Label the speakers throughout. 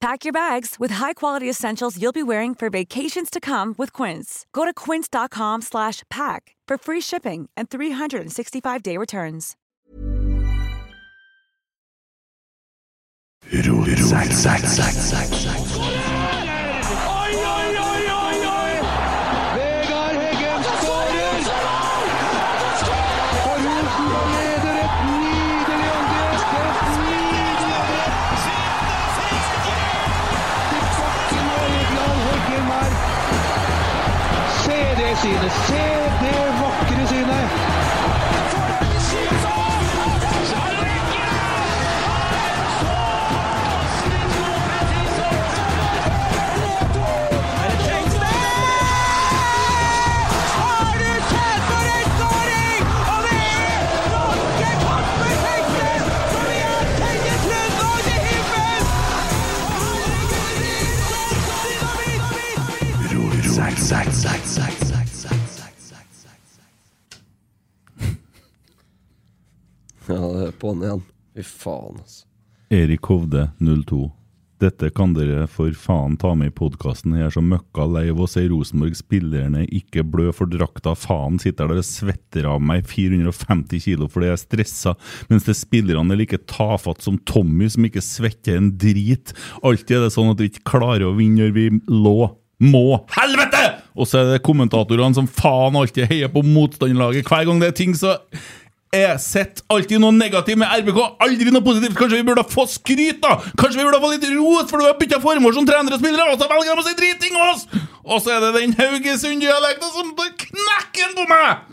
Speaker 1: Pack your bags with high-quality essentials you'll be wearing for vacations to come with Quince. Go to quince.com slash pack for free shipping and 365-day returns.
Speaker 2: Rotsekk, sekk, sekk, sekk, sekk.
Speaker 3: Oi, oi, oi, oi, oi! Vegard Heggen skårer! Og Rosenborg leder et nydelig angrep! Et nydelig angrep! Til bakken og Egeland Heggen her. Se det synet! Se det vakre synet!
Speaker 2: Rotsekk, sekk, sekk, sekk, sekk, sekk, sekk, sekk, sekk, sekk.
Speaker 4: Ja, det er på'n igjen. Fy faen, altså.
Speaker 5: Erik Hovde 02. Dette kan dere for faen ta med i podkasten. Jeg er så møkka lei av å se Rosenborg-spillerne ikke blø for drakta. Faen sitter der og svetter av meg 450 kilo fordi jeg er stressa, mens det spillerne er like tafatt som Tommy, som ikke svetter en drit. Alltid er det sånn at vi ikke klarer å vinne når vi lå. Må! Helvete! Og så er det kommentatorene som faen alltid heier på motstanderlaget. Hver gang det er ting, så jeg setter alltid noe negativt med RBK, aldri noe positivt. Kanskje vi burde få skryt, da? Kanskje vi burde få litt ros, for du har bytta formasjon, trenere og spillere, og så velger de å si driting om oss! Og så er det den Haugesund-dialekten som tar knekken på meg!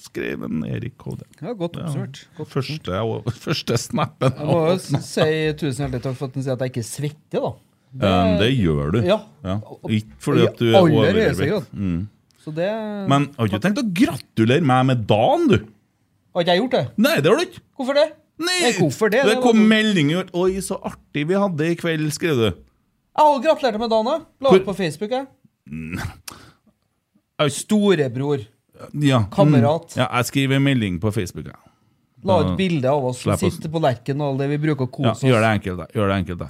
Speaker 5: Skrev en Erik Hovde.
Speaker 6: Ja, godt oppsummert. Godt oppsummert.
Speaker 5: Første, første snappen.
Speaker 6: Jeg må jo si tusen hjertelig takk for at den sier at jeg ikke svetter, da.
Speaker 5: Um, det gjør du.
Speaker 6: Ja.
Speaker 5: Ikke fordi at du
Speaker 6: I
Speaker 5: er Mm.
Speaker 6: aller høyeste
Speaker 5: overvektig.
Speaker 6: grad. Så det Har
Speaker 5: Men har du ikke tenkt å gratulere meg med dagen, du?
Speaker 6: ikke jeg gjort det?
Speaker 5: Nei, det har du ikke.
Speaker 6: Hvorfor det?
Speaker 5: Nei,
Speaker 6: hvorfor det?
Speaker 5: det
Speaker 6: Det var
Speaker 5: kom
Speaker 6: noe-
Speaker 5: melding i år. Oi, så artig vi hadde i kveld, skrev du.
Speaker 6: Jeg har jo gratulert deg med dagen, da. La
Speaker 5: Hvor- Mm.
Speaker 6: ut på Facebook, jeg.
Speaker 5: Jeg
Speaker 6: Storebror.
Speaker 5: Ja.
Speaker 6: Kamerat.
Speaker 5: Mm. Ja, jeg skriver en melding på Facebook. Ja.
Speaker 6: La ut bilde av oss som
Speaker 5: Slipp oss.
Speaker 6: sitter på Lerken og alt det vi bruker å
Speaker 5: Ja,
Speaker 6: kose oss.
Speaker 5: gjør det enkelt, da. Gjør det enkelt, da.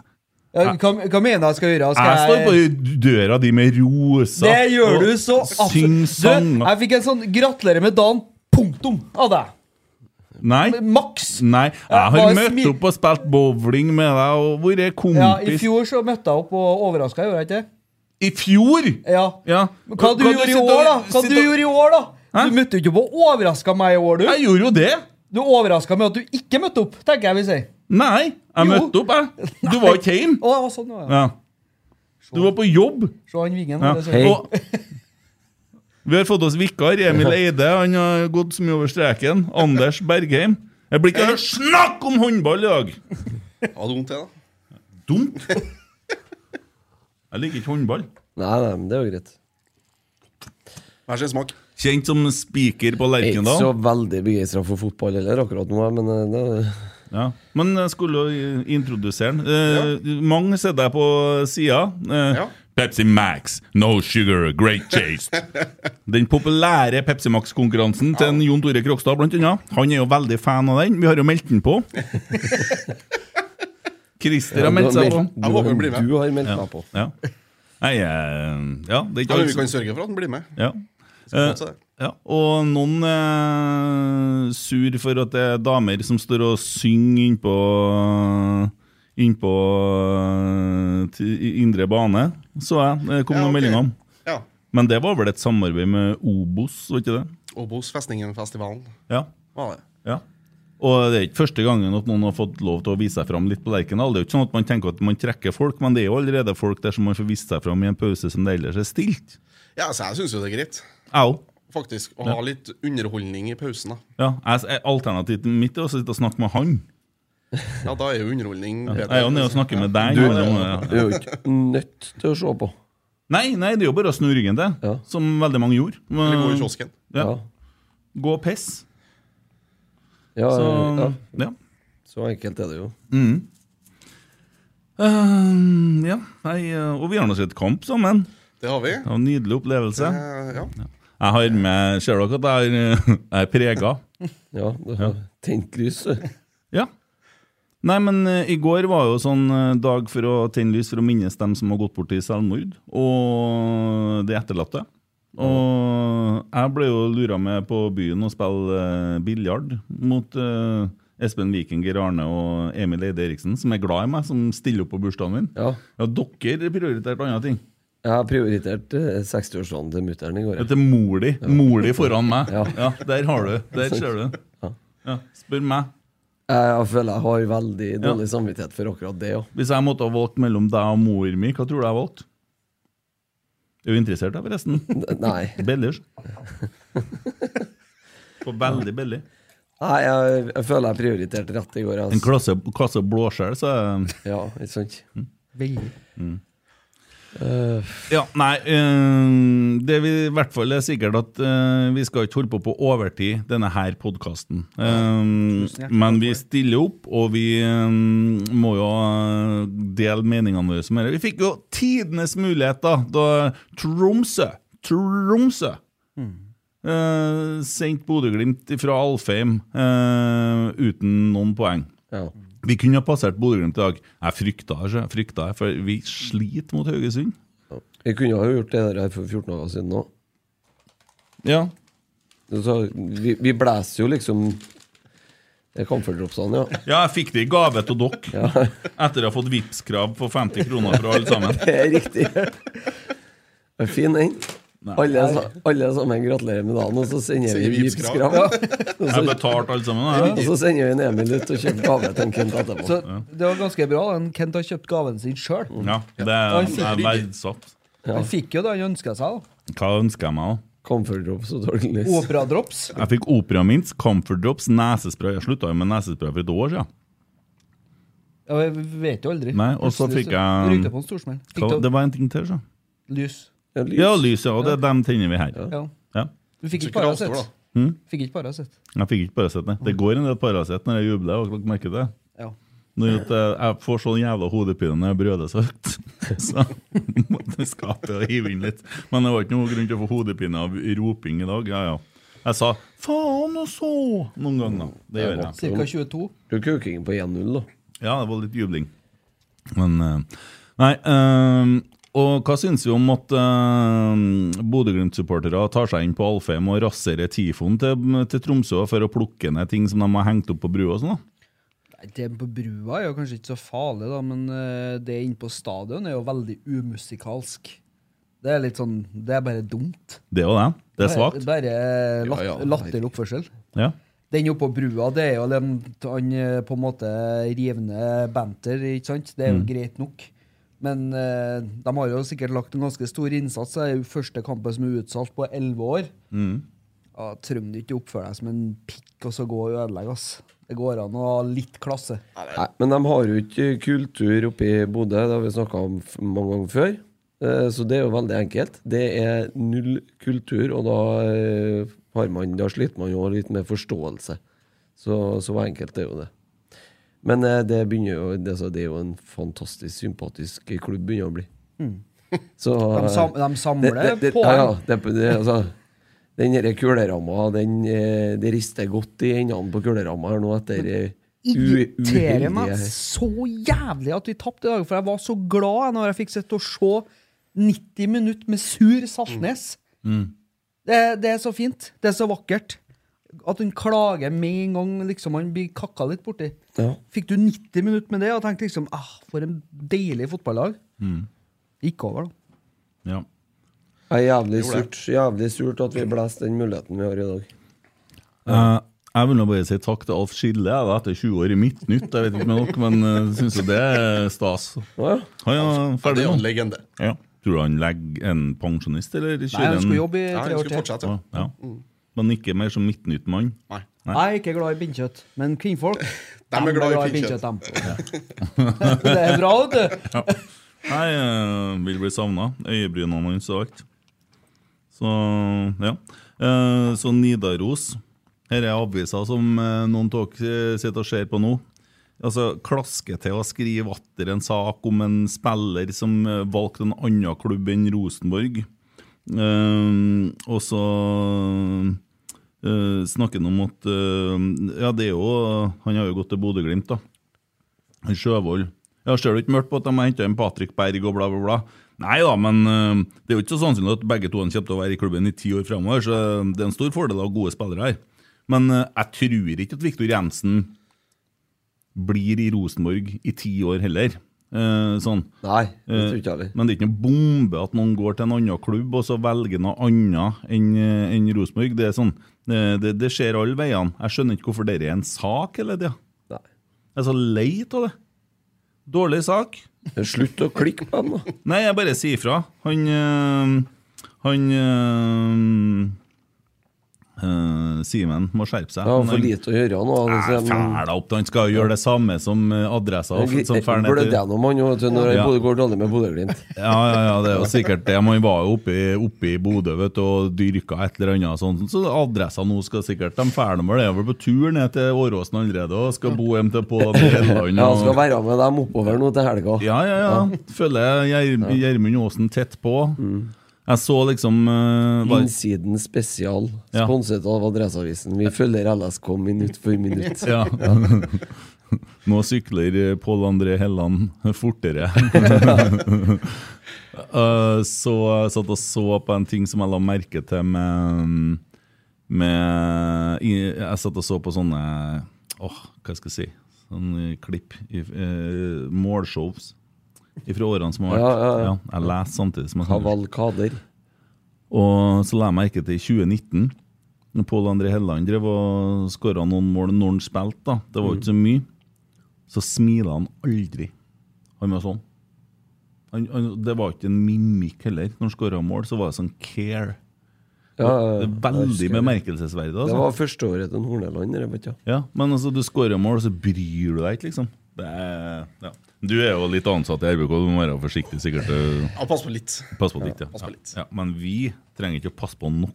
Speaker 6: Ja, hva, hva mener jeg skal gjøre?
Speaker 5: Jeg
Speaker 6: Skal
Speaker 5: står på døra di med roser.
Speaker 6: Det gjør
Speaker 5: og
Speaker 6: du så absolutt.
Speaker 5: Syng
Speaker 6: Du,
Speaker 5: sanger.
Speaker 6: jeg fikk en sånn 'gratulerer med dagen', punktum, av deg.
Speaker 5: Nei.
Speaker 6: Maks.
Speaker 5: Nei, jeg har
Speaker 6: bare
Speaker 5: møtt
Speaker 6: smil-
Speaker 5: opp og spilt bowling med deg og vært kompis.
Speaker 6: Ja, I fjor så møtte jeg opp og overraska, gjorde jeg ikke det?
Speaker 5: I fjor?
Speaker 6: Ja.
Speaker 5: Ja.
Speaker 6: Men Hva du
Speaker 5: Kan
Speaker 6: gjorde i
Speaker 5: sitte
Speaker 6: år, da?
Speaker 5: og-
Speaker 6: Hva
Speaker 5: sitte
Speaker 6: du
Speaker 5: og-
Speaker 6: gjorde i år, da?
Speaker 5: Hæ?
Speaker 6: Du møtte jo ikke opp og overraska meg i år, du.
Speaker 5: Jeg gjorde jo det.
Speaker 6: Du overraska med at du ikke møtte opp, tenker jeg vil si.
Speaker 5: Nei, jeg
Speaker 6: Jo.
Speaker 5: møtte opp, jeg. Du var ikke hjemme.
Speaker 6: Å, ja, sånn, ja.
Speaker 5: Ja. Du var på jobb.
Speaker 6: Se han vingen.
Speaker 5: Ja.
Speaker 6: der, så-
Speaker 4: Hei.
Speaker 5: Og vi har fått oss vikar. Emil Eide han har gått så mye over streken. Anders Bergheim. Jeg blir ikke hørt snakk om håndball i dag!
Speaker 7: Ha det vondt, jeg, da.
Speaker 5: Dumt. Jeg liker ikke håndball.
Speaker 4: Nei, nei, men det er jo greit.
Speaker 7: Hver sin smak.
Speaker 5: Kjent som
Speaker 4: Jeg
Speaker 5: spiker på
Speaker 4: er ikke
Speaker 5: Lerkendal.
Speaker 4: så veldig begeistra for fotball heller akkurat nå, men eh, det
Speaker 5: Ja. Men jeg skulle jo introdusere den. Eh, Mange sitter der på sida. Eh, Pepsi Max, no sugar, great taste. Den populære Pepsi Max-konkurransen til en Jon Tore Krokstad, blant annet. Han er jo veldig fan av den. Vi har jo meldt den på. Christer har meldt seg på.
Speaker 7: Jeg håper han blir med.
Speaker 5: Ja. Ja. Nei, eh, ja, det er
Speaker 7: Ja,
Speaker 5: ikke
Speaker 7: men
Speaker 5: alle
Speaker 7: vi
Speaker 5: som-
Speaker 7: kan sørge for at han blir med.
Speaker 5: ja.
Speaker 7: Skal
Speaker 5: Eh,
Speaker 7: få til det.
Speaker 5: ja. Og noen er sur for at det er damer som står og synger innpå Innpå eh, til indre bane, så jeg. Det kom
Speaker 7: Ja,
Speaker 5: noen
Speaker 7: ok.
Speaker 5: meldinger om.
Speaker 7: Ja.
Speaker 5: Men det var vel et samarbeid med Obos, var ikke det?
Speaker 7: Obos Festningenfestivalen.
Speaker 5: Ja.
Speaker 7: Var det.
Speaker 5: ja. Og det er ikke første gangen at noen har fått lov til å vise seg fram litt på Lerkendal. Det er jo ikke sånn at man tenker at man trekker folk, men det er jo allerede folk der som man får vist seg fram i en pause som det ellers er stilt.
Speaker 7: Ja, så jeg syns jo det er greit,
Speaker 5: Jeg òg.
Speaker 7: faktisk, å
Speaker 5: Ja.
Speaker 7: ha litt underholdning i pausen. da
Speaker 5: Ja, jeg, alternativet mitt er å sitte og snakke med han.
Speaker 7: Ja, da er jo underholdning
Speaker 5: Ja,
Speaker 7: bedre.
Speaker 5: Jeg er jo nede og snakker med deg.
Speaker 4: Du-
Speaker 5: nå, ja.
Speaker 4: Du er jo ikke nødt til å se på.
Speaker 5: Nei, nei, det er jo bare å snu ryggen til, som veldig mange gjorde. Men-
Speaker 7: Eller gå i kiosken.
Speaker 5: Ja. Gå og piss.
Speaker 4: Ja,
Speaker 5: Så- ja.
Speaker 4: Så enkelt er det jo.
Speaker 5: Mm. Eh, ja, nei, eh, og vi har nå sett kamp sammen.
Speaker 7: Det har vi.
Speaker 5: Det var en nydelig opplevelse.
Speaker 7: Eh, ja.
Speaker 5: Jeg har med, Ser dere at jeg er, jeg er prega?
Speaker 4: Ja, det har tent lys.
Speaker 5: Ja. Nei, men eh, i går var jo sånn eh, dag for å tenne lys for å minnes dem som har gått bort i selvmord, og de etterlatte. Og jeg ble jo lura med på byen og spille eh, biljard mot eh, Espen Vikinger Arne og Emil Eide Eriksen, som er glad i meg, som stiller opp på bursdagen min.
Speaker 4: Ja.
Speaker 5: dere prioriterte andre ting.
Speaker 4: Jeg har prioritert eh, 60-årsdagen til mutter'n i går.
Speaker 5: Dette er mor di. Mor di foran meg.
Speaker 4: Ja.
Speaker 5: Ja, der har du. Der ser du. Ja, spør meg.
Speaker 4: Jeg, jeg føler jeg har veldig
Speaker 5: Ja.
Speaker 4: dårlig samvittighet for akkurat det òg.
Speaker 5: Hvis jeg måtte ha valgt mellom deg og mor mi, hva tror du jeg valgte? Er du interessert, da, forresten?
Speaker 4: Nei.
Speaker 5: Bellers. På veldig billig.
Speaker 4: Nei, jeg, jeg føler jeg prioriterte rett i går.
Speaker 5: En klasse, klasse blåskjell, så
Speaker 4: Altså-
Speaker 5: Mm.
Speaker 4: Ja, ikke sant?
Speaker 6: Veldig.
Speaker 5: Ja, nei eh, Det vi i hvert fall er sikkert at eh, vi skal ikke holde på på overtid denne her podkasten.
Speaker 6: tusen hjertelig
Speaker 5: men vi stiller opp, og vi eh, må jo eh, dele meningene våre med dere. Vi fikk jo tidenes mulighet da, da Tromsø Tromsø! Eh, sendt Bodø-Glimt fra Alfheim eh, uten noen poeng. Vi kunne ha passert Bodø-Glimt i dag. Jeg frykta det, frykta det, for vi sliter mot Haugesund.
Speaker 4: Vi kunne ha gjort det der for 14 dager siden òg.
Speaker 5: Ja.
Speaker 4: Så vi, vi blæser jo liksom Det er kamferdropsene, ja.
Speaker 5: Ja, jeg fikk det i gave til dere etter å ha fått Vipps-krav på 50 kroner fra alle sammen.
Speaker 4: Det er riktig. Det er fin, den.
Speaker 5: Nei.
Speaker 4: Alle, sa- alle sammen gratulerer med dagen, og så sender
Speaker 5: Sier
Speaker 4: vi
Speaker 5: Vipps-krav.
Speaker 4: Vipps-krav. Ja. Og
Speaker 5: Jeg
Speaker 4: så-
Speaker 5: betalte alle sammen.
Speaker 4: Ja,
Speaker 5: da,
Speaker 4: Og så sender vi en Emil ut og kjøper gave til en Kent etterpå.
Speaker 6: Så det var ganske bra. Den Kent har kjøpt gaven sin sjøl.
Speaker 5: Ja, det
Speaker 6: Han
Speaker 5: er, jeg er
Speaker 6: fikk,
Speaker 5: verdsatt.
Speaker 6: han fikk jo det han ønska seg. da.
Speaker 5: Hva ønsker jeg meg, da?
Speaker 4: Comfort-drops og dårlig lys.
Speaker 6: Opera-drops.
Speaker 5: Jeg fikk Opera Mints, Comfort Drops, nesespray. Jeg slutta jo med nesespray for et år siden.
Speaker 6: Ja, vi vet jo aldri.
Speaker 5: Nei, og så
Speaker 6: Plutselig
Speaker 5: fikk jeg-
Speaker 6: Rykte på en storsmell. Fikk
Speaker 5: Hva-
Speaker 6: du
Speaker 5: Det var en ting til, så.
Speaker 6: lys?
Speaker 5: Ja, lyset, og det, dem tenner vi
Speaker 6: Ja.
Speaker 5: her. Ja.
Speaker 6: Du fikk ikke
Speaker 7: Så ikke
Speaker 6: Paracet?
Speaker 7: avstår, da.
Speaker 5: Mm.
Speaker 6: Fikk ikke Paracet.
Speaker 5: Jeg fikk ikke Paracet, nei. Det går en del Paracet når jeg jubler. og dere merker det.
Speaker 6: Ja.
Speaker 5: Når at eh, jeg får sånn jævla hodepine når jeg brøler så høyt, så måtte jeg skape og hive inn litt. Men det var ikke noen grunn til å få hodepine av roping i dag. Ja, ja. Jeg sa 'faen og så' noen ganger. Det gjør jeg.
Speaker 6: Cirka 22.
Speaker 4: Du er kuking på 1-0, da.
Speaker 5: Ja, det var litt jubling. Men eh, Nei. eh, og hva syns vi om at uh, Bodø-Glimt-supportere tar seg inn på Alfheim og raserer Tifoen til, til Tromsø for å plukke ned ting som de har hengt opp på brua og sånn? da?
Speaker 6: Nei, Det på brua er jo kanskje ikke så farlig, da, men eh, det inne på stadion er jo veldig umusikalsk. Det er litt sånn Det er bare dumt.
Speaker 5: Det er jo det. Det er svakt.
Speaker 6: Bare lat,
Speaker 7: Ja, ja,
Speaker 6: latterlig oppførsel.
Speaker 5: Ja.
Speaker 6: Den oppå brua, det er jo den han eh, på en måte rivende banter, ikke sant? Det er
Speaker 5: Mm.
Speaker 6: jo greit nok. Men eh, de har jo sikkert lagt en ganske stor innsats. Det er jo første kampen som er utsolgt på elleve år.
Speaker 5: Mm.
Speaker 6: Ja, Trenger du ikke oppføre deg som en pikk og så gå og ødelegge, ass. Det går an å ha litt klasse.
Speaker 4: Nei, men de har jo ikke kultur oppe i Bodø, det har vi snakka om f- mange ganger før. Eh, Så det er jo veldig enkelt. Det er null kultur, og da, eh, har man, da sliter man jo litt med forståelse. Så, så enkelt er jo det. Men eh, det, begynner jo, det, så det er jo en fantastisk sympatisk klubb begynner å bli.
Speaker 6: Mm.
Speaker 4: Så,
Speaker 6: De sam- de
Speaker 4: eh,
Speaker 6: samler poeng.
Speaker 4: Ja, ja, det, det, altså, den derre kuleramma, den, eh, det rister godt i endene på kuleramma her nå etter eh, u-
Speaker 6: irriterer meg
Speaker 4: uheldige-
Speaker 6: så jævlig at vi tapte i dag, for jeg var så glad jeg når jeg fikk sitte og se 90 minutter med sur Saltnes.
Speaker 5: Mm.
Speaker 6: Det, det er så fint. Det er så vakkert. At han klager med en gang liksom han blir kakka litt borti.
Speaker 4: Ja.
Speaker 6: Fikk du 90 minutter med det og tenkte liksom ah, For en deilig fotballag. Gikk over, da.
Speaker 5: Mm, Ja.
Speaker 4: Det er jævlig
Speaker 6: Gjorde
Speaker 4: surt, jævlig surt at vi blåste den muligheten vi har i dag.
Speaker 5: Eh, jeg vil nå bare si takk til Alf Skille jeg, da, etter 20 år i Midtnytt. Jeg vet ikke med dere, men jeg syns jo det er stas. Han er ferdig nå. Ja. Tror du han legger en pensjonist, eller kjører
Speaker 6: Nei, han skulle jobbe i
Speaker 7: Ja, han
Speaker 6: tre år
Speaker 7: skulle fortsette. Mm.
Speaker 6: til.
Speaker 5: Ja, ja. Men ikke mer som Midtnytt-mann?
Speaker 7: Nei.
Speaker 6: Jeg er ikke glad i bindkjøtt, men kvinnfolk
Speaker 7: De er glad i pinnekjøtt.
Speaker 6: dem. det er bra, vet du.
Speaker 5: Ja. Nei, eh, vil bli savna. Øyebrynene hans og alt. Så ja. Eh, Så Nidaros. Her er avisa som eh, noen av dere sitter og ser på nå. Altså, Klaske til å skrive atter en sak om en spiller som eh, valgte en annen klubb enn Rosenborg. Eh, og så eh, snakker han om at eh, Ja, det er jo Han har jo gått til Bodø-Glimt, da. Han Sjøvold. Ja, ser du ikke mørkt på at de har henta inn Patrick Berg og bla, bla, bla? Nei da, men øh, det er jo ikke så sannsynlig at begge to kommer til å være i klubben i ti år framover, så eh, det er en stor fordel å ha gode spillere her. Men øh, jeg tror ikke at Viktor Jensen blir i Rosenborg i ti år heller. Eh, sånn.
Speaker 4: Nei, det tror ikke jeg
Speaker 5: Men det er ikke noe bombe at noen går til en annen klubb og så velger noe annet enn eh, enn Rosenborg. Det er sånn, eh, det, det skjer alle veiene. Jeg skjønner ikke hvorfor dette er en sak hele tida. Jeg er så lei av det. Dårlig sak.
Speaker 4: Slutt å klikke på den, da.
Speaker 5: Nei, jeg bare sier ifra. Han eh, Han eh, eh, Simen må skjerpe seg.
Speaker 4: Ja, for lite å gjøre nå, han
Speaker 5: Nei,
Speaker 4: sier-
Speaker 5: fæla opp, han skal gjøre det samme som eh, adressa.
Speaker 4: Han
Speaker 5: som fær ned
Speaker 4: glødde
Speaker 5: til-
Speaker 4: gjennom han jo, vet du, når
Speaker 5: Ja.
Speaker 4: det går dårlig med Bodø-Glimt.
Speaker 5: Ja, ja, ja, det er jo sikkert det. Man var jo oppe, i- oppe i Bodø vet du, og dyrka et eller annet. Sånt. Så adressa nå skal sikkert De ferdig med det. Er vel på tur ned til Åråsen allerede og skal bo hjem til på Bjelland.
Speaker 4: Ja, han
Speaker 5: og-
Speaker 4: skal være med dem oppover nå til helga.
Speaker 5: Ja, ja, ja. Følger Gjer- Gjermund Aasen tett på. Jeg så liksom eh, var-
Speaker 4: Mm. Innsiden spesial,
Speaker 5: Ja.
Speaker 4: sponset av Adresseavisen. Vi følger LSK minutt for minutt.
Speaker 5: Ja. Nå sykler eh, Pål André Helland fortere. Eh, så jeg satt og så på en ting som jeg la merke til med, med i- Jeg satt og så på sånne Åh, hva skal jeg si? Sånne klipp. i- eh, Målshows fra årene som har vært.
Speaker 4: Ja, ja, ja.
Speaker 5: jeg leser samtidig som jeg snakker.
Speaker 4: Kavalkader.
Speaker 5: Og så la jeg merke til i 2019, når Pål André Helland drev og skåra noen mål når han spilte, da. det var jo ikke så mye, så smila han aldri. Han var sånn. Han, han, det var ikke en mimikk heller. Når han skåra mål, så var det sånn care.
Speaker 4: Ja, ja, ja.
Speaker 5: det
Speaker 4: Jeg
Speaker 5: er
Speaker 4: husker
Speaker 5: veldig
Speaker 4: det.
Speaker 5: bemerkelsesverdig. altså.
Speaker 4: Det var førsteåret til Horneland. det vet jeg.
Speaker 5: Ja, men altså, du skårer mål, så bryr du deg ikke, liksom. Det er, ja. Du er jo litt ansatt i RBK, du må være forsiktig sikkert. øh.
Speaker 7: Ja, pass på litt.
Speaker 5: Pass på litt, ja.
Speaker 7: Ja, pass på
Speaker 5: ja. ja. Men vi trenger ikke å passe på noe.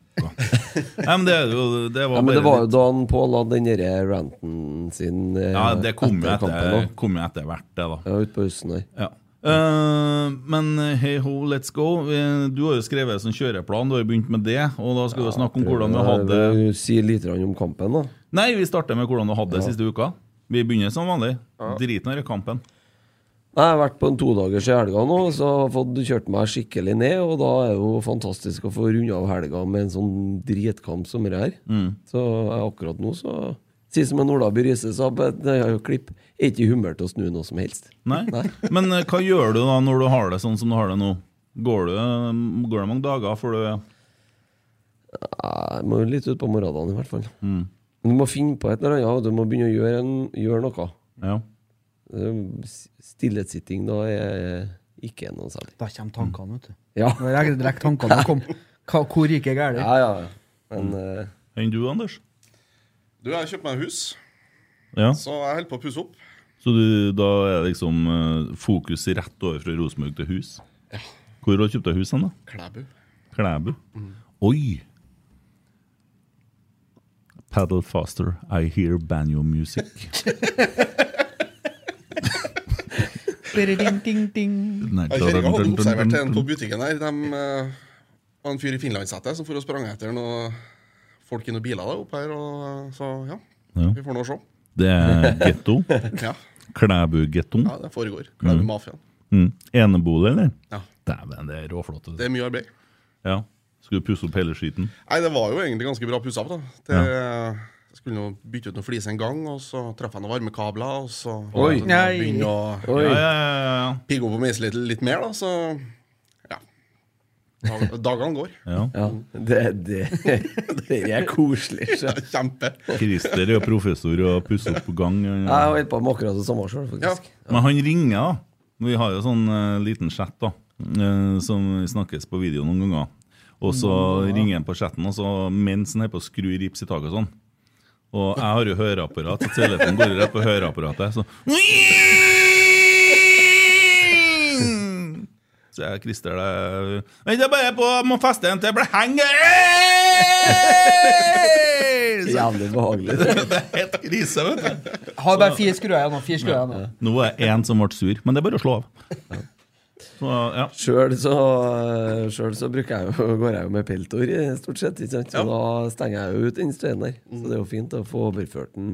Speaker 5: Nei, men det, er jo- det var
Speaker 4: Ja, men
Speaker 5: bare
Speaker 4: det var jo
Speaker 5: litt-
Speaker 4: da han Pål hadde den derre ranten sin eh,
Speaker 5: Ja, det kom jo etter,
Speaker 4: kampen også.
Speaker 5: kom jo etter hvert, det, da.
Speaker 4: Ja, ute på høsten der.
Speaker 5: Ja. Eh, men hey ho, let's go. Eh, Du har jo skrevet sånn kjøreplan, du har jo begynt med det. Og da skal vi jo snakke om hvordan du hadde
Speaker 4: Eh, Si litt grann om kampen, da.
Speaker 5: Nei, vi starter med hvordan du hadde det siste uka. Vi begynner som vanlig.
Speaker 4: Ja.
Speaker 5: Driten i kampen.
Speaker 4: Nei, Jeg har vært på en todagers i helga nå, så jeg har fått kjørt meg skikkelig ned. Og da er det jo fantastisk å få runda av helga med en sånn dritkamp som det her.
Speaker 5: Mm.
Speaker 4: Så jeg, akkurat nå, så Si som en Olaby Riise sa på et eh, klipp, jeg er ikke i humør til å snu noe som helst.
Speaker 5: Nei. Men eh, hva gjør du da når du har det sånn som du har det nå? Går, du, eh, går det mange dager før du
Speaker 4: Nei, må jo litt ut på morgenene i hvert fall.
Speaker 5: Mm.
Speaker 4: Men Du må finne på et eller annet, og du må begynne å gjøre, en, gjøre noe.
Speaker 5: Ja.
Speaker 4: Stillesitting da er ikke noe særlig.
Speaker 6: Da kommer tankene, vet du.
Speaker 4: Mm. Ja.
Speaker 6: Nå er jeg direkt tankene kom. Hva, hvor gikk jeg gærent?
Speaker 4: Ja, ja, ja. Men eh,
Speaker 5: Enn du, Anders?
Speaker 7: Du, jeg har kjøpt meg hus,
Speaker 5: Ja.
Speaker 7: så jeg holder på å pusse opp.
Speaker 5: Så du, da er liksom eh, fokus rett over fra Rosenborg til hus? Hvor har du kjøpt deg hus hen, da?
Speaker 7: Klæbu.
Speaker 5: Klæbu.
Speaker 7: Mm.
Speaker 5: Oi! Paddle faster, I hear banjo music. Nei,
Speaker 7: Jeg kjenner ikke
Speaker 5: dun,
Speaker 7: hadde
Speaker 5: dun, dun,
Speaker 7: observert
Speaker 5: dun,
Speaker 7: en
Speaker 5: dun.
Speaker 7: på butikken her. De eh, var en fyr i finlandssetet som for og sprang etter noen folk i noen biler da, opp her. Og, eh, så ja,
Speaker 5: Ja.
Speaker 7: vi får nå se.
Speaker 5: Det er getto.
Speaker 7: Ja.
Speaker 5: Klæbu-gettoen.
Speaker 7: Ja, det foregår. Klæbu mafiaen.
Speaker 5: Mm. Enebolig, eller?
Speaker 7: Ja.
Speaker 5: Dæven, det er råflott. altså.
Speaker 7: Det er mye arbeid.
Speaker 5: Ja. Skal du pusse opp hele skiten?
Speaker 7: Nei, det var jo egentlig ganske bra pussa opp, da. Det, Jeg skulle nå bytte ut noen flis en gang, og så traff jeg noen varmekabler, og så
Speaker 5: Oi.
Speaker 7: så
Speaker 5: Nei.
Speaker 7: begynne å
Speaker 5: Oi. Ja, ja,
Speaker 7: pigge opp og meisle litt, litt mer, da, så ja. Dag- Dagene går.
Speaker 5: Ja.
Speaker 4: Det, det, det er koselig. så.
Speaker 7: Kjempe.
Speaker 5: Christer er jo professor og pusser opp på gang.
Speaker 4: Jeg har holdt på med akkurat det samme sjøl, faktisk.
Speaker 5: Men han ringer, da. Vi har jo sånn eh, liten chat da eh, som snakkes på video noen ganger. Og så ringer han på chatten, og så mens han er på å skru rips i taket og sånn. Og jeg har jo høreapparat, så telefonen går jo rett på høreapparatet. Så, så jeg Christer det Vent, jeg bare er på, jeg må feste en til, jeg blir henger!
Speaker 4: Jævlig behagelig.
Speaker 5: det er helt krise, vet du.
Speaker 6: Har bare fire skruer igjen nå. Fire skruer igjen nå.
Speaker 5: Nå var det én som ble sur, men det er bare å slå av. Så, ja.
Speaker 4: Sjøl så, eh, selv så bruker jeg jo, går jeg jo med peltor, i, stort sett. Ikke sant? Så da stenger jeg jo ut den støyen der. Så det er jo fint å få overført den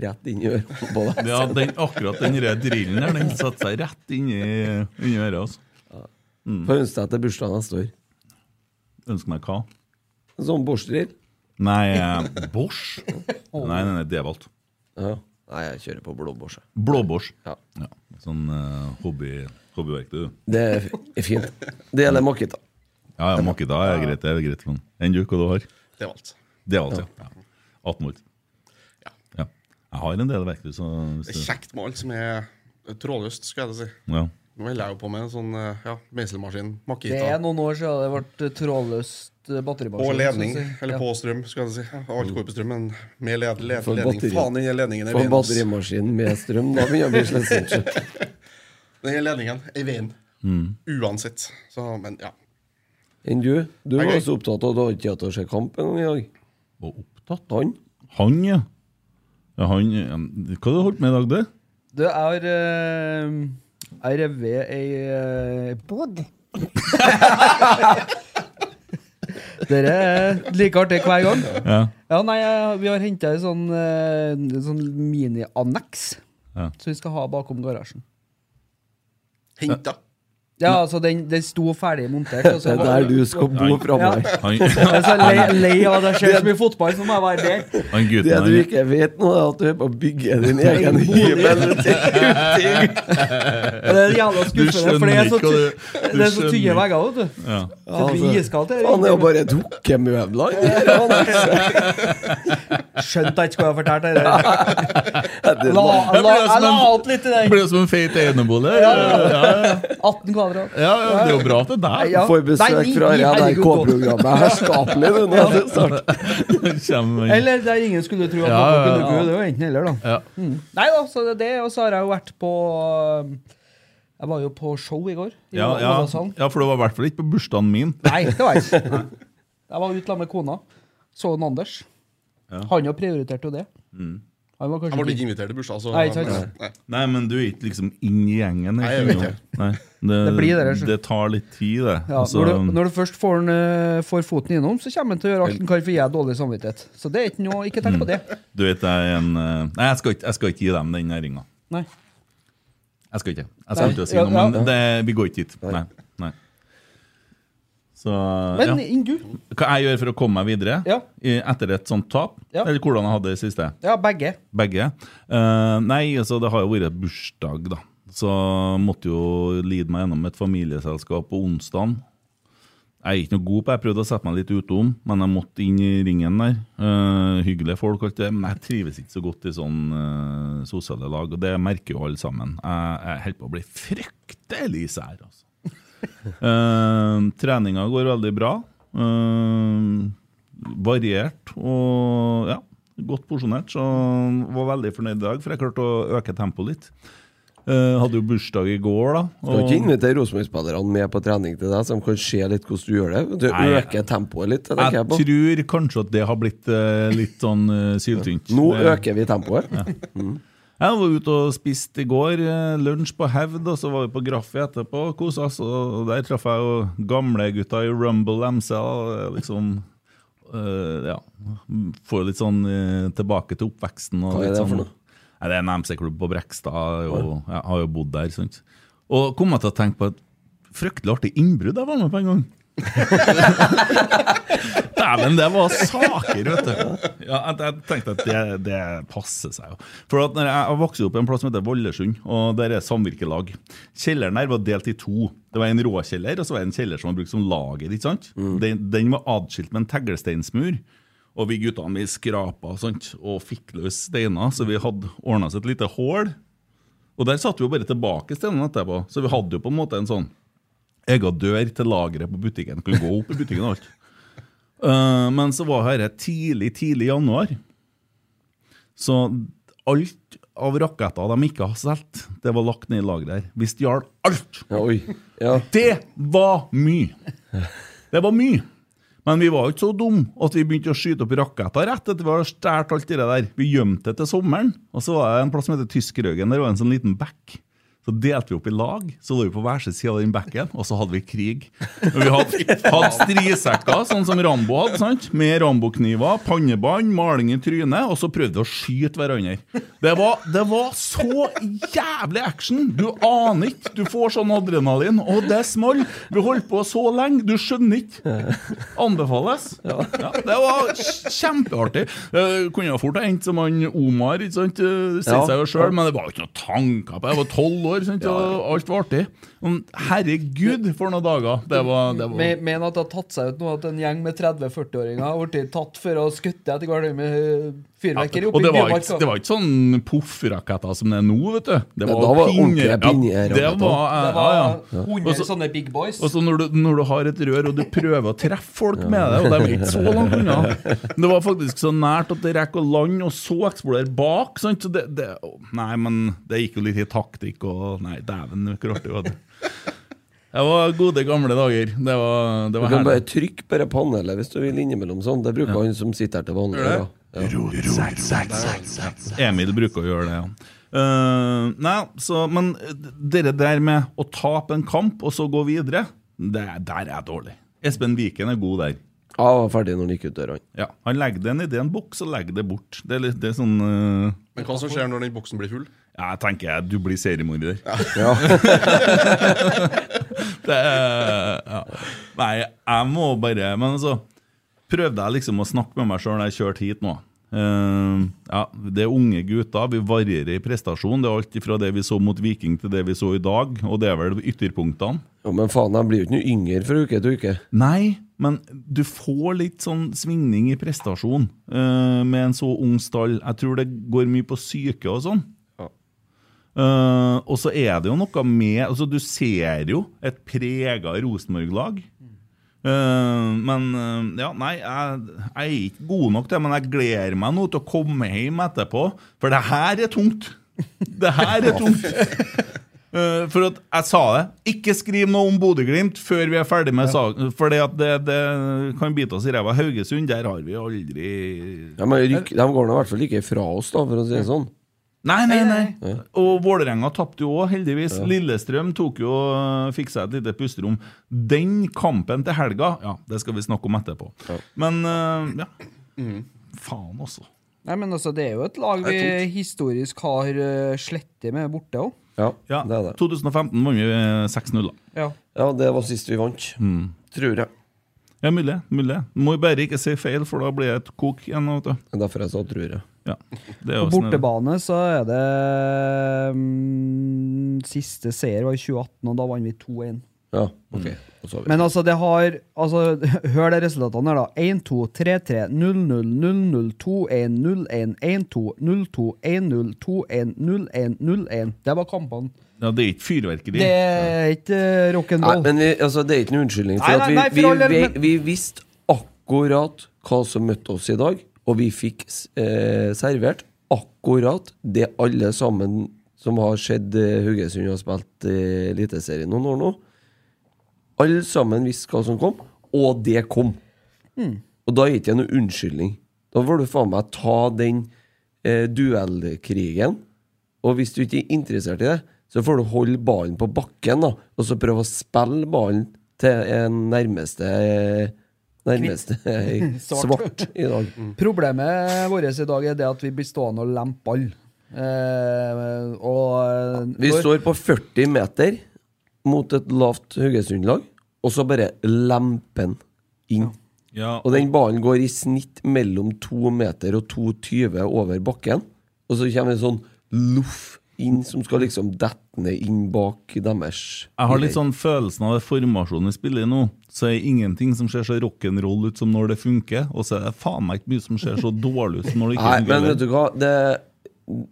Speaker 4: rett inn i ørene på deg.
Speaker 5: Ja, den, akkurat den røde drillen der, den satte seg rett inni inni øret. Altså. Mm.
Speaker 4: Får ønske deg til bursdagen neste år.
Speaker 5: Ønsker meg hva?
Speaker 4: Sånn borsdrill.
Speaker 5: Nei, eh, Bosch? Nei, nei, nei Devolt.
Speaker 4: Ja. Nei, jeg kjører på blåbors. jeg.
Speaker 5: Blåbosch. Ja. Sånn eh, hobby, hobbyverktøy. du.
Speaker 4: Det er f- fint. Det gjelder Makita.
Speaker 5: Ja, ja, Makita er greit. det er greit men. Enn du, hva du har?
Speaker 7: Devolt.
Speaker 5: Devolt, ja. ja. 18 volt. Ja. Jeg har en del verktøy, så
Speaker 7: Det er kjekt med alt som er trådløst, skulle jeg til å si.
Speaker 5: Ja.
Speaker 7: Nå holder jeg jo på med en sånn eh, ja, meiselmaskin,
Speaker 6: Det
Speaker 7: makita,
Speaker 6: er noen år siden det ble trådløst eh, batterimaskin.
Speaker 7: og ledning.
Speaker 6: så å si.
Speaker 7: Eller
Speaker 6: Ja.
Speaker 7: på strøm, skulle jeg til å si. Jeg har Alt går på strøm, men med led, led,
Speaker 4: Mm. For
Speaker 7: ledning.
Speaker 4: batteri-
Speaker 7: Faen, den ledningen er
Speaker 4: For
Speaker 7: veien, ass.
Speaker 4: batterimaskin med strøm. Da begynner jeg å bli slitsom.
Speaker 7: Den ledningen er i veien.
Speaker 4: Mm.
Speaker 7: Uansett. Så, men ja.
Speaker 4: Enn du? Du
Speaker 7: Jeg
Speaker 4: var
Speaker 7: er-
Speaker 4: så opptatt av at du hadde ikke hatt til å se kamp en gang i dag.
Speaker 5: Og opptatt?
Speaker 4: Han?
Speaker 5: Han, ja. ja han, eh, hva har du holdt med i dag, du?
Speaker 6: Du, jeg har eh, Jeg har revet ei eh, Bod. Dere er like artig hver gang.
Speaker 5: Ja.
Speaker 6: nei, jeg- Vi har henta ei sånn, eh, sånn mini-anneks
Speaker 5: Ja.
Speaker 6: som vi skal ha bakom garasjen.
Speaker 7: Henta?
Speaker 6: Ja, altså, den, den sto ferdig montert. og så
Speaker 4: Det er
Speaker 6: var-
Speaker 4: der du skal bo framover.
Speaker 6: Ja. Jeg er så lei, lei av at jeg ser så mye fotball, så må jeg være der.
Speaker 5: Han
Speaker 4: Det
Speaker 5: gutten,
Speaker 4: du
Speaker 5: han-
Speaker 4: ikke vet nå, er at du er på å bygge din egen hybel.
Speaker 6: Og det er jævla skuffende, for det er så, ty det er så tynne vegger, vet du.
Speaker 5: Ja.
Speaker 6: Så det blir iskaldt her.
Speaker 4: Han er jo Altså, bare dukkemøbler.
Speaker 6: Skjønt jeg ikke skulle ha fortalt det. der. La,
Speaker 5: Jeg
Speaker 6: la,
Speaker 5: blir jo som
Speaker 6: jeg la
Speaker 5: en-
Speaker 6: alt litt i den.
Speaker 5: Blir jo som en feit enebolig.
Speaker 6: Ja,
Speaker 5: Ja, ja.
Speaker 6: 18 kvadrat.
Speaker 5: Ja, ja, det er jo bra at det er der.
Speaker 6: Ja.
Speaker 4: Får
Speaker 6: Nei,
Speaker 4: besøk
Speaker 6: vi-
Speaker 4: fra
Speaker 6: vi- herregud,
Speaker 4: NRK-programmet. Herskapelig, du. Nå er det snart.
Speaker 5: Kjem inn.
Speaker 6: Eller der ingen skulle tro
Speaker 5: Ja,
Speaker 6: at noe
Speaker 5: ja,
Speaker 6: kunne
Speaker 5: ja.
Speaker 6: gå. Det var enten eller, da.
Speaker 5: Ja.
Speaker 6: Mm. Nei da, så det er det. Og så har jeg jo vært på um, Jeg var jo på show i går. I
Speaker 5: Ja, ja.
Speaker 6: Ålesand.
Speaker 5: ja, for det var i hvert fall ikke på bursdagen min.
Speaker 6: altså, Nei, det var jeg ikke. Jeg var ute sammen med kona. Så en Anders.
Speaker 5: Ja.
Speaker 6: Han jo prioriterte jo det.
Speaker 5: Mm.
Speaker 6: Han var
Speaker 7: Jeg
Speaker 6: kanskje
Speaker 7: ble ikke invitert til bursdag, altså. så
Speaker 6: Nei, ikke sant.
Speaker 7: Nei.
Speaker 5: Nei, men du er ikke liksom inn i gjengen.
Speaker 7: Nei, jeg vet
Speaker 5: ikke?
Speaker 7: det.
Speaker 5: Nei,
Speaker 6: Det blir det, det er så-
Speaker 5: det tar litt tid, det.
Speaker 6: Ja,
Speaker 5: Altså,
Speaker 6: når, du, når du først får, den, eh, får foten innom, så kommer han til å gjøre alt han kan for å gi deg dårlig samvittighet. Så det er ikke noe, ikke tenk på det.
Speaker 5: du vet, jeg er en eh, Nei, jeg skal ikke, jeg skal ikke gi dem den næringa.
Speaker 6: Nei.
Speaker 5: Jeg skal ikke. Jeg skal
Speaker 6: Nei.
Speaker 5: ikke si
Speaker 6: Ja,
Speaker 5: noe,
Speaker 6: ja.
Speaker 5: men det, vi går ikke dit. Nei. Nei. Så
Speaker 6: Men
Speaker 5: ja.
Speaker 6: enn du?
Speaker 5: Hva jeg gjør for å komme meg videre
Speaker 6: Ja.
Speaker 5: i- etter et sånt tap,
Speaker 6: Ja.
Speaker 5: eller hvordan jeg hadde det siste?
Speaker 6: Ja, begge.
Speaker 5: Begge. Eh, nei, altså det har jo vært bursdag, da. Så måtte jo lide meg gjennom et familieselskap på onsdag. Jeg er ikke noe god på Jeg prøvde å sette meg litt utom, men jeg måtte inn i ringen der. Eh, hyggelige folk, alt det. Men jeg trives ikke så godt i sånn eh, sosiale lag, og det merker jo alle sammen. Jeg, jeg holder på å bli fryktelig sær, altså. Eh, treninga går veldig bra. Eh, variert og ja, godt porsjonert. Så var veldig fornøyd i dag, for jeg klarte å øke tempoet litt. Eh, hadde jo bursdag i går, da.
Speaker 4: Skal ikke invitere Rosenborg-spillerne med på trening til deg, så de kan se litt hvordan du gjør det. Du
Speaker 5: Nei,
Speaker 4: øker tempoet litt. det tenker
Speaker 5: jeg
Speaker 4: Jeg på.
Speaker 5: tror kanskje at det har blitt eh, litt sånn eh, syltynt.
Speaker 4: Nå
Speaker 5: Det-
Speaker 4: øker vi tempoet. Mm.
Speaker 5: Jeg var ute og spiste i går. eh, Lunsj på Hevd, og så var vi på Graffi etterpå og kosa oss. Og der traff jeg jo gamlegutta i Rumble MC. og, eh, Liksom, eh, ja. Får litt sånn eh, tilbake til oppveksten. Og
Speaker 4: Hva er
Speaker 5: litt
Speaker 4: det
Speaker 5: sånn,
Speaker 4: for noe?
Speaker 5: Nei, det er en MC-klubb på Brekstad. Og, jeg har jo bodd der. Sant? Og kom jeg til å tenke på et fryktelig artig innbrudd jeg var med på en gang. Dæven, det var saker, vet du. Ja, jeg, jeg tenkte at det, det passer seg jo. For at når jeg, jeg vokste opp i en plass som heter Vollesund, og der er samvirkelag. Kjelleren der var delt i to. Det var en råkjeller, og så var det en kjeller som var brukt som lager. ikke sant? Den, den var adskilt med en teglsteinsmur. Og vi guttene vi skrapa og sånt, og fikk løs steiner, så vi hadde ordna oss et lite hull. Og der satte vi jo bare tilbake steinene etterpå, så vi hadde jo på en måte en sånn egen dør til lageret på butikken. Kunne gå opp i butikken og alt. Eh, men så var dette tidlig, tidlig i januar. Så alt av raketter de ikke har solgt, det var lagt ned i lageret her. Vi stjal alt! Det var mye! Det var mye. Men vi var jo ikke så dumme at vi begynte å skyte opp raketter rett etter vi hadde stjålet alt det der. Vi gjemte det til sommeren. Og så var det en plass som heter Tyskerhaugen. Der var en sånn liten bekk. Så delte vi opp i lag, så lå vi på hver sin side av den bekken, og så hadde vi krig. Og vi hadde, hadde strisekker, sånn som Rambo hadde, sant? med Rambo-kniver, pannebånd, maling i trynet, og så prøvde vi å skyte hverandre. Det var, det var så jævlig action! Du aner ikke. Du får sånn adrenalin, og det smalt. Vi holdt på så lenge, du skjønner ikke. Anbefales. Ja. det var kjempeartig. Eh, kunne jo fort ha endt som han Omar, ikke sant? Eh, Sier
Speaker 4: Ja.
Speaker 5: seg jo sjøl, men det var jo ikke noe tanker på det. Jeg var tolv år, sant? og alt var artig. Men herregud, for noen dager! Det var, det var
Speaker 6: Men men at det har tatt seg ut nå at en gjeng med 30-40-åringer har blitt tatt for å skutte etter hverandre med eh, fyrverkeri
Speaker 5: og
Speaker 6: oppi
Speaker 5: det var,
Speaker 6: Bymarka.
Speaker 5: ikke, det var ikke sånn poffraketter som det er nå, vet du. Det
Speaker 4: Men da var det
Speaker 5: pinjer-
Speaker 4: ordentlige pinjer-
Speaker 5: Ja, det var, ja,
Speaker 6: Det var
Speaker 5: ja.
Speaker 6: 100
Speaker 5: Og så-
Speaker 6: sånne big boys.
Speaker 5: Og så når du, når du har et rør og du prøver å treffe folk med det, og de er ikke så langt unna Det var faktisk så nært at det rekker å lande, og så eksplodere bak. Sant? Så det, det, å, nei, men det gikk jo litt i taktikk og Nei, dæven, hvor artig var det? Det var gode, gamle dager. Det var, det
Speaker 4: Du
Speaker 5: var
Speaker 4: kan bare
Speaker 5: herlig.
Speaker 4: trykke på det panelet hvis du vil innimellom sånn. Det bruker han som sitter her til vanlig.
Speaker 5: Gjør
Speaker 4: Ja.
Speaker 5: det?
Speaker 4: Ja.
Speaker 5: Emil bruker å gjøre det, ja. Eh, nei, så, men eh, dere der med å tape en kamp og så gå videre, det, der er jeg dårlig. Espen Viken er god der.
Speaker 4: Ja, han var ferdig når han gikk ut døra. han.
Speaker 5: Ja, Han legger det nedi en boks og legger det bort. Det er, litt, det er sånn eh,
Speaker 7: Men hva som skjer når den boksen blir full?
Speaker 5: ja, Jeg tenker jeg, du blir seriemorder.
Speaker 7: Ja.
Speaker 5: det, er- ja. Nei, jeg må bare Men altså, prøvde jeg liksom å snakke med meg sjøl når jeg kjørte hit nå. Eh, ja, det er unge gutter. Vi varierer i prestasjon. Det er alt fra det vi så mot Viking, til det vi så i dag. Og det er vel ytterpunktene.
Speaker 4: Ja, men faen, han blir jo ikke noe yngre fra uke til uke.
Speaker 5: Nei, men du får litt sånn svingning i prestasjon eh, med en så ung stall. Jeg tror det går mye på syke og sånn. Eh, og så er det jo noe med altså Du ser jo et prega Rosenborg-lag. Eh, men eh, ja, nei, jeg, jeg er ikke god nok til det, men jeg gleder meg nå til å komme hjem etterpå, for det her er tungt. Det her er tungt. Eh, for at jeg sa det. Ikke skriv noe om Bodø-Glimt før vi er ferdig med saken. For det, det kan bite oss i ræva. Haugesund, der har vi aldri
Speaker 4: Ja, men ryk, de går nå i hvert fall ikke fra oss, da, for å si det sånn.
Speaker 5: Nei, nei, nei. Og Vålerenga tapte jo òg, heldigvis.
Speaker 4: Ja.
Speaker 5: Lillestrøm tok jo fikk seg et lite pusterom. Den kampen til helga, ja, det skal vi snakke om etterpå. Men eh, ja.
Speaker 6: Mm.
Speaker 5: Faen også.
Speaker 6: Nei, men altså, det er jo et lag vi
Speaker 5: Det er
Speaker 6: historisk har uh, slettet med borte òg.
Speaker 4: Ja,
Speaker 5: ja. 2015 vant vi eh, 6-0, da.
Speaker 6: Ja.
Speaker 4: Ja, det var sist vi vant. Tror jeg.
Speaker 5: Ja, mulig. mulig. Må jo bare ikke si feil, for da blir det et kok igjen. Vet du.
Speaker 4: Derfor jeg sa tror jeg.
Speaker 5: Ja. Det er jo
Speaker 6: På
Speaker 5: sånn det er.
Speaker 6: bortebane så er det mm, Siste seier var i 2018, og da vant vi 2-1.
Speaker 4: Ja, ok.
Speaker 5: Mm.
Speaker 4: Da så vi.
Speaker 6: Men altså, det har altså, Hør de resultatene her, da. 1-2, 3-3, 0-0, 0-0, 2-1, 0-1, 1-2, 0-2, 1-0, 2-1, 0-1, 0-1. Det var kampene.
Speaker 5: Ja, det er ikke fyrverkeri.
Speaker 6: Det er ikke eh,
Speaker 4: Nei,
Speaker 6: rock'n'roll.
Speaker 4: men vi, altså, det er ikke noen unnskyldning. For
Speaker 6: Nei, nei, nei,
Speaker 4: at
Speaker 6: for
Speaker 4: vi,
Speaker 6: all del,
Speaker 4: vi,
Speaker 6: men-
Speaker 4: vi, vi visste akkurat hva som møtte oss i dag, og vi fikk eh, servert akkurat det alle sammen som har sett eh, Haugesund og spilt eh, Eliteserien noen år nå. Alle sammen visste hva som kom, og det kom.
Speaker 6: Mm.
Speaker 4: Og da er det ikke noen unnskyldning. Da får du faen meg ta den eh, duellkrigen. Og hvis du ikke er interessert i det, så får du holde ballen på bakken, da. Og så prøve å spille ballen til en nærmeste eh, Nærmeste svart i dag.
Speaker 6: Mm. Problemet vårt i dag er det at vi blir stående og lempe ball. Eh, og eh,
Speaker 4: Vi
Speaker 6: når-
Speaker 4: står på 40 meter mot et lavt Haugesund-lag, og så bare lemper den inn. og den ballen går i snitt mellom 2 meter og 2,20 over bakken. Og så kommer en sånn loff inn som skal liksom dette ned inn bak deres
Speaker 5: Jeg har litt sånn følelsen av det formasjonen vi spiller i nå. Så er det ingenting som ser så rock'n'roll ut som når det funker, og så er det faen meg ikke mye som ser så dårlig ut som når det sånn- ikke
Speaker 4: Nei, men vet
Speaker 5: funker.
Speaker 4: du hva? Det,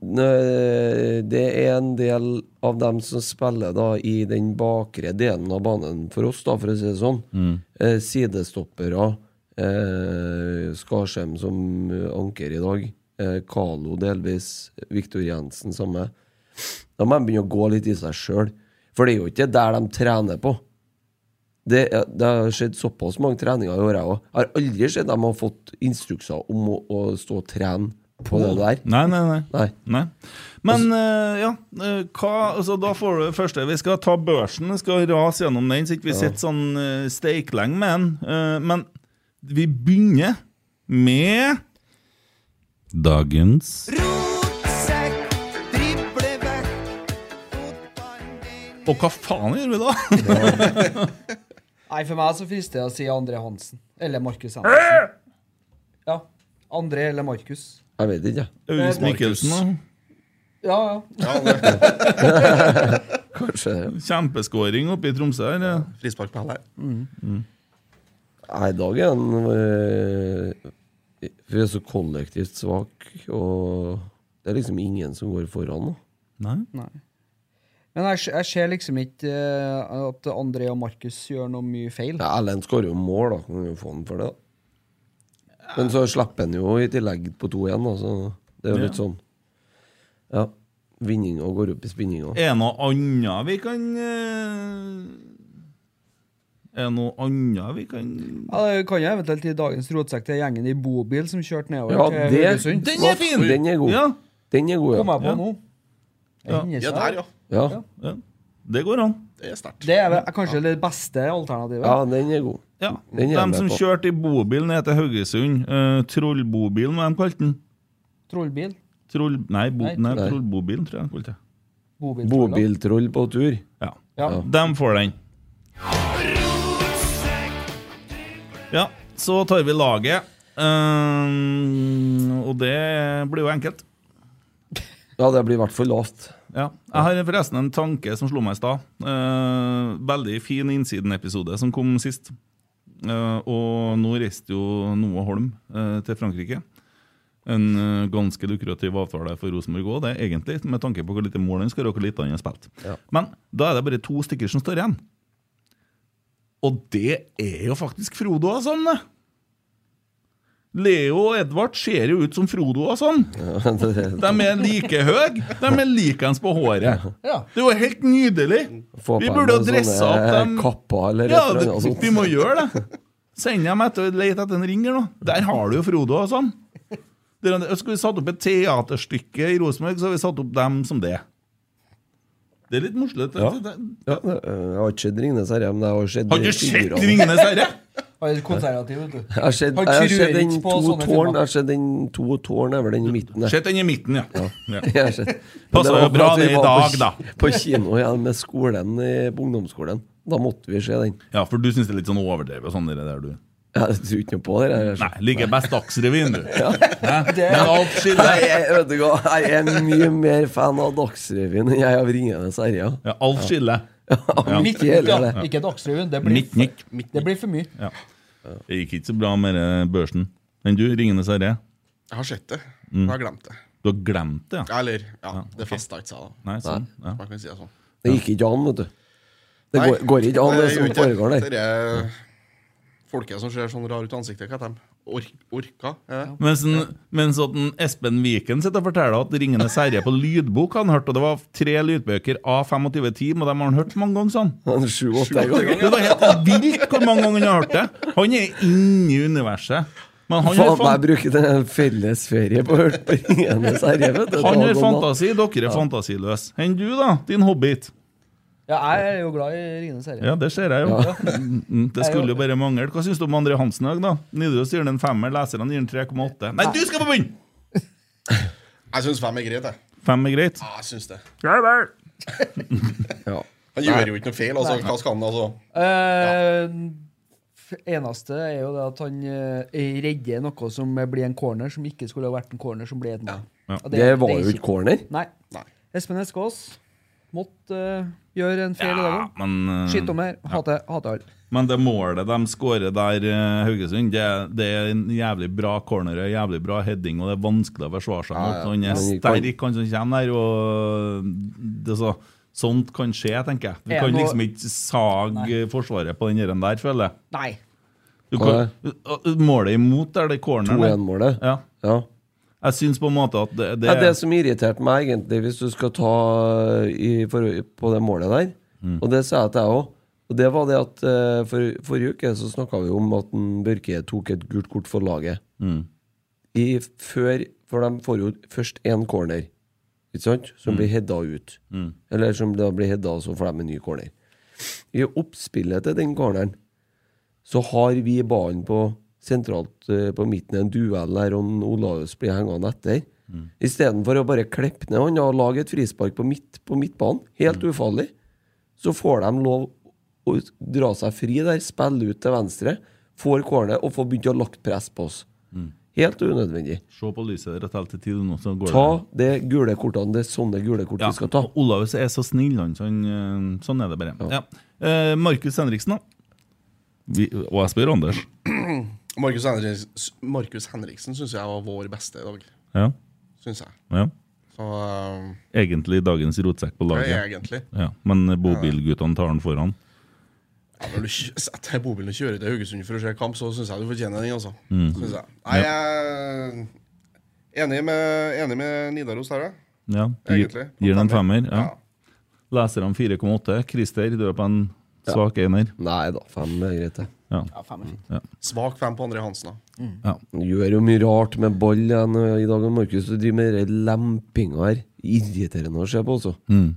Speaker 4: nø- det er en del av dem som spiller da i den bakre delen av banen for oss, da, for å si det sånn.
Speaker 5: Mm.
Speaker 4: Eh, sidestoppere. Eh, Skarsheim som eh, anker i dag. Eh, Kalo delvis. Viktor Jensen samme. Da må de begynne å gå litt i seg sjøl. For det er jo ikke der de trener på. Det, er- det har skjedd såpass mange treninger i år, jeg òg. Har aldri sett dem har fått instrukser om å, å stå og trene på det der.
Speaker 5: Mm. Nei, nei, nei.
Speaker 4: nei.
Speaker 5: Men eh, ja, eh, hva, altså, da får du det første Vi skal ta børsen, vi skal rase gjennom den, så ikke vi
Speaker 4: Ja.
Speaker 5: sitter sånn uh, steiklenge med den. Eh, men vi begynner med Dagens Og hva faen gjør vi da?
Speaker 6: Nei, for meg så frister det å si André Hansen. Eller Markus Henriksen. Ja. André eller Markus.
Speaker 4: Jeg vet ikke, jeg.
Speaker 5: Audis Mikkelsen, da?
Speaker 6: Ja, ja.
Speaker 4: Kanskje
Speaker 5: Kjempeskåring oppe i Tromsø her. Ja.
Speaker 7: Frispark på hæl her.
Speaker 4: Nei, i dag er han øh, Vi er så kollektivt svak, og det er liksom ingen som går foran.
Speaker 5: Da.
Speaker 6: Nei. Men jeg, s- jeg ser liksom ikke eh, at André og Markus gjør noe mye feil.
Speaker 4: Ja, Erlend skårer jo mål, da. Kan jo få han for det. da Men så slipper han jo i tillegg på 2-1, da, så det er jo
Speaker 5: Ja.
Speaker 4: litt sånn Ja. Vinninga går opp i spinninga.
Speaker 5: Er det noe annet vi kan eh, Er det noe annet vi kan
Speaker 6: Ja, det kan jo eventuelt i dagens rotsekk til gjengen i bobil som kjørte nedover
Speaker 5: Ja,
Speaker 6: til
Speaker 5: det-
Speaker 6: Haugesund.
Speaker 5: den er fin!
Speaker 4: Den er god.
Speaker 5: Ja.
Speaker 4: Den er god, ja.
Speaker 6: Kom jeg på nå.
Speaker 5: Ja.
Speaker 6: Hennes
Speaker 5: Ja,
Speaker 6: her.
Speaker 5: der, ja.
Speaker 4: Ja.
Speaker 5: Ja. Det går an.
Speaker 7: Det er sterkt.
Speaker 6: Det er vel kanskje det beste alternativet.
Speaker 4: Ja, den er god.
Speaker 5: Ja.
Speaker 4: Den er jeg
Speaker 5: De
Speaker 4: med
Speaker 5: som
Speaker 4: på.
Speaker 5: kjørte i bobil ned til Haugesund, eh, trollbobilen, hva de kalte den?
Speaker 6: Trollbil.
Speaker 5: Troll... Nei, bo...
Speaker 6: Nei.
Speaker 5: Nei
Speaker 6: Nei.
Speaker 5: trollbobilen, tror jeg de kalte det.
Speaker 6: Bobiltroller.
Speaker 4: Bobiltroll på tur.
Speaker 5: Ja.
Speaker 6: Ja.
Speaker 5: De får den. Ja, så tar vi laget. Ehm, og det blir jo enkelt.
Speaker 4: Ja, det blir i hvert fall lavt.
Speaker 5: Ja. Jeg har forresten en tanke som slo meg i stad. Ehm, veldig fin Innsiden-episode som kom sist. Ehm, og nå reiste jo Noah Holm eh, til Frankrike. En eh, ganske lukrativ avtale for Rosenborg òg, det er egentlig, med tanke på hvor lite mål han skårer, og hvor lite han har spilt. Men da er det bare to stykker som står igjen. Og det er jo faktisk Frodo og sånn, det! Leo og Edvard ser jo ut som Frodo og sånn. De er like høye. De er likeens på håret.
Speaker 6: Ja.
Speaker 5: Det er jo helt nydelig.
Speaker 4: Få
Speaker 5: Vi
Speaker 4: på
Speaker 5: burde
Speaker 4: en sånn, sånne
Speaker 5: jo dresse opp dem.
Speaker 4: kapper eller et
Speaker 5: Ja,
Speaker 4: eller
Speaker 5: det,
Speaker 4: annet sånn. sånt.
Speaker 5: vi må gjøre det. Send dem etter og lete etter en ringer nå. Der har du jo Frodo og sånn. Der, er det- skulle vi satt opp et teaterstykke i Rosenborg, så har vi satt opp dem som det. Det er litt morsomt.
Speaker 4: Ja.
Speaker 5: Det- det-
Speaker 4: Ja, det- eh, jeg har ikke sett Ringenes herre, men jeg har sett
Speaker 5: Har du sett
Speaker 4: figurene.
Speaker 5: Ringenes herre?
Speaker 6: Han er konservativ, vet du.
Speaker 4: Jeg har sett,
Speaker 6: Han
Speaker 4: jeg har
Speaker 6: tror
Speaker 4: sett den
Speaker 6: ikke
Speaker 4: to
Speaker 6: på
Speaker 4: tårn
Speaker 6: sånne
Speaker 4: altså.
Speaker 6: filmer.
Speaker 4: Jeg har sett den to tårn er vel den i midten der.
Speaker 5: Sett den i midten, ja. Ja.
Speaker 4: Jeg har sett. Men
Speaker 5: Passer
Speaker 4: det var
Speaker 5: jo bra
Speaker 4: for at vi
Speaker 5: det i
Speaker 4: var på
Speaker 5: dag,
Speaker 4: ki-
Speaker 5: da.
Speaker 4: På kino igjen med skolen i- på ungdomsskolen. Da måtte vi se den.
Speaker 5: Ja, for du syns det er litt sånn overdrevet og sånn det der, du.
Speaker 4: Jeg tror ikke noe på det. Jeg,
Speaker 5: Nei, liker best Dagsrevyen, du. Hæ?
Speaker 6: Det-
Speaker 5: Men alt skiller
Speaker 4: Nei, jeg, vet du hva, jeg er mye mer fan av Dagsrevyen enn jeg er av Ringenes herre. ja.
Speaker 5: Ja, alt skiller.
Speaker 4: Ja.
Speaker 6: Midt,
Speaker 4: Ikke heller det.
Speaker 6: ja. Ikke Dagsrevyen. Det, blir
Speaker 5: Midt, midt.
Speaker 6: for- det blir for mye.
Speaker 5: Ja. Det gikk ikke så bra med eh, børsen. Men du, Ringenes herre,
Speaker 7: Jeg har sett det,
Speaker 5: Mm.
Speaker 7: men jeg har glemt det.
Speaker 5: du har glemt det, ja?
Speaker 7: Eller, ja, det festa ikke seg, da.
Speaker 5: Nei, sånn. Ja.
Speaker 7: Man kan si det sånn.
Speaker 4: Det gikk ikke an, vet du. Det går,
Speaker 7: Nei,
Speaker 4: går ikke an, det
Speaker 7: gjør
Speaker 4: som
Speaker 7: ikke det.
Speaker 4: foregår der.
Speaker 7: Det er folket som ser sånn rar ut i ansiktet, hva heter de? Ork, orka? er det?
Speaker 5: Mens, en, mens at en Espen Viken sitter og forteller at 'Ringenes herre' på lydbok han hørte, og det var tre lydbøker A25 tim, og dem har han hørt mange ganger, sånn.
Speaker 4: Sju-åtte ganger.
Speaker 5: Det var helt vilt hvor mange ganger han har hørt det. Han er inne i universet. Men han
Speaker 4: Faen
Speaker 5: har
Speaker 4: meg
Speaker 5: fan-
Speaker 4: bruker det en felles ferie på å høre på Ringenes herre. vet du, dag
Speaker 5: han
Speaker 4: og natt.
Speaker 5: har fantasi, dere er fantasiløse. Enn du, da? Din hobbit.
Speaker 6: Ja, jeg er jo glad i Ringenes herre.
Speaker 5: Ja, det ser jeg jo.
Speaker 6: Ja.
Speaker 5: Mm, mm, Det skulle jo bare mangle. Hva syns du om André Hansen i dag, da? Nidaros gir den en femmer, leserne gir den 3,8. Nei, du skal på bunn!
Speaker 7: Jeg syns fem er greit, jeg.
Speaker 5: Fem er greit.
Speaker 7: Ja, Ah, jeg synes det.
Speaker 5: Ja vel.
Speaker 7: Han
Speaker 6: Nei.
Speaker 7: gjør jo ikke noe feil. altså. Hva skal han, altså?
Speaker 6: Eh, f- eneste er jo det at han eh, redder noe som blir en corner, som ikke skulle ha vært en corner, som ble et mål.
Speaker 4: Ja.
Speaker 6: Og
Speaker 4: Det var jo ikke corner.
Speaker 6: Nei. Espen Eskås måtte eh, gjøre en feil i dag òg.
Speaker 5: Men, eh,
Speaker 6: Skitt om her. Hater hater alle.
Speaker 5: Men det målet de skårer der, eh, Haugesund, det, det er en jævlig bra corner, en jævlig bra heading, og det er vanskelig å forsvare seg mot.
Speaker 6: Ja, ja.
Speaker 5: Så Han er
Speaker 6: Men-
Speaker 5: sterk, han som kommer der, og det er så, sånt kan skje, tenker jeg. Du
Speaker 6: Er
Speaker 5: kan
Speaker 6: noe-
Speaker 5: liksom ikke sage forsvaret på den her enn der, føler jeg.
Speaker 6: Nei.
Speaker 5: Du kan, målet imot er det corneren. der.
Speaker 4: 2-1-målet.
Speaker 5: Ja.
Speaker 4: Ja.
Speaker 5: Jeg syns på en måte at det, det
Speaker 4: Ja, det som irriterte meg, egentlig, hvis du skal ta eh, i, for, på det målet der
Speaker 5: Mm.
Speaker 4: Og det sa jeg til jeg òg. Og det var det at eh, for, forrige uke så snakka vi om at en Børke tok et gult kort for laget.
Speaker 5: Mm.
Speaker 4: I, før, for de får jo først én corner, ikke sant, som
Speaker 5: Mm.
Speaker 4: blir hedda ut.
Speaker 5: Mm.
Speaker 4: Eller som da blir hedda, og så får de en ny corner. I oppspillet til den corneren så har vi ballen på sentralt eh, på midten i en duell der og Olaus blir hengende etter.
Speaker 5: Mm.
Speaker 4: Istedenfor å bare klippe ned han og lage et frispark på, midt, på midtbanen, helt
Speaker 5: Mm.
Speaker 4: ufarlig, så får de lov å dra seg fri der, spille ut til venstre, får corner og får begynt å lagt press på oss.
Speaker 5: Mm.
Speaker 4: Helt unødvendig.
Speaker 5: Se på lyset der et helt til tid nå, så går
Speaker 4: Ta
Speaker 5: det.
Speaker 4: det gule kortene. Det er sånne gule kort
Speaker 5: Ja,
Speaker 4: vi skal ta.
Speaker 5: og Olaus er så snill, han. så han, eh, sånn er det bare. Ja. Eh, Markus Henriksen, da? Vi, og jeg spør Anders.
Speaker 7: Markus Henriksen, Markus Henriksen syns jeg var vår beste i dag.
Speaker 5: Ja.
Speaker 7: Syns jeg.
Speaker 5: Ja.
Speaker 7: Så um,
Speaker 5: Egentlig dagens rotsekk på laget.
Speaker 7: Ja, egentlig.
Speaker 5: Ja, men bobilguttene tar den foran.
Speaker 7: ja, når du kj- setter deg i bobilen og kjører til Haugesund for å se kamp, så syns jeg du fortjener den, altså.
Speaker 5: Mm.
Speaker 7: Synes jeg. Nei, jeg er Eh, enig med, enig med Nidaros der, jeg.
Speaker 5: Ja,
Speaker 7: Egentlig.
Speaker 5: gir, gir den en femmer. Ja. Leserne 4,8. Christer, du er på en
Speaker 7: Ja.
Speaker 5: svak einer.
Speaker 4: Nei da, fem er greit, det.
Speaker 5: Ja.
Speaker 6: fem er
Speaker 5: Ja.
Speaker 7: Svak fem på André Hansen, da.
Speaker 4: Han gjør jo mye rart med ball igjen eh, i dag, og Markus. Du driver med den lempinga her. Irriterende å se på, altså.
Speaker 5: Mm.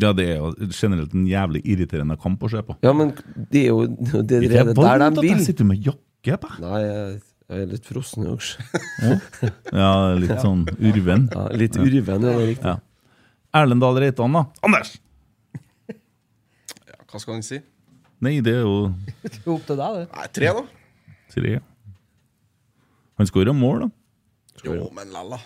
Speaker 5: ja, det er jo generelt en jævlig irriterende kamp å se på.
Speaker 4: Ja, men det er jo det, er
Speaker 5: Ikke
Speaker 4: det
Speaker 5: vondt
Speaker 4: der
Speaker 5: at
Speaker 4: de
Speaker 5: jeg
Speaker 4: vil.
Speaker 5: sitter med jakke på.
Speaker 4: Nei, jeg, jeg er litt frossen i års.
Speaker 5: Ja, litt sånn urven.
Speaker 4: Ja, litt urven, ja, det er riktig.
Speaker 5: Ja. Erlend Dahl Reitan, da? Anders!
Speaker 7: Hva skal han si?
Speaker 5: Nei, det er jo
Speaker 6: Det er opp til deg, det.
Speaker 7: Nei, tre, da.
Speaker 5: tre. Han skårer mål, da.
Speaker 7: Jo, men lalla.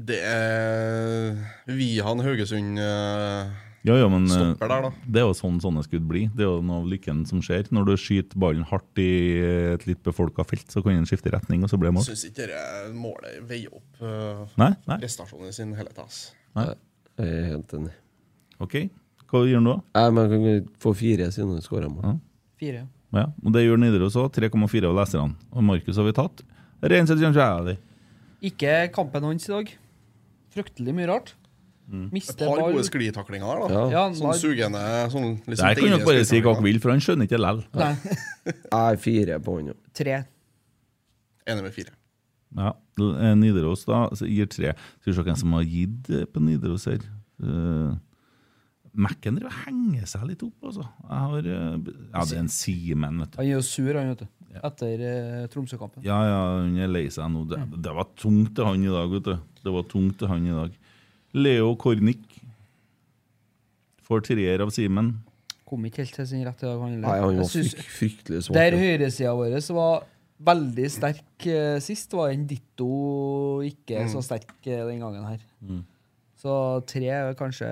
Speaker 7: Det er Vihan Haugesund eh,
Speaker 5: Ja, ja, men eh,
Speaker 7: stopper der, da.
Speaker 5: det er jo sånn sånne skudd blir. Det er jo noe av lykken som skjer. Når du skyter ballen hardt i et litt befolka felt, så kan den skifte retning, og så blir det mål.
Speaker 7: Syns ikke det målet veier opp eh,
Speaker 5: Nei, nei.
Speaker 7: prestasjonen sin i hele tatt. ass.
Speaker 5: Nei.
Speaker 4: Jeg er helt enig.
Speaker 5: OK, hva gjør han da?
Speaker 4: Nei, men jeg kan få fire siden han skåra mål.
Speaker 6: Fire.
Speaker 5: Ja, og Det gjør Nidaros òg. 3,4 av leserne. Og Markus har vi tatt. Reinseth Janshali.
Speaker 6: Ikke kampen hans i dag. Fryktelig mye rart.
Speaker 4: Mm.
Speaker 7: Et
Speaker 6: Mister
Speaker 7: par
Speaker 6: ball.
Speaker 7: gode sklitaklinger der, da.
Speaker 6: Ja. Ja,
Speaker 7: sånn
Speaker 6: nei.
Speaker 7: sugende sånn, liksom
Speaker 5: Der kan
Speaker 7: deilige
Speaker 5: dere bare si hva
Speaker 7: sklitaklinger.
Speaker 5: dere vil, for han skjønner ikke lell.
Speaker 6: Nei,
Speaker 4: Jeg er fire på han. ja.
Speaker 6: tre.
Speaker 7: Enig med fire.
Speaker 5: Ja, eh, Nidaros da så gir tre. Skal vi se hvem som har gitt eh, på Nidaros her. Uh, Mac-en driver og henger seg litt opp, altså. Jeg har, eh, b- ja, det er en Simen, vet du.
Speaker 6: Han er jo sur, han, vet du. Etter eh, Tromsø-kampen.
Speaker 5: Ja, ja, hun er lei seg nå. Det, det var tungt til han i dag, vet du. Det var tungt til han i dag. Leo Kornic får treer av Simen.
Speaker 6: Kom ikke helt til sin rett i dag. Han,
Speaker 4: Nei, han
Speaker 6: Jeg
Speaker 4: var
Speaker 6: synes-
Speaker 4: fryk, fryktelig svak.
Speaker 6: Der
Speaker 4: ja.
Speaker 6: høyresida vår var veldig sterk eh, sist, var en ditto ikke
Speaker 7: Mm.
Speaker 6: så sterk eh, den gangen her.
Speaker 4: Mm.
Speaker 6: Så tre er kanskje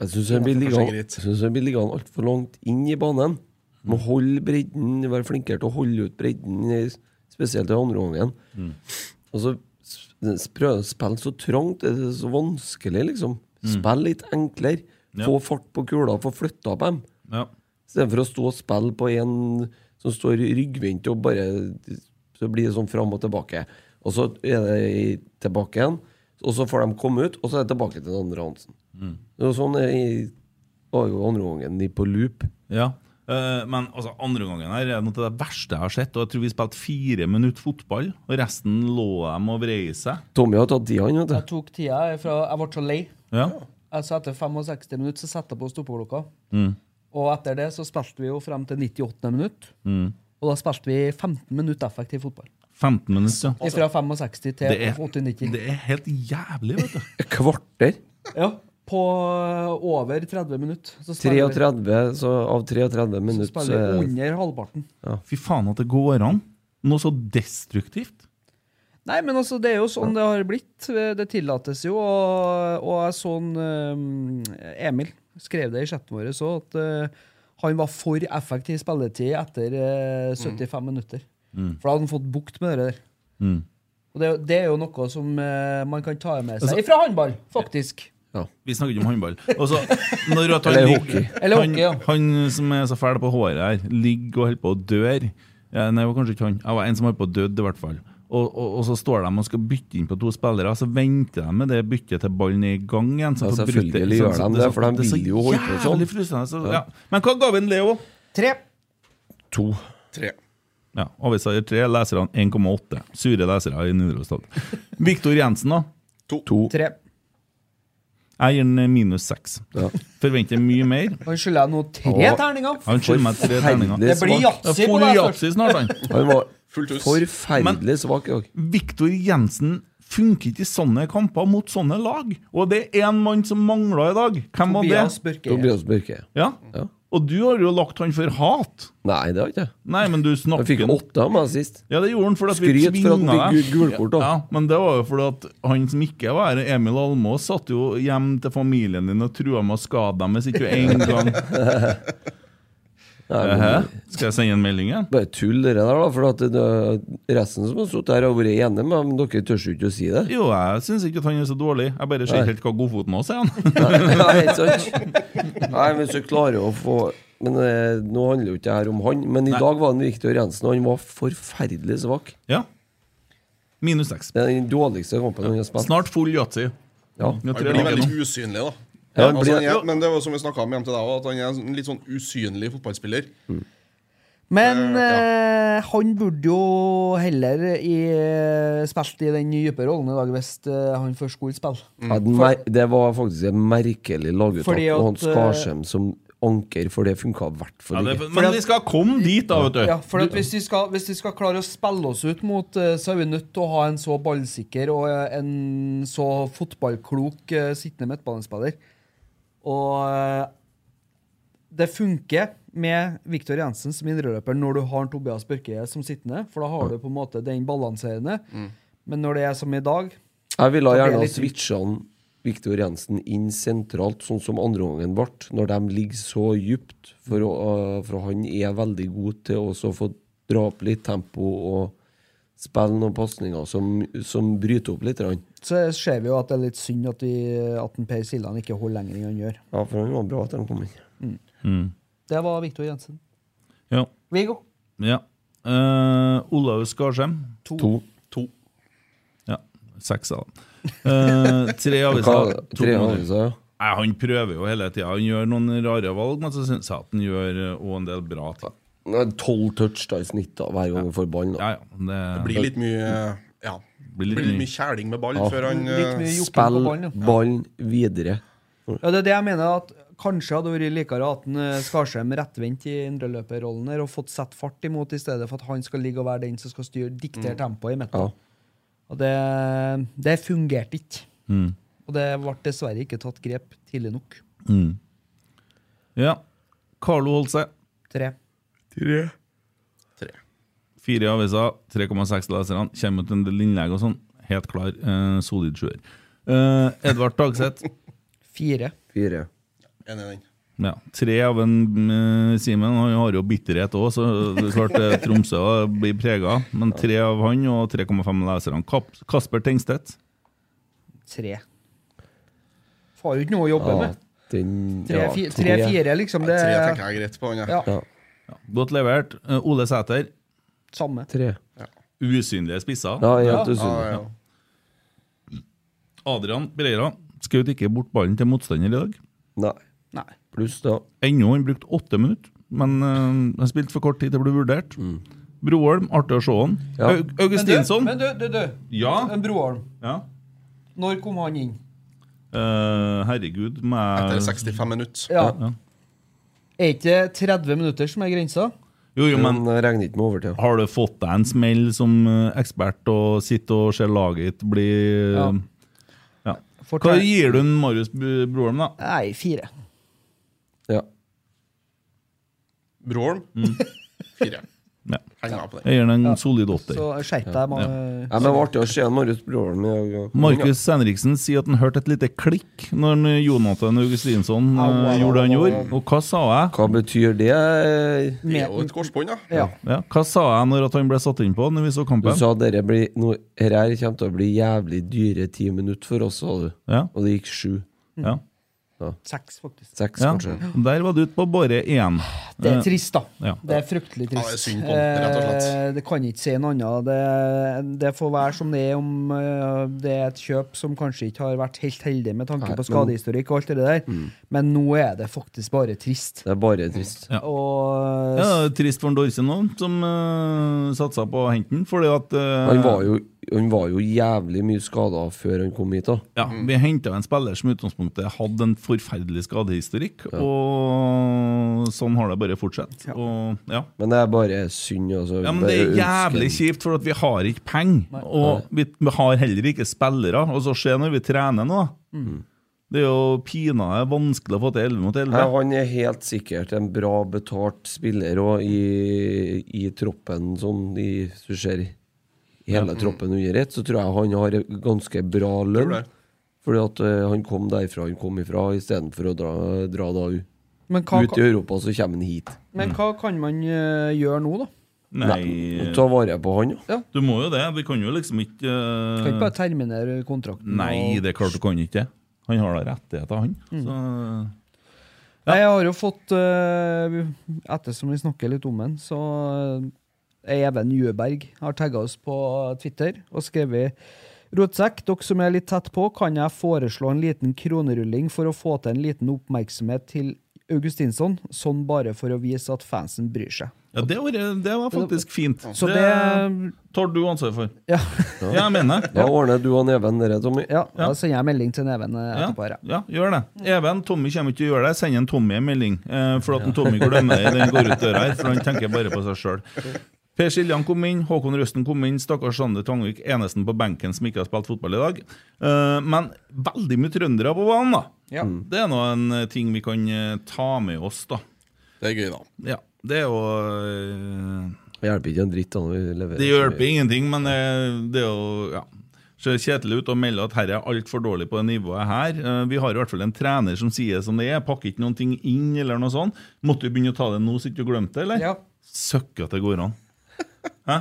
Speaker 4: Jeg syns han blir
Speaker 6: Kanskje
Speaker 4: liggende
Speaker 6: greit.
Speaker 4: jeg synes han blir liggende altfor langt inn i banen. Må holde bredden, være flinkere til å holde ut bredden, i- spesielt i andre gangen.
Speaker 5: Mm.
Speaker 4: Og så s- s- prøve å spille så trangt, det er så vanskelig, liksom. Spill litt enklere.
Speaker 5: Ja.
Speaker 4: Få fart på kula, få flytta på dem.
Speaker 5: Ja.
Speaker 4: Istedenfor å stå og spille på en som står ryggvendt og bare Så blir det sånn fram og tilbake. Og så er det i- tilbake igjen. Og så får de komme ut, og så er det tilbake til den andre Hansen.
Speaker 5: Mm.
Speaker 4: Det var sånn eh, i, var jo andre gangen i på loop.
Speaker 5: Ja. Eh, men altså, andre gangen her er noe av det verste jeg har sett. Og jeg tror vi spilte fire minutter fotball, og resten lå dem og vrei seg.
Speaker 4: Tommy har tatt de, han, vet du.
Speaker 6: Jeg tok tida jeg fra Jeg ble så lei.
Speaker 5: Ja.
Speaker 6: Altså Etter 65 minutter så satte jeg på stoppeklokka.
Speaker 5: Mm.
Speaker 6: Og etter det så spilte vi jo frem til 98. minutt.
Speaker 5: Mm.
Speaker 6: Og da spilte vi 15 minutter effektiv fotball.
Speaker 5: 15 minutter, ja.
Speaker 6: Fra 65 til
Speaker 5: Det er-
Speaker 6: 80-90.
Speaker 5: Det er helt jævlig, vet du.
Speaker 4: Kvarter.
Speaker 6: Ja. På over 30 minutter. Så spiller vi-
Speaker 4: 33, så av 33 minutter så
Speaker 6: spiller
Speaker 4: er
Speaker 6: vi under halvparten.
Speaker 5: Fy faen at det går an. Noe så destruktivt.
Speaker 6: Nei, men altså, det er jo sånn det har blitt. Det tillates jo. Og, og jeg så en, eh, Emil skrev det i chatten vår så at eh, han var for effektiv spilletid etter eh, 75 minutter.
Speaker 5: Mm.
Speaker 6: For da hadde han fått bukt med det der.
Speaker 5: Mm.
Speaker 6: Og det, er jo- det er jo noe som eh, man kan ta med seg
Speaker 5: Altså-
Speaker 6: fra håndball, faktisk.
Speaker 5: Vi snakker ikke om håndball. Altså, når at han,
Speaker 6: Eller
Speaker 5: ligger-
Speaker 6: hockey. Eller hockey, ja.
Speaker 5: han, han som er så fæl på håret her, ligger og holder på å dør. Ja, nei, det var kanskje ikke han. Jeg var en som holdt på å dø, i hvert fall. Og, og, og så står de og skal bytte inn på to spillere, så venter de med det byttet til ballen er i gang igjen. så
Speaker 4: Ja,
Speaker 5: får
Speaker 4: selvfølgelig
Speaker 5: bryte-
Speaker 4: gjør
Speaker 5: så-
Speaker 4: de det,
Speaker 5: så-
Speaker 4: for de
Speaker 5: Sånn er så
Speaker 4: vil jo holde på sånn.
Speaker 5: Jævlig frustrerende. Så,
Speaker 4: Ja.
Speaker 5: ja. Men hva ga vi en Leo?
Speaker 6: Tre.
Speaker 4: to.
Speaker 7: Tre.
Speaker 5: Ja, Avisa gir tre, leserne 1,8. Sure lesere i Nidaros. Dal. Viktor Jensen, da?
Speaker 7: To.
Speaker 6: Tre.
Speaker 5: Jeg gir den minus seks. Forventer mye mer.
Speaker 6: Han skylder jeg nå tre
Speaker 5: Åh.
Speaker 6: terninger.
Speaker 5: Han skylder meg tre terninger.
Speaker 6: Det blir yatzy på deg.
Speaker 5: yatzy snart, han.
Speaker 4: Han var
Speaker 7: Fullt hus.
Speaker 4: forferdelig svak i dag.
Speaker 5: Viktor Jensen funker ikke i sånne kamper mot sånne lag. Og det er én mann som mangla i dag. Hvem var
Speaker 6: Tobias
Speaker 5: det?
Speaker 6: Børke.
Speaker 4: Tobias Børke.
Speaker 5: Ja. Og du har jo lagt han for hat.
Speaker 4: Nei, det har jeg ikke.
Speaker 5: Nei, men du
Speaker 4: Han
Speaker 5: snakker
Speaker 4: fikk åtte av meg sist.
Speaker 5: Ja, det gjorde han fordi at vi
Speaker 4: Skryt for at han
Speaker 5: tvinga
Speaker 4: fikk
Speaker 5: deg.
Speaker 4: gu- gult kort, da.
Speaker 5: Ja, men det var jo fordi at han som ikke var her, Emil Almås, satt jo hjem til familien din og trua med å skade dem hvis ikke du en gang
Speaker 4: Nei, men-
Speaker 5: Hæ? Skal jeg sende en melding? igjen?
Speaker 4: Bare tull, det der, da. For at det- resten som har sittet her, har vært enige, men dere tør jo ikke å si det.
Speaker 5: Jo, jeg syns ikke at han er så dårlig. Jeg bare ser
Speaker 4: Nei.
Speaker 5: ikke helt hva godfoten hans er, han.
Speaker 4: Nei, helt sant. Nei, men så klarer jeg å få Men eh, Nå handler jo ikke det her om han, men i
Speaker 5: Nei.
Speaker 4: dag var han Viktor Jensen, og han var forferdelig svak.
Speaker 5: Ja. Minus seks.
Speaker 4: Det er den dårligste kampen han har spilt.
Speaker 5: Snart full yatzy.
Speaker 4: Ja.
Speaker 5: Jeg tror
Speaker 7: Han
Speaker 5: jeg
Speaker 7: blir
Speaker 5: har ikke
Speaker 7: veldig
Speaker 5: noe.
Speaker 7: usynlig, da.
Speaker 4: Ja, han
Speaker 7: altså,
Speaker 4: blir-
Speaker 7: han er, men det var som vi snakka om hjem til deg også, at han er en litt sånn usynlig fotballspiller.
Speaker 6: Men
Speaker 7: Eh,
Speaker 6: eh, han burde jo heller i, eh, spilt i den dype rollen i dag, hvis eh, han først skulle spille.
Speaker 4: Ja, den mer, det var faktisk et merkelig laguttak,
Speaker 6: Mm. Fordi at,
Speaker 4: og han Skarsheim
Speaker 6: eh,
Speaker 4: som anker, for det funka i hvert
Speaker 5: Ja,
Speaker 4: fall
Speaker 5: det,
Speaker 4: ikke.
Speaker 5: men vi skal komme dit, da, vet du.
Speaker 6: Ja, for at hvis, vi skal, hvis vi skal klare å spille oss ut mot eh, så er vi nødt til å ha en så ballsikker og eh, en så fotballklok eh, sittende midtbanespiller. Og eh, det funker med Viktor Jensen som indreløper når du har Tobias Børke som sittende, for da har du på en måte den balanserende. Men når det er som i dag
Speaker 4: Mm. Jeg ville
Speaker 6: Så blir
Speaker 4: gjerne
Speaker 6: det
Speaker 4: ha
Speaker 6: litt
Speaker 4: switcha Viktor Jensen inn sentralt, sånn som andreomgangen ble, når de ligger så dypt. For, å- eh, for han er veldig god til å også få dra opp litt tempo og spille noen pasninger som, som bryter opp litt. grann.
Speaker 6: så ser vi jo at det er litt synd at, vi, at en Per Sildan ikke holder lenger enn han gjør.
Speaker 4: Ja, for han var bra at de kom inn.
Speaker 5: Mm.
Speaker 6: Det var Viktor Jensen.
Speaker 5: Ja.
Speaker 6: Viggo.
Speaker 5: ja. Eh, Olav Skarsheim.
Speaker 6: To.
Speaker 7: To.
Speaker 5: Ja. Seks, da. Eh, tre
Speaker 4: Hva,
Speaker 5: aviser. to
Speaker 4: tre
Speaker 5: måneder.
Speaker 4: avgjørelser, ja.
Speaker 5: Nei, han prøver jo hele tida. Han gjør noen rare valg, men så syns jeg at han gjør eh, også en del bra ting.
Speaker 4: Nei, Tolv touch da, i snitt da, hver gang han får ballen. da.
Speaker 5: Ja, ja.
Speaker 7: Det
Speaker 5: Det,
Speaker 7: blir litt mye Ja.
Speaker 5: Blir
Speaker 7: Blir
Speaker 5: litt
Speaker 7: litt,
Speaker 5: mye-
Speaker 7: mye kjæling med ball
Speaker 4: Ja.
Speaker 7: før han eh,
Speaker 6: Litt mye jokking på
Speaker 4: Spill
Speaker 6: ballen, ja.
Speaker 4: ballen videre.
Speaker 6: Ja, det er det jeg mener at Kanskje hadde det vært likere at en, eh, Skarsheim rettvendt i indreløperrollen her og fått satt fart imot, i stedet for at han skal ligge og være den som skal styre, diktere
Speaker 7: Mm.
Speaker 6: tempoet i midten.
Speaker 4: Ja.
Speaker 6: Og det, det fungerte ikke.
Speaker 5: Mm.
Speaker 6: Og det ble dessverre ikke tatt grep tidlig nok.
Speaker 5: mm. ja. Carlo holdt seg.
Speaker 6: Tre.
Speaker 5: Tre.
Speaker 7: Tre.
Speaker 5: Fire aviser, 3,6 leserne. Kommer ut en del innlegg og sånn. Helt klar. Eh, solid sjuer. Eh, Edvard Dagseth.
Speaker 6: Fire.
Speaker 4: Fire.
Speaker 7: Enig i den.
Speaker 5: Ja, tre av en eh, Simen. Han har jo bitterhet òg, så det er klart eh, Tromsø blir prega. Men tre av han og 3,5 leserne. Kap Kasper Tengstedt.
Speaker 6: Tre. Får jo ikke noe å jobbe
Speaker 4: Ja,
Speaker 6: med.
Speaker 4: den, ja,
Speaker 6: Tre-fire, tre, fire, liksom. Det
Speaker 7: Tre
Speaker 6: er
Speaker 7: tenker jeg er greit på. Han, ja.
Speaker 6: ja,
Speaker 4: Ja,
Speaker 5: Godt levert. Eh, Ole Sæter.
Speaker 6: samme.
Speaker 4: tre.
Speaker 5: Usynlige spisser.
Speaker 4: Ja, helt usynlig.
Speaker 5: Ja. Mm. Adrian Breira skjøt ikke bort ballen til motstander i dag.
Speaker 4: Nei. Pluss, da.
Speaker 5: Ennå han brukte åtte minutter, men eh, han spilte for kort tid til å bli vurdert.
Speaker 4: Mm.
Speaker 5: Broholm, artig å se han. Eh, Aug Augustinsson
Speaker 6: Men du, men du, du, du.
Speaker 5: Ja.
Speaker 6: En Broholm.
Speaker 5: Ja.
Speaker 6: Når kom han inn?
Speaker 5: Eh, herregud, må jeg
Speaker 7: Etter 65 minutter.
Speaker 6: Ja. Er ikke det 30 minutter som er grensa?
Speaker 5: Jo, jo, men
Speaker 4: eh, regner ikke med overtid.
Speaker 5: Har du fått deg en smell som eh, ekspert og sitter og ser laget ditt bli ja.
Speaker 6: Ja.
Speaker 5: Hva gir du en Marius B- Broholm, da?
Speaker 6: Nei, fire.
Speaker 4: Ja.
Speaker 7: Broholm?
Speaker 5: Mm.
Speaker 7: Fire.
Speaker 5: Ja.
Speaker 7: Henger meg på det.
Speaker 5: Jeg gir den en solid åtter.
Speaker 6: Så skjerp deg. man-
Speaker 4: Ja, men Det var artig å se en Marius Broholm i dag.
Speaker 5: Markus Henriksen sier at han hørte et lite klikk når han, eh, Jonathan Augustinsson eh, gjorde det han gjorde. Og hva sa jeg?
Speaker 4: Hva betyr det? eh?
Speaker 7: Det er jo et korsbånd, da.
Speaker 6: Ja.
Speaker 5: Ja, hva sa jeg når at han ble satt inn på når vi så
Speaker 4: Du
Speaker 5: kampen?
Speaker 4: sa at dette blir, no, her her kommer til å bli jævlig dyre ti minutter for oss, sa du.
Speaker 5: Ja. Mm.
Speaker 4: Og det gikk sju.
Speaker 5: Ja.
Speaker 6: Seks, faktisk.
Speaker 4: Seks,
Speaker 5: Ja.
Speaker 4: kanskje.
Speaker 5: Der var du ute på bare én.
Speaker 6: Det
Speaker 5: Eh,
Speaker 6: er trist, da.
Speaker 5: ja.
Speaker 6: Det er fryktelig
Speaker 7: Ja, det er
Speaker 6: trist.
Speaker 7: synd på den, rett og slett.
Speaker 6: Eh, det kan ikke si noe annet. Det, det får være som det er om eh, det er et kjøp som kanskje ikke har vært helt heldig med tanke
Speaker 4: Nei,
Speaker 6: på skadehistorikk og alt det der,
Speaker 7: Mm.
Speaker 6: men nå er det faktisk bare trist.
Speaker 4: Det er bare trist.
Speaker 5: Ja.
Speaker 6: Og
Speaker 5: Ja, det er trist for en Dorsen òg, som uh, satsa på å hente den. Fordi at eh,
Speaker 4: Han var jo, han var jo jævlig mye skada før han kom hit, da. Mm.
Speaker 5: ja, Vi henta en spiller som i utgangspunktet hadde en forferdelig skadehistorikk. Og sånn har det bare fortsatt. Og, ja.
Speaker 4: Men det er bare synd, altså.
Speaker 5: ja, men Det er
Speaker 4: Bare ønsker-
Speaker 5: jævlig kjipt, for at vi har ikke penger. Og vi har heller ikke spillere. Og så ser når vi trener nå.
Speaker 4: Mm.
Speaker 5: Det er jo pinadø vanskelig å få til 11 mot 11.
Speaker 4: Nei, han er helt sikkert en bra betalt spiller òg i, i troppen, sånn i, hvis du ser hele
Speaker 5: Mm.
Speaker 4: troppen under ett, så tror jeg han har ganske bra lønn.
Speaker 7: det.
Speaker 4: Fordi at eh, han kom derfra han kom ifra, istedenfor å dra, dra da u-
Speaker 6: Men hva,
Speaker 4: ut i Europa, så kommer han hit.
Speaker 6: men hva kan man eh, gjøre nå, da?
Speaker 5: Mm. Nei,
Speaker 4: Ta vare på han, ja.
Speaker 5: du må jo det. Vi kan jo liksom ikke eh,
Speaker 6: Kan ikke bare terminere kontrakten.
Speaker 5: Nei,
Speaker 6: og-
Speaker 5: det er klart du kan ikke det. Han har da rettigheter, han.
Speaker 6: Mm.
Speaker 5: Så,
Speaker 6: Nei, Jeg har jo fått eh, Ettersom vi snakker litt om den, så eh, Even Jøberg har tagga oss på Twitter og skrevet Rotsekk, dere som er litt tett på, kan jeg foreslå en liten kronerulling for å få til en liten oppmerksomhet til Augustinsson, sånn bare for å vise at fansen bryr seg.
Speaker 5: ja, det var, det var faktisk fint.
Speaker 6: Så det,
Speaker 5: tar du ansvar for.
Speaker 6: ja,
Speaker 5: Ja, jeg mener det.
Speaker 4: Da ordner du og Even det, Tommy.
Speaker 6: ja, da sender jeg melding til Neven eh,
Speaker 5: Ja,
Speaker 6: etterpå. her, ja.
Speaker 5: ja, gjør det. Even, Tommy kommer ikke til å gjøre det. Send en Tommy en melding. Eh, for at en Tommy glemmer det, den går ut døra her. For han tenker bare på seg sjøl. Per Siljan kom inn, Håkon Røsten kom inn, stakkars Sander Tangvik, eneste på benken som ikke har spilt fotball i dag. Eh, men veldig mye trøndere på banen, da.
Speaker 6: Mm.
Speaker 5: Det er nå en eh, ting vi kan eh, ta med oss, da.
Speaker 7: Det er gøy, da.
Speaker 5: Ja, det er jo eh,
Speaker 4: Det hjelper ikke en dritt. da, når vi leverer
Speaker 5: Det
Speaker 4: så mye.
Speaker 5: hjelper ingenting, men det, det er jo ja. Ser kjedelig ut å melde at her er altfor dårlig på det nivået her. Eh, Vi har i hvert fall en trener som sier som det er. Pakker ikke noen ting inn, eller noe sånt. Måtte du begynne å ta det nå, så ikke du glemte det, eller?
Speaker 6: Ja.
Speaker 5: Søkke at det går an. Hæ?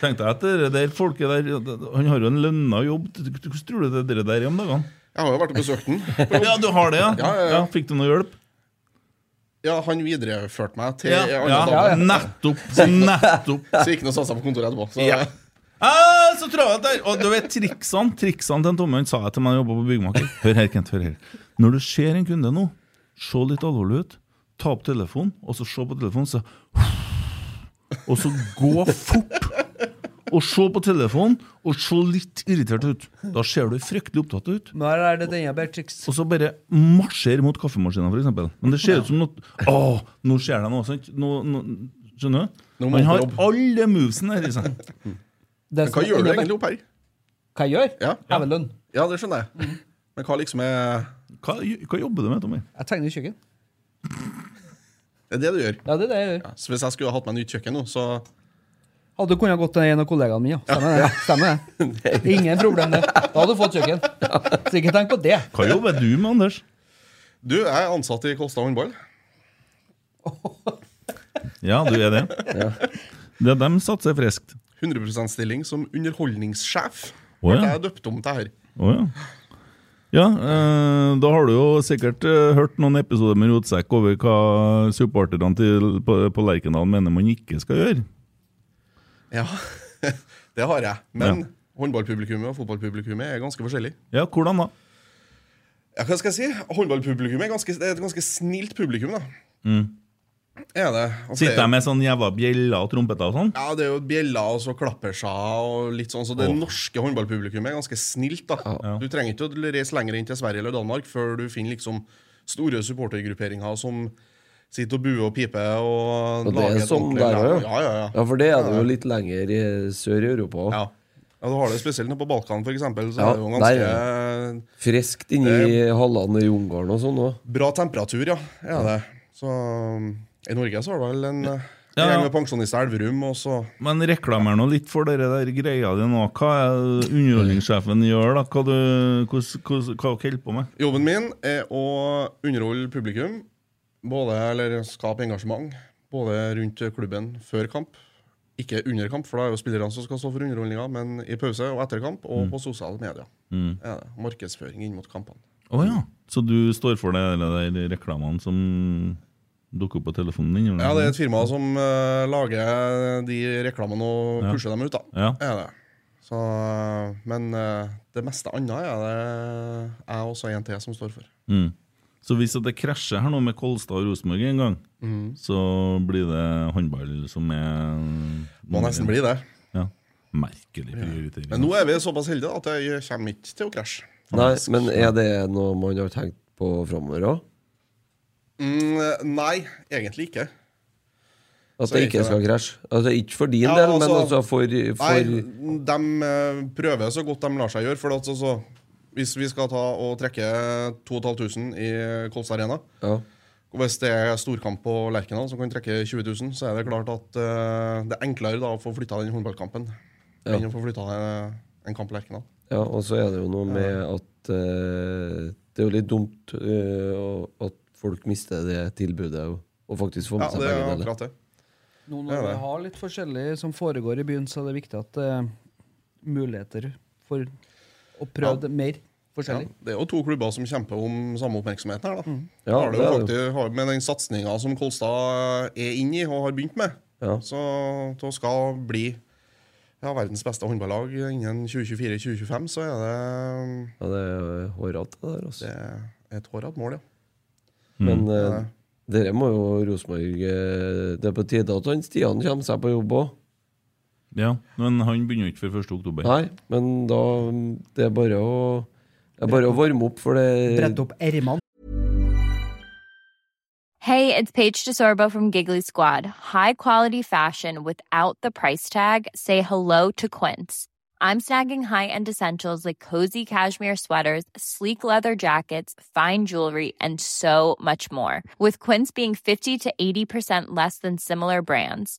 Speaker 5: Tenkte jeg at det der folket der Han har jo en lønna jobb. Hvordan tror du det dere der er om dagene?
Speaker 7: Jeg har jo vært og besøkt den.
Speaker 5: Ja, du har det, ja?
Speaker 7: Ja, ja, ja.
Speaker 5: Fikk du noe hjelp?
Speaker 7: Ja, han videreførte meg til
Speaker 5: Ja,
Speaker 7: en annen
Speaker 5: ja.
Speaker 7: dame.
Speaker 5: Nettopp! Nettopp!
Speaker 7: Så gikk han og satte seg på kontoret etterpå. Så
Speaker 5: Ja. Ah, så travelt der! Og du vet triksene triksene til en Tommy han sa jeg til meg da jeg jobba på byggmaker. Hør her, Kent. hør her Når du ser en kunde nå, se litt alvorlig ut. Ta opp telefonen, og så se på telefonen, så Og så gå fort! Og se på telefonen, og se litt irritert ut. Da ser du fryktelig opptatt ut.
Speaker 6: Nå er det denne Bertrix.
Speaker 5: Og så bare marsjer mot kaffemaskinen, for eksempel Men det ser ut som noe Å, nå skjer det noe, sant? Nå, nå, skjønner du?
Speaker 7: Nå må
Speaker 5: Han har
Speaker 7: han på
Speaker 5: alle movesene her i seg.
Speaker 6: Det
Speaker 7: Men
Speaker 6: som
Speaker 7: hva
Speaker 6: er
Speaker 7: gjør du
Speaker 6: enda-
Speaker 7: egentlig opp her?
Speaker 6: Hva jeg gjør?
Speaker 7: Ja.
Speaker 6: Jeg har vel lønn. Mm.
Speaker 7: ja, det skjønner jeg. Men hva liksom er
Speaker 5: Hva, hva jobber du med, Tommy?
Speaker 6: Jeg tegner i kjøkken.
Speaker 7: Det er det du gjør.
Speaker 6: Ja, det er det jeg gjør.
Speaker 7: Så hvis jeg skulle ha hatt meg nytt kjøkken nå, så
Speaker 6: Hadde du kunnet gått til en av kollegaene mine, ja. Stemmer det. Stemmer det. Ingen problem, det. Da hadde du fått kjøkken. Så ikke tenk på det.
Speaker 5: Hva jobber du med, Anders?
Speaker 7: Du, jeg er ansatt i Kolstad håndball.
Speaker 5: Ja, du er det. Det er dem satser friskt.
Speaker 7: 100 %-stilling som underholdningssjef.
Speaker 5: Å,
Speaker 7: Ble
Speaker 5: ja.
Speaker 7: jeg døpt om til her.
Speaker 5: Å ja. Ja, eh, da har du jo sikkert eh, hørt noen episoder med rotsekk over hva supporterne til, på, på Lerkendal mener man ikke skal gjøre.
Speaker 7: Ja. det har jeg. Men håndballpublikummet og fotballpublikummet er ganske forskjellig.
Speaker 5: Ja, hvordan da?
Speaker 7: Ja, hva skal jeg si? Håndballpublikummet er, ganske, det er et ganske snilt publikum, da.
Speaker 5: Mm.
Speaker 7: Er det. Altså, det
Speaker 5: Sitter
Speaker 7: er-
Speaker 5: jeg med sånn jævla bjeller og trompeter og sånn?
Speaker 7: Ja, det er jo bjeller og så klappersjaer og litt sånn. Så det
Speaker 5: Åh.
Speaker 7: norske håndballpublikummet er ganske snilt, da. Du trenger ikke å reise lenger inn til Sverige eller Danmark før du finner liksom store supportergrupperinger som sitter og buer og piper
Speaker 4: Og
Speaker 7: og,
Speaker 4: det er
Speaker 7: et
Speaker 4: sånn
Speaker 7: ordentlig
Speaker 4: der
Speaker 7: lag.
Speaker 4: òg?
Speaker 7: Ja, ja, ja.
Speaker 4: for det er det
Speaker 7: Ja,
Speaker 4: jo
Speaker 7: ja.
Speaker 4: litt lenger i sør i Europa òg.
Speaker 7: Ja. Ja, du har det spesielt nede på Balkan, for eksempel. Så
Speaker 4: Ja,
Speaker 7: er det jo
Speaker 4: der
Speaker 7: ganske
Speaker 4: Friskt inni hallene i Ungarn og sånn òg.
Speaker 7: bra temperatur, ja. ja det. Så um, i Norge så har du vel en ja,
Speaker 5: Ja, ja.
Speaker 7: gjeng med pensjonister i Elverum, og så
Speaker 5: Men reklamer nå litt for dere der greia di nå. Hva er det underholdningssjefen gjør, da? Hva du hvordan- hvordan- hva dere holder på med?
Speaker 7: Jobben min er å underholde publikum, både, eller skape engasjement, både rundt klubben før kamp, ikke under kamp, for da er jo spillerne som skal stå for underholdninga, men i pause og etter kamp, og på sosiale medier.
Speaker 5: Mm.
Speaker 7: Ja, det. Markedsføring inn mot kampene.
Speaker 5: Å ja. Så du står for det eller de reklamene som dukker opp på telefonen din? eller?
Speaker 7: Ja, det er et firma som eh, lager de reklamene og
Speaker 5: Ja.
Speaker 7: pusher dem ut, da.
Speaker 5: Ja.
Speaker 7: Er det. Så, men eh, det meste annet er det jeg også en til som står for.
Speaker 5: Mm. Så hvis at det krasjer her nå med Kolstad og Rosenborg en gang,
Speaker 7: Mm.
Speaker 5: så blir det håndball som er
Speaker 7: Må nesten bli det.
Speaker 5: Ja. Merkelig prioritering.
Speaker 7: Men nå er vi såpass heldige da, at jeg kommer ikke til å krasje.
Speaker 4: Nei, men er det noe man har tenkt på framover òg?
Speaker 7: Mm, nei, egentlig ikke.
Speaker 4: At
Speaker 7: Så
Speaker 4: det
Speaker 7: ikke
Speaker 4: ikke skal
Speaker 7: det.
Speaker 4: krasje? Altså ikke for din
Speaker 7: Ja,
Speaker 4: del, men
Speaker 7: altså-
Speaker 4: altså for, for
Speaker 7: Nei, de eh, prøver så godt de lar seg gjøre. For at så, så, hvis vi skal ta og trekke 2500 i Kolstad Arena
Speaker 4: Ja.
Speaker 7: og Hvis det er storkamp på Lerkendal som kan trekke 20 000, så er det klart at eh, det er enklere da å få flytta den håndballkampen
Speaker 4: Ja.
Speaker 7: enn å få flytta en, en kamp på Lerkendal.
Speaker 4: Ja, og så er det jo noe med at eh, det er jo litt dumt eh, og- at folk mister det tilbudet og, og faktisk får
Speaker 7: Ja,
Speaker 4: med seg
Speaker 7: det er
Speaker 4: begge deler.
Speaker 7: akkurat det.
Speaker 6: Nå
Speaker 7: Det
Speaker 6: når
Speaker 7: er det.
Speaker 6: vi har litt forskjellig som foregår i byen, så er det viktig at eh, muligheter for å prøve
Speaker 7: Ja.
Speaker 6: det mer forskjellig. Mm.
Speaker 7: Ja, det er jo to klubber som kjemper om samme oppmerksomheten her, da.
Speaker 4: Ja,
Speaker 7: har det
Speaker 4: det er
Speaker 7: jo
Speaker 4: det.
Speaker 7: faktisk, har, med den satsinga som Kolstad er inne i og har begynt med,
Speaker 4: Ja.
Speaker 7: så det skal bli ja, verdens beste håndballag innen 2024-2025, så er det,
Speaker 4: Ja, det er hårete, det der. Altså.
Speaker 7: det er et hårete mål, ja.
Speaker 4: Men eh, dere må jo Rosenborg eh, Det er på tide at han Stian kommer seg på jobb òg.
Speaker 5: Ja, Men han begynner jo ikke før 1. oktober.
Speaker 4: Nei, men da mm, Det er bare å det er bare å varme opp, for
Speaker 7: Eh,
Speaker 4: det
Speaker 6: Brette opp ermene.
Speaker 8: Hey, it's Paige DeSorbo from Giggly Squad. High quality fashion without the price tag. Say hello to Quince. I'm snagging high-end essentials like cozy cashmere sweaters, sleek leather jackets, fine jewelry, and so much more. With Quince being 50 to 80% less than similar brands.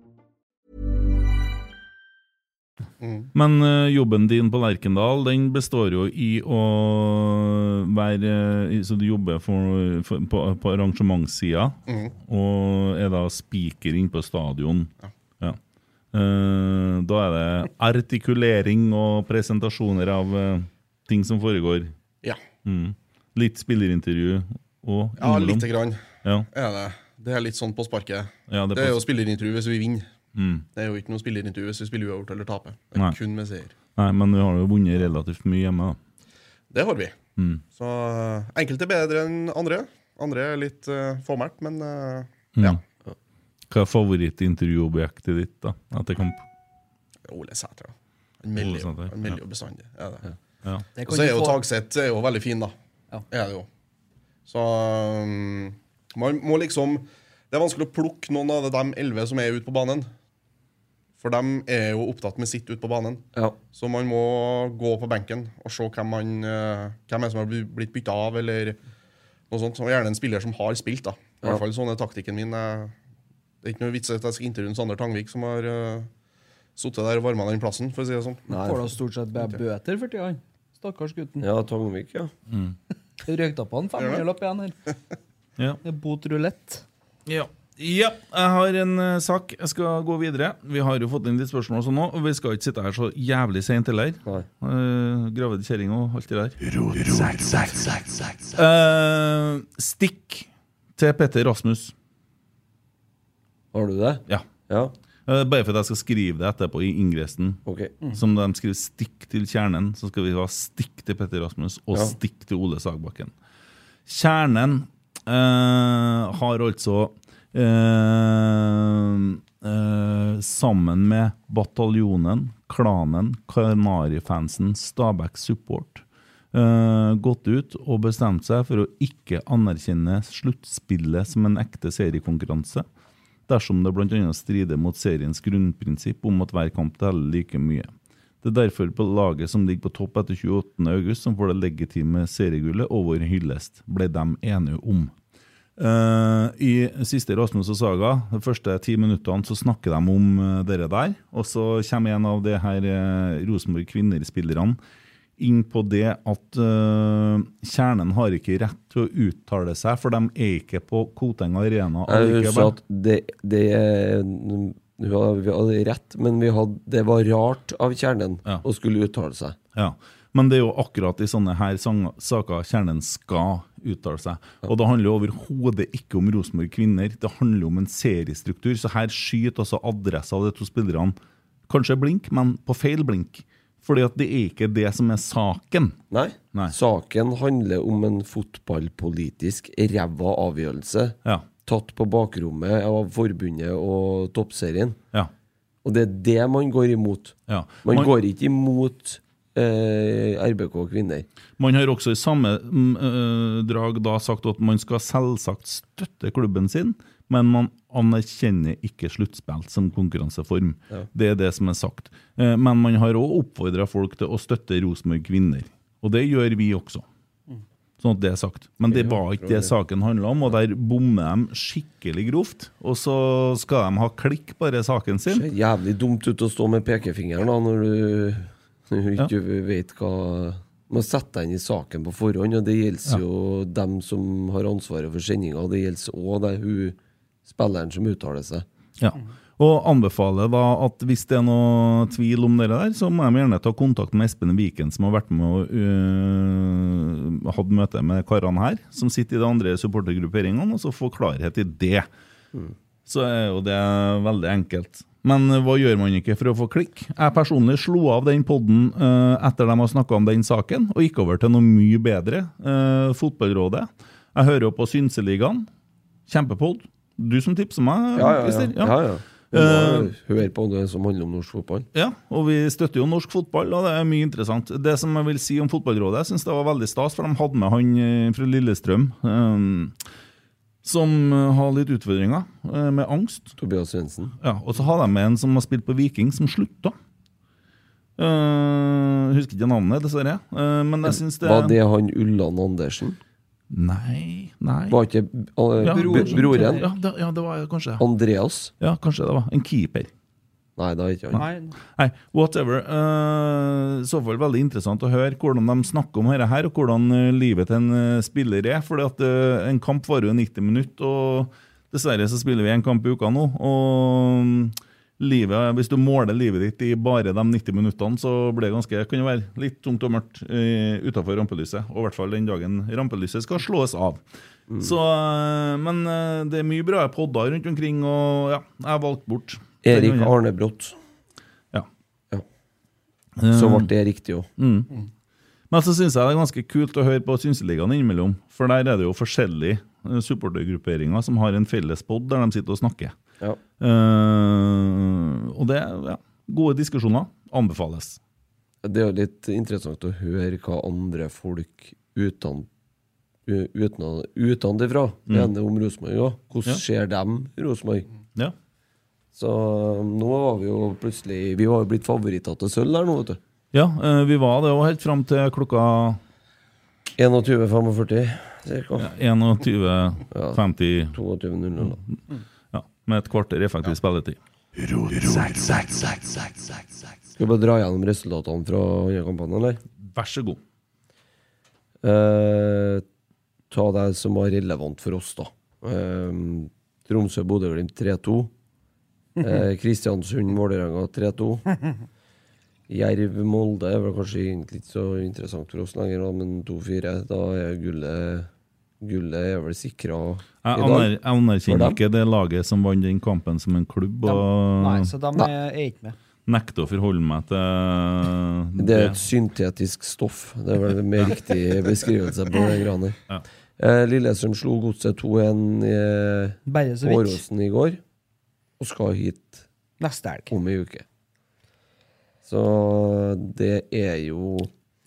Speaker 5: Men eh, jobben din på Lerkendal den består jo i å være eh, Så du jobber for, for, på, på arrangementssida,
Speaker 7: Mhm.
Speaker 5: og er da speaker inne på stadion. Ja. Eh, da er det artikulering og presentasjoner av eh, ting som foregår.
Speaker 7: Ja.
Speaker 5: Mm. Litt spillerintervju og
Speaker 7: Ja,
Speaker 5: innimellom.
Speaker 7: lite grann
Speaker 5: Ja.
Speaker 7: er det. Det er litt sånn på sparket.
Speaker 5: Ja,
Speaker 7: det,
Speaker 5: det er på-
Speaker 7: er jo spillerintervju hvis vi vinner.
Speaker 5: Mm.
Speaker 7: Det er jo ikke noe spillerintervju hvis vi spiller uavgjort eller taper. Det er
Speaker 5: Nei.
Speaker 7: kun med seier.
Speaker 5: Nei, men vi har jo vunnet relativt mye hjemme, da.
Speaker 7: Det har vi.
Speaker 5: Mm.
Speaker 7: Så eh, enkelte er bedre enn andre. Andre er litt uh, fåmælt, men eh,
Speaker 5: Mm. Hva er favorittintervjuobjektet ditt da, etter kamp?
Speaker 7: Ole Sæter, da. Han melder jo-
Speaker 5: Ole Sæter,
Speaker 7: han melder
Speaker 5: ja.
Speaker 7: jo bestandig. Er det.
Speaker 5: Ja.
Speaker 6: Det
Speaker 7: Og
Speaker 6: kan
Speaker 7: så er
Speaker 6: du
Speaker 7: jo
Speaker 6: få-
Speaker 7: Tagseth er jo veldig fin, da. Er det jo. Så um, man må liksom Det er vanskelig å plukke noen av de elleve som er ute på banen. For de er jo opptatt med sitt ute på banen. Så man må gå på benken og se hvem, man, eh, hvem er som har bli- blitt bytta av, eller noe sånt. Og gjerne en spiller som har spilt, da. I
Speaker 4: Ja.
Speaker 7: hvert fall sånn er taktikken min. Jeg, det er ikke noe vits i at jeg skal intervjue Sander Tangvik, som har uh, sittet der og varma den plassen, for å si det sånn.
Speaker 6: Får da stort sett bare bøter for tida, han. Stakkars gutten.
Speaker 4: Ja, Tangvik, ja.
Speaker 5: Mm.
Speaker 6: Røykte på han 500-lapp igjen her.
Speaker 5: Ja.
Speaker 6: Det er Bot rulett.
Speaker 5: Ja. ja. Jeg har en eh, sak. Jeg skal gå videre. Vi har jo fått inn litt spørsmål og sånn også, og vi skal ikke sitte her så jævlig seint heller. Uh, Gravid kjerring og alt det der. Eh, stikk til Petter Rasmus.
Speaker 4: Har du det?
Speaker 5: Ja. Eh, bare for at jeg skal skrive det etterpå i ingressen.
Speaker 4: Mm.
Speaker 5: Som de skriver 'stikk til kjernen', så skal vi ha 'stikk til Petter Rasmus' og
Speaker 4: Ja.
Speaker 5: 'stikk til Ole Sagbakken'. Kjernen eh, har altså eh, eh, Sammen med Bataljonen, Klanen, Kanarifansen, Stabæk Support eh, gått ut og bestemt seg for å ikke anerkjenne sluttspillet som en ekte seriekonkurranse, dersom det bl.a. strider mot seriens grunnprinsipp om at hver kamp teller like mye. Det er derfor på laget som ligger på topp etter 28. august, som får det legitime seriegullet og vår hyllest, ble de enige om. Eh, I siste Rasmus og Saga, de første ti minuttene, så snakker de om eh, dere der. Og så kommer en av de her eh, Rosenborg kvinner-spillerne inn på det at eh, kjernen har ikke rett til å uttale seg, for de er ikke på Koteng Arena.
Speaker 4: Jeg husker
Speaker 5: allikevel.
Speaker 4: at det, det er- hun hadde, vi hadde rett, men vi hadde, det var rart av kjernen å skulle uttale seg.
Speaker 5: Ja. Men det er jo akkurat i sånne her sang- saker kjernen skal uttale seg. Og det handler jo overhodet ikke om Rosenborg kvinner, det handler om en seriestruktur. Så her skyter altså adressa av de to spillerne kanskje blink, men på feil blink. Fordi at det er ikke det som er saken.
Speaker 4: Nei. Saken handler om en fotballpolitisk ræva avgjørelse tatt på bakrommet av forbundet og toppserien.
Speaker 5: Ja.
Speaker 4: Og det er det man går imot.
Speaker 5: Ja.
Speaker 4: Man,
Speaker 5: Man-
Speaker 4: går ikke imot eh, RBK kvinner.
Speaker 5: Man har også i samme mm, øh, drag da sagt at man skal selvsagt støtte klubben sin, men man anerkjenner ikke sluttspill som konkurranseform.
Speaker 4: Ja.
Speaker 5: Det er det som er sagt. Eh, Men man har òg oppfordra folk til å støtte Rosenborg kvinner, og det gjør vi også.
Speaker 4: Mm.
Speaker 5: Sånn at det er sagt. Men det var ikke det saken handla om, og der bommer de skikkelig grovt. Og så skal de ha klikk, bare saken sin.
Speaker 4: Det ser jævlig dumt ut å stå med pekefingeren da, når du, når du ikke vet hva Man setter deg inn i saken på forhånd, og det gjelder
Speaker 5: Ja.
Speaker 4: jo dem som har ansvaret for sendinga. Det gjelder òg hun spilleren som uttaler seg.
Speaker 5: Ja. Og anbefaler da at hvis det er noe tvil om dere der, så må de gjerne ta kontakt med Espen Viken, som har vært med og øh, hatt møte med karene her, som sitter i de andre supportergrupperingene, og så få klarhet i det. Så er jo det veldig enkelt. Men øh, hva gjør man ikke for å få klikk? Jeg personlig slo av den podden øh, etter de har snakka om den saken, og gikk over til noe mye bedre. øh, fotballrådet. Jeg hører jo på Synseligaen. Kjempepod. Du som tipser
Speaker 4: Ja,
Speaker 5: meg,
Speaker 4: ja, ja.
Speaker 5: Christer.
Speaker 4: ja, ja. Du
Speaker 5: Eh,
Speaker 4: må høre på det som handler om norsk fotball.
Speaker 5: ja, og vi støtter jo norsk fotball, og det er mye interessant. Det som jeg vil si om Fotballrådet, jeg syns det var veldig stas, for de hadde med han eh, fra Lillestrøm. eh, som eh, har litt utfordringer eh, med angst.
Speaker 4: Tobias Svendsen.
Speaker 5: Ja, og så har de med en som har spilt på Viking, som slutta. Eh, husker ikke navnet, dessverre. Eh, men jeg syns det
Speaker 4: Var det han Ulland Andersen?
Speaker 5: Nei, nei.
Speaker 4: Var ikke eh,
Speaker 5: Ja,
Speaker 4: b- broren?
Speaker 5: Ja, det, ja, det var kanskje det.
Speaker 4: Andreas?
Speaker 5: Ja, kanskje det var. En keeper.
Speaker 4: Nei, da er ikke han.
Speaker 5: Nei, whatever. Eh, I så fall veldig interessant å høre hvordan de snakker om dette her, og hvordan eh, livet til en eh, spiller er. Fordi at eh, en kamp varer jo 90 minutter, og dessverre så spiller vi en kamp i uka nå. Og mm, livet, hvis du måler livet ditt i bare de 90 minuttene, så blir det ganske, kan det være litt tungt og mørkt eh, utenfor rampelyset. Og i hvert fall den dagen rampelyset skal slås av.
Speaker 4: Mm.
Speaker 5: Så, eh, men eh, det er mye bra podder rundt omkring, og ja, jeg valgte bort.
Speaker 4: Erik Arnebrott.
Speaker 5: Ja. Eh,
Speaker 4: Så ble det riktig òg.
Speaker 5: Mm. Men så syns jeg det er ganske kult å høre på Synseligaen innimellom. For der er det jo forskjellige eh, supportergrupperinger som har en felles pod der de sitter og snakker.
Speaker 4: Ja.
Speaker 5: Eh, og det er ja, gode diskusjoner. Anbefales.
Speaker 4: Det er jo litt interessant å høre hva andre folk uten, u- uten, utenfra
Speaker 5: Mm.
Speaker 4: mener om Rosenborg òg. Hvordan
Speaker 5: Ja.
Speaker 4: ser dem Rosenborg?
Speaker 5: Ja.
Speaker 4: Så um, nå var vi jo plutselig Vi var jo blitt favoritter til sølv der nå, vet du.
Speaker 5: Ja, eh, vi var det òg helt fram til klokka
Speaker 4: 21.45 cirka.
Speaker 5: ja, 21.50.
Speaker 4: 22.00.
Speaker 5: Ja, med et kvarter effektiv spilletid.
Speaker 4: Skal vi bare dra gjennom resultatene fra andre kampene, eller?
Speaker 5: Vær så god.
Speaker 4: Eh, ta det som var relevant for oss, da. Eh, Tromsø-Bodø-Glimt 3-2. Eh, Kristiansund-Vålerenga 3-2. Jerv-Molde er vel kanskje egentlig ikke så interessant for oss lenger, da, men 2-4. Da er gullet Gullet er vel sikra i
Speaker 5: Jeg
Speaker 4: dag.
Speaker 5: aner- jeg
Speaker 4: For
Speaker 5: anerkjenner
Speaker 4: dem.
Speaker 5: ikke det laget som vant den kampen som en klubb. Og
Speaker 6: Nei, så de er er ikke med.
Speaker 5: nekter å forholde meg eh, til
Speaker 4: Det er et syntetisk stoff. Det er vel en mer riktig beskrivelse på det greiene.
Speaker 5: Ja.
Speaker 4: Eh, Lillestrøm slo Godset 2-1 i
Speaker 6: Bare så vidt.
Speaker 4: Åråsen i går, og skal hit
Speaker 6: Neste helg.
Speaker 4: om ei uke. Så det er jo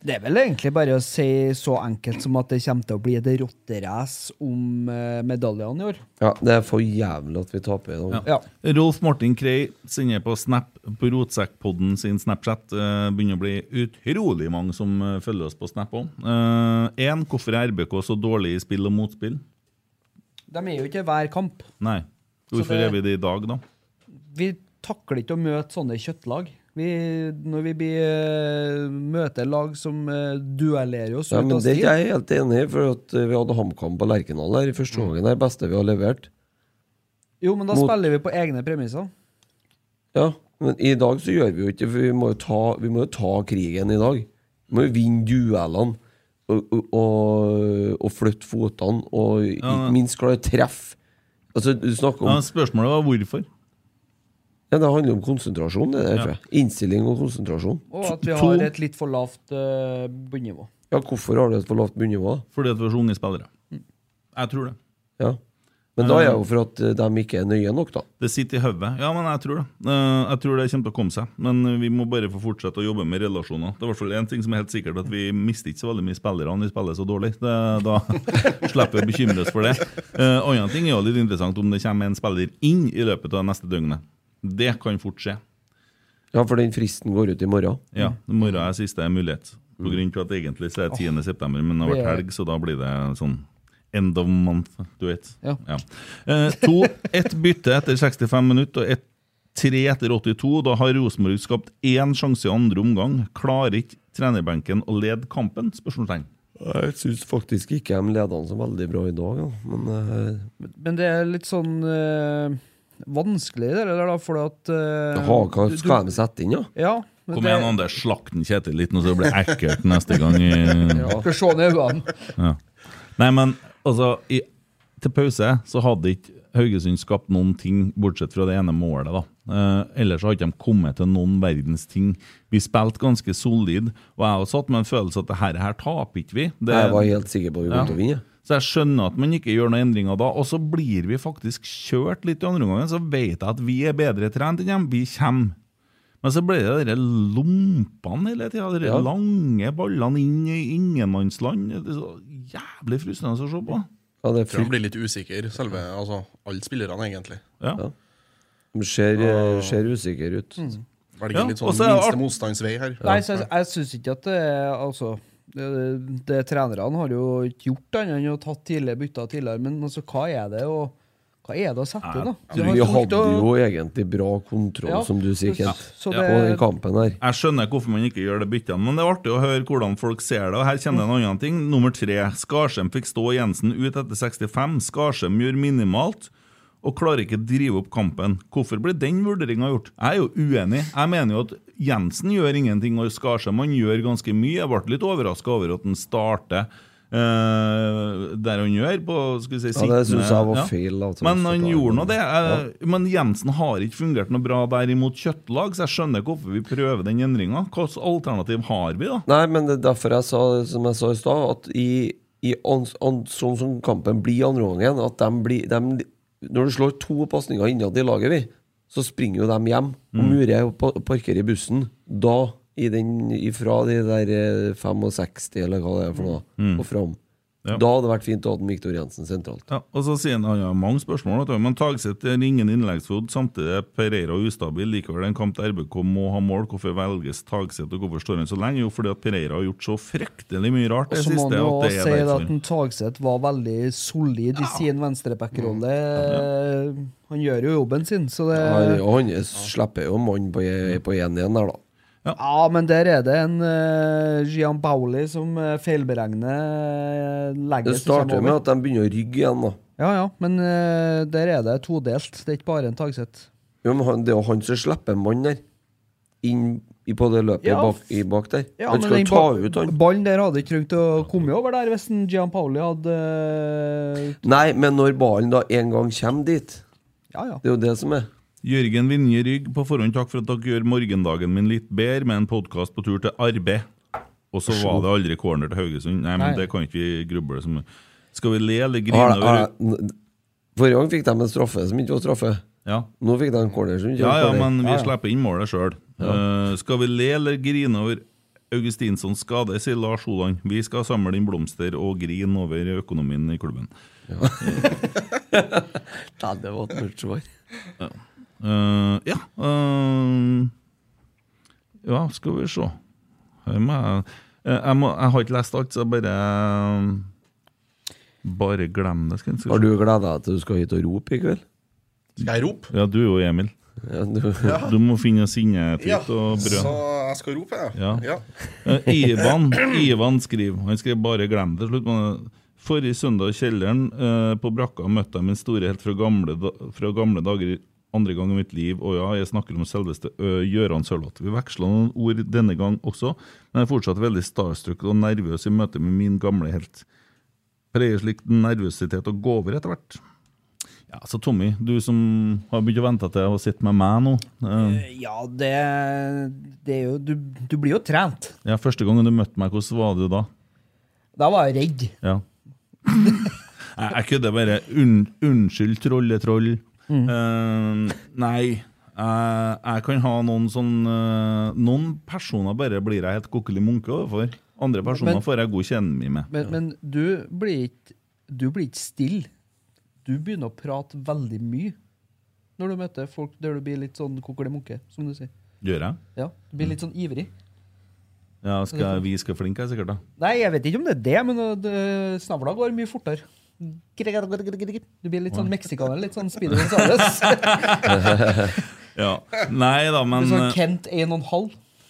Speaker 6: Det er vel egentlig bare å si så enkelt som at det kommer til å bli et rotterace om eh, medaljene i år.
Speaker 4: Ja, det er for jævlig at vi taper i dag.
Speaker 5: Ja. Rolf Martin Krei sender på Snap på Rotsekkpodden sin Snapchat. Eh, begynner å bli utrolig mange som eh, følger oss på Snap òg. Én, hvorfor er RBK så dårlig i spill og motspill?
Speaker 6: De er jo ikke hver kamp.
Speaker 5: Nei.
Speaker 6: Så
Speaker 5: Hvorfor
Speaker 6: det-
Speaker 5: er vi det i dag, da?
Speaker 6: Vi takler ikke å møte sånne kjøttlag. Vi, når vi blir, eh, møter lag som eh, duellerer oss
Speaker 4: Ja,
Speaker 6: ut
Speaker 4: men
Speaker 6: av
Speaker 4: det er
Speaker 6: stil
Speaker 4: ikke jeg helt enig i, for at eh, vi hadde HamKam på Lerkendal her i
Speaker 6: Mm.
Speaker 4: første gangen. Det er det beste vi har levert.
Speaker 6: Jo, men da
Speaker 4: mot-
Speaker 6: spiller vi på egne premisser.
Speaker 4: Ja, men i dag så gjør vi jo ikke det, for vi må jo ta, vi må jo ta krigen i dag. Vi må jo vinne duellene og, og- og, og flytte fotene, og
Speaker 5: Ja.
Speaker 4: ikke minst klare å treffe. Altså, du snakker
Speaker 5: Ja,
Speaker 4: om
Speaker 5: spørsmålet var hvorfor.
Speaker 4: ja, Det handler om konsentrasjon, det der,
Speaker 5: Ja.
Speaker 4: tror jeg. Innstilling og konsentrasjon.
Speaker 6: Og at vi
Speaker 4: To-
Speaker 6: har et litt for lavt eh, bunnivå.
Speaker 4: Ja, hvorfor har du et for lavt bunnivå?
Speaker 5: Fordi at vi er så unge spillere. Jeg tror det.
Speaker 4: Ja. Men da er det jo for at eh, de ikke er nøye nok, da.
Speaker 5: Det sitter i hodet. Ja, men jeg tror det. Eh, Jeg tror det kommer til å komme seg. Men vi må bare få fortsette å jobbe med relasjoner. Det er i hvert fall én ting som er helt sikkert, at vi mister ikke så veldig mye spillere når vi spiller så dårlig. Det, da slipper vi å bekymre oss for det. Uh, annen ting er jo litt interessant om det kommer en spiller inn i løpet av det neste døgnet. Det kan fort skje.
Speaker 4: Ja, for den fristen går ut i morgen.
Speaker 5: Ja,
Speaker 6: Mm.
Speaker 5: i morgen er siste mulighet. På grunn av at egentlig så er det 10. september, men det har vært helg, så da blir det sånn end of month, du vet.
Speaker 6: Ja.
Speaker 5: Eh, to, ett bytte etter 65 minutter, og ett tre etter 82. Da har Rosenborg skapt én sjanse i andre omgang. Klarer ikke trenerbenken å lede kampen? Spørsmålstegn.
Speaker 4: Jeg syns faktisk ikke de leder han så veldig bra i dag, ja. men eh,
Speaker 6: Men det er litt sånn eh, vanskelig, det der, da, fordi at eh,
Speaker 4: ha, hva
Speaker 6: du-
Speaker 4: skal de sette inn, da?
Speaker 6: Ja. men
Speaker 5: Kom
Speaker 6: det-
Speaker 5: igjen, Anders. Slakt den Kjetil litt nå, så det blir ekkelt neste gang. eh. I,
Speaker 6: Skal se ned i øynene.
Speaker 5: Ja. Nei, men altså i, Til pause så hadde ikke Haugesund skapt noen ting, bortsett fra det ene målet. da. Eh, ellers så har ikke de kommet til noen verdens ting. Vi spilte ganske solid, og jeg har satt med en følelse at det her, her taper ikke vi. Det,
Speaker 4: Jeg var helt sikker på at vi kom til å vinne.
Speaker 5: Så jeg skjønner at man ikke gjør noen endringer da, og så blir vi faktisk kjørt litt i andre omgang. Så vet jeg at vi er bedre trent enn dem, vi kommer. Men så ble det de lompene hele tida, de
Speaker 4: Ja.
Speaker 5: lange ballene inn i ingenmannsland. Det er så jævlig frustrende å se på.
Speaker 4: Ja, det er
Speaker 7: Jeg tror han
Speaker 4: frykt.
Speaker 7: blir litt usikker, selve altså, alle spillerne, egentlig.
Speaker 5: Ja. Ah.
Speaker 4: Ja. De ser, eh, ser usikre ut.
Speaker 6: Mm.
Speaker 5: Mm.
Speaker 7: Velger
Speaker 5: Ja,
Speaker 7: litt
Speaker 5: og
Speaker 7: sånn
Speaker 5: så er det
Speaker 7: minste
Speaker 5: art-
Speaker 7: motstandsvei her.
Speaker 6: Nei, så jeg, jeg syns ikke at det er Altså, det, det trenerne har jo ikke gjort annet enn å tatt tidligere bytter tidligere, men altså, hva er det å Hva er det å sette inn, da? Du har
Speaker 4: Vi
Speaker 6: ikke gjort
Speaker 4: hadde
Speaker 6: å-
Speaker 4: jo egentlig bra kontroll,
Speaker 6: Ja,
Speaker 4: som du sier, Kent,
Speaker 6: så- så
Speaker 4: på
Speaker 6: det-
Speaker 4: den kampen her.
Speaker 5: Jeg skjønner hvorfor man ikke gjør det byttene, men det er artig å høre hvordan folk ser det. Og her kommer
Speaker 4: Mm.
Speaker 5: det en annen ting. Nummer tre. Skarsheim fikk stå Jensen ut etter 65. Skarsheim gjør minimalt. og klarer ikke drive opp kampen. Hvorfor ble den vurderinga gjort? Jeg er jo uenig. Jeg mener jo at Jensen gjør ingenting og Skarsheim han gjør ganske mye. Jeg ble litt overraska over at han starter eh, der han gjør. på, skal vi si,
Speaker 4: Ja, det synes jeg var
Speaker 5: Ja.
Speaker 4: feil, altså.
Speaker 5: Men han gjorde nå det.
Speaker 4: Ja.
Speaker 5: Jeg, Men Jensen har ikke fungert noe bra der imot kjøttlag, så jeg skjønner ikke hvorfor vi prøver den endringa. Hvilket alternativ har vi, da?
Speaker 4: Nei, men det er derfor jeg sa som jeg sa i stad, at i, i an, an, sånn som kampen blir i andre gangen at dem blir, dem, Når du slår to pasninger innad i laget, vi, så springer jo dem hjem. Og
Speaker 5: Mm.
Speaker 4: murer og pa- parkerer i bussen. Da, i den, ifra de der eh, 65, eller hva det er for noe,
Speaker 5: Mm.
Speaker 4: og fram.
Speaker 5: Ja.
Speaker 4: Da hadde det vært fint å ha den Viktor Jensen sentralt.
Speaker 5: Ja, og så sier han, han har mange spørsmål, vet du, men Tagseth er ingen innleggsfot. Samtidig er Pereira ustabil. Likevel er en kamp der RBK må ha mål. Hvorfor velges Tagseth, og hvorfor står han så lenge? Jo, fordi at Pereira har gjort så fryktelig mye rart
Speaker 6: Og
Speaker 5: det
Speaker 6: så må
Speaker 5: siste.
Speaker 6: man
Speaker 5: at
Speaker 6: jo
Speaker 5: det
Speaker 6: også
Speaker 5: er
Speaker 6: si
Speaker 5: derfor.
Speaker 6: at en Tagseth var veldig solid i sin venstrebackrolle. Han gjør jo jobben sin, så det
Speaker 4: Han, og han slipper jo mannen på e- på 1-1 der, da.
Speaker 6: Ja. men der er det en eh, Gian Bauli som eh, feilberegner uh,
Speaker 4: Det
Speaker 6: lenge
Speaker 4: starter med at de begynner å rygge igjen, da.
Speaker 6: Ja, ja, men eh, der er det todelt. Det er ikke bare en Tagseth.
Speaker 4: Jo, men han, det er jo han som slipper mannen der. Inn i- på det løpet
Speaker 6: Ja,
Speaker 4: bak, i bak der.
Speaker 6: Ja,
Speaker 4: han
Speaker 6: men
Speaker 4: skal
Speaker 6: den
Speaker 4: jo ta
Speaker 6: ba-
Speaker 4: ut han.
Speaker 6: Ballen der hadde ikke trengt å komme over der hvis en Gian Pauli hadde eh,
Speaker 4: Nei, men når ballen da en gang kommer dit
Speaker 6: Ja, ja.
Speaker 4: Det er jo det som er.
Speaker 5: Jørgen Vinje Rygg, på forhånd takk for at dere gjør morgendagen min litt bedre med en podkast på tur til arbeid. Og så var det aldri corner til Haugesund. Nei, men
Speaker 4: Nei.
Speaker 5: det kan ikke vi gruble så mye. Skal vi le eller grine
Speaker 4: Har- har-
Speaker 5: over
Speaker 4: Forrige gang fikk de en straffe som ikke var straffe.
Speaker 5: Ja.
Speaker 4: Nå fikk de en corner som ikke
Speaker 5: Ja,
Speaker 4: var
Speaker 5: ja,
Speaker 4: corner.
Speaker 5: men vi
Speaker 4: Ja, ja.
Speaker 5: slipper inn målet sjøl. Eh, skal vi le eller grine over Augustinssons skade, sier Lars Holand. Vi skal samle inn blomster og grine over økonomien i klubben.
Speaker 4: Nei, det var et mørkt svar.
Speaker 5: Ja. Eh, ja. eh, ja, skal vi se. Her må jeg, eh, jeg, må, jeg har ikke lest alt, så bare eh, Bare glem det. Skal jeg,
Speaker 4: Har du gleda deg til du skal hit og rope i kveld?
Speaker 7: Skal jeg rope?
Speaker 5: Ja, du og Emil.
Speaker 4: du,
Speaker 7: Ja.
Speaker 5: må finne sinnetrykt
Speaker 7: Ja, Sånn.
Speaker 5: og brød.
Speaker 7: så jeg skal rope, jeg.
Speaker 5: Ja.
Speaker 7: Ja.
Speaker 5: Eh, Ivan, Ivan skriver Han skrev bare 'glem det'. til Slutt. men Forrige søndag i kjelleren eh, på brakka møtte jeg min store helt fra gamle, da- fra gamle dager. Andre gang i mitt liv, og ja, jeg snakker om selveste ø, Gøran Sørloth. Vi veksla noen ord denne gang også, men jeg er fortsatt veldig starstruck og nervøs i møte med min gamle helt. Pleier slik nervøsitet å gå over etter hvert. Ja, Så Tommy, du som har begynt å vente til å sitte med meg nå. eh,
Speaker 6: Ja, det, det er jo du, du blir jo trent.
Speaker 5: ja, Første gangen du møtte meg, hvordan var du da?
Speaker 6: Da var jeg redd.
Speaker 5: Ja. jeg, jeg kødder bare. Unn- unnskyld, trolletroll.
Speaker 6: Mm.
Speaker 5: Eh, nei, jeg- jeg kan ha noen sånn eh, Noen personer bare blir jeg helt kokkelig munke overfor. Andre personer
Speaker 6: Men-
Speaker 5: får jeg god kjennemi med.
Speaker 6: Men, men du blir ikke Du blir ikke stille. Du begynner å prate veldig mye når du møter folk der du blir litt sånn kokkelimunke, som du sier.
Speaker 5: Gjør jeg?
Speaker 6: Ja, Du blir litt sånn ivrig.
Speaker 5: Ja, skal, jeg- vi skal flinke, jeg, sikkert. da
Speaker 6: Nei, jeg vet ikke om det er det, men uh, det- snavla går mye fortere. Du blir litt sånn meksikaner, litt sånn Speedy Gonzales.
Speaker 5: ja. Nei da, men
Speaker 6: Litt sånn
Speaker 5: eh,
Speaker 6: Kent 1,5.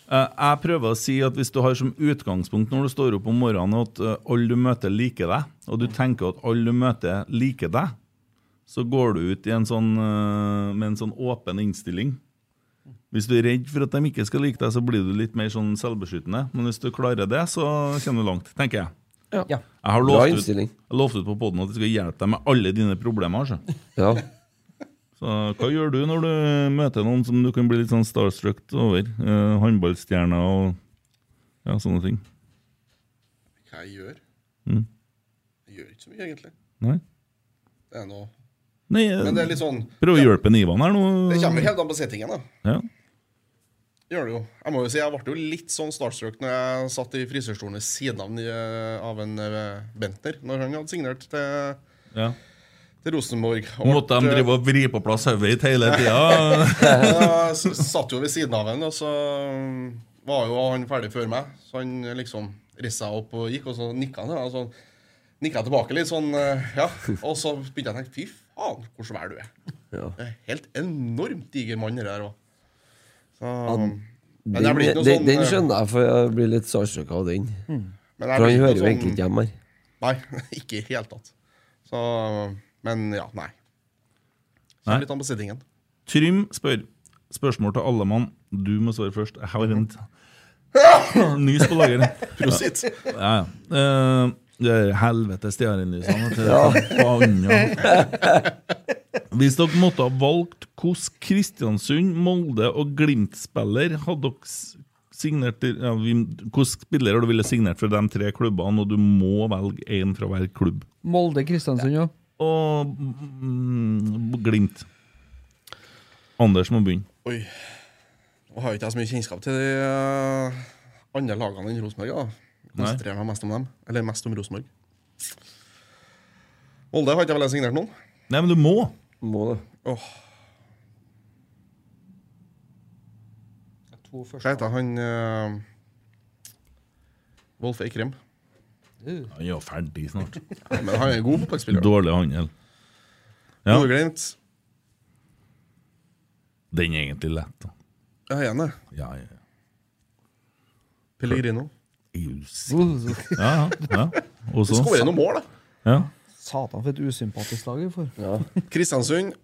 Speaker 5: Eh, Jeg prøver å si at hvis du har som utgangspunkt når du står opp om morgenen at eh, alle du møter liker deg, og du tenker at alle du møter liker deg, så går du ut i en sånn, eh, med en sånn åpen innstilling. Hvis du er redd for at de ikke skal like deg, så blir du litt mer sånn selvbeskyttende. Men hvis du klarer det, så kommer du langt, tenker jeg.
Speaker 6: Ja. Ja.
Speaker 5: Jeg har
Speaker 4: Bra
Speaker 5: lovt ut,
Speaker 4: innstilling.
Speaker 5: jeg lovt ut på poden at jeg skal hjelpe deg med alle dine problemer. Altså.
Speaker 4: Ja.
Speaker 5: Så hva gjør du når du møter noen som du kan bli litt sånn starstruck over? Eh, håndballstjerner og ja, sånne ting.
Speaker 7: Hva jeg gjør?
Speaker 5: Mm.
Speaker 7: Jeg gjør ikke så mye, egentlig.
Speaker 5: Nei?
Speaker 7: Det er noe
Speaker 5: Nei eh,
Speaker 7: Men det er litt sånn
Speaker 5: Prøv å hjelpe en Ivan her nå.
Speaker 7: Det kommer jo helt an på settingen, da.
Speaker 5: Ja.
Speaker 7: Gjør det jo. Jeg må jo si, jeg ble jo litt sånn starstruck når jeg satt i frisørstolen ved siden av, den, eh, av en eh, Bentner, når han hadde signert til,
Speaker 5: Ja.
Speaker 7: til Rosenborg. Og
Speaker 5: Måtte de
Speaker 7: ble-
Speaker 5: drive og vri på plass hodet ditt hele tida?
Speaker 7: Ja, jeg s- satt jo ved siden av henne, og så um, var jo han ferdig før meg. Så han liksom rissa opp og gikk, og så nikka han. Og så nikka jeg tilbake litt sånn, eh, ja. Og så begynte jeg å tenke fy faen, hvor svær du er.
Speaker 4: Ja.
Speaker 7: Det er Helt enormt diger mann, det der òg.
Speaker 4: Ja,
Speaker 7: Sånn. Men
Speaker 4: Den,
Speaker 7: jeg blir ikke noe
Speaker 4: den,
Speaker 7: sånn,
Speaker 4: den
Speaker 7: eh,
Speaker 4: skjønner jeg, for jeg blir litt starstruck av den.
Speaker 7: Mm. Men jeg
Speaker 4: For
Speaker 7: blir
Speaker 4: han
Speaker 7: ikke
Speaker 4: hører jo
Speaker 7: noe
Speaker 4: egentlig
Speaker 7: sånn-
Speaker 4: ikke hjemme her.
Speaker 7: Nei, ikke i det hele tatt. Så, men ja, nei.
Speaker 5: Nei.
Speaker 7: Kommer litt an på sittingen.
Speaker 5: Trym spør. Spørsmål til alle mann. Du må svare først. Jeg har en nys på lager.
Speaker 7: Prosit.
Speaker 5: Ja, ja. Eh, det er helvetes stearinlysene. vet du.
Speaker 7: Ja.
Speaker 5: Forbanna. Hvis dere måtte ha valgt hvordan Kristiansund, Molde og Glimt-spiller hadde dere s- signert til- ja, vi- Hvilken spiller du ville signert for de tre klubbene, og du må velge én fra hver klubb?
Speaker 6: Molde, Kristiansund, jo.
Speaker 5: Og mm, Glimt. Anders må begynne.
Speaker 7: Oi. Nå har jo ikke jeg så mye kjennskap til de eh, andre lagene enn Rosenborg. da. Konsentrerer meg mest om dem. Eller mest om Rosenborg. Molde har ikke jeg vel signert noen?
Speaker 5: Nei, men du må.
Speaker 4: Må det.
Speaker 7: Åh, Hva heter han eh, Wolf Eikrem.
Speaker 5: Han er jo ferdig snart.
Speaker 7: Men han er god fotballspiller. da.
Speaker 5: Dårlig handel. Ja,
Speaker 7: Bodø-Glimt.
Speaker 5: den er egentlig lett. da.
Speaker 7: Jeg er enig.
Speaker 5: Ja, ja, ja.
Speaker 7: Pellegrino.
Speaker 6: Oh,
Speaker 5: Ja, ja. Og så-
Speaker 7: Skårer noen mål, da.
Speaker 5: Ja.
Speaker 6: Satan, for et usympatisk lag vi får.
Speaker 7: Kristiansund.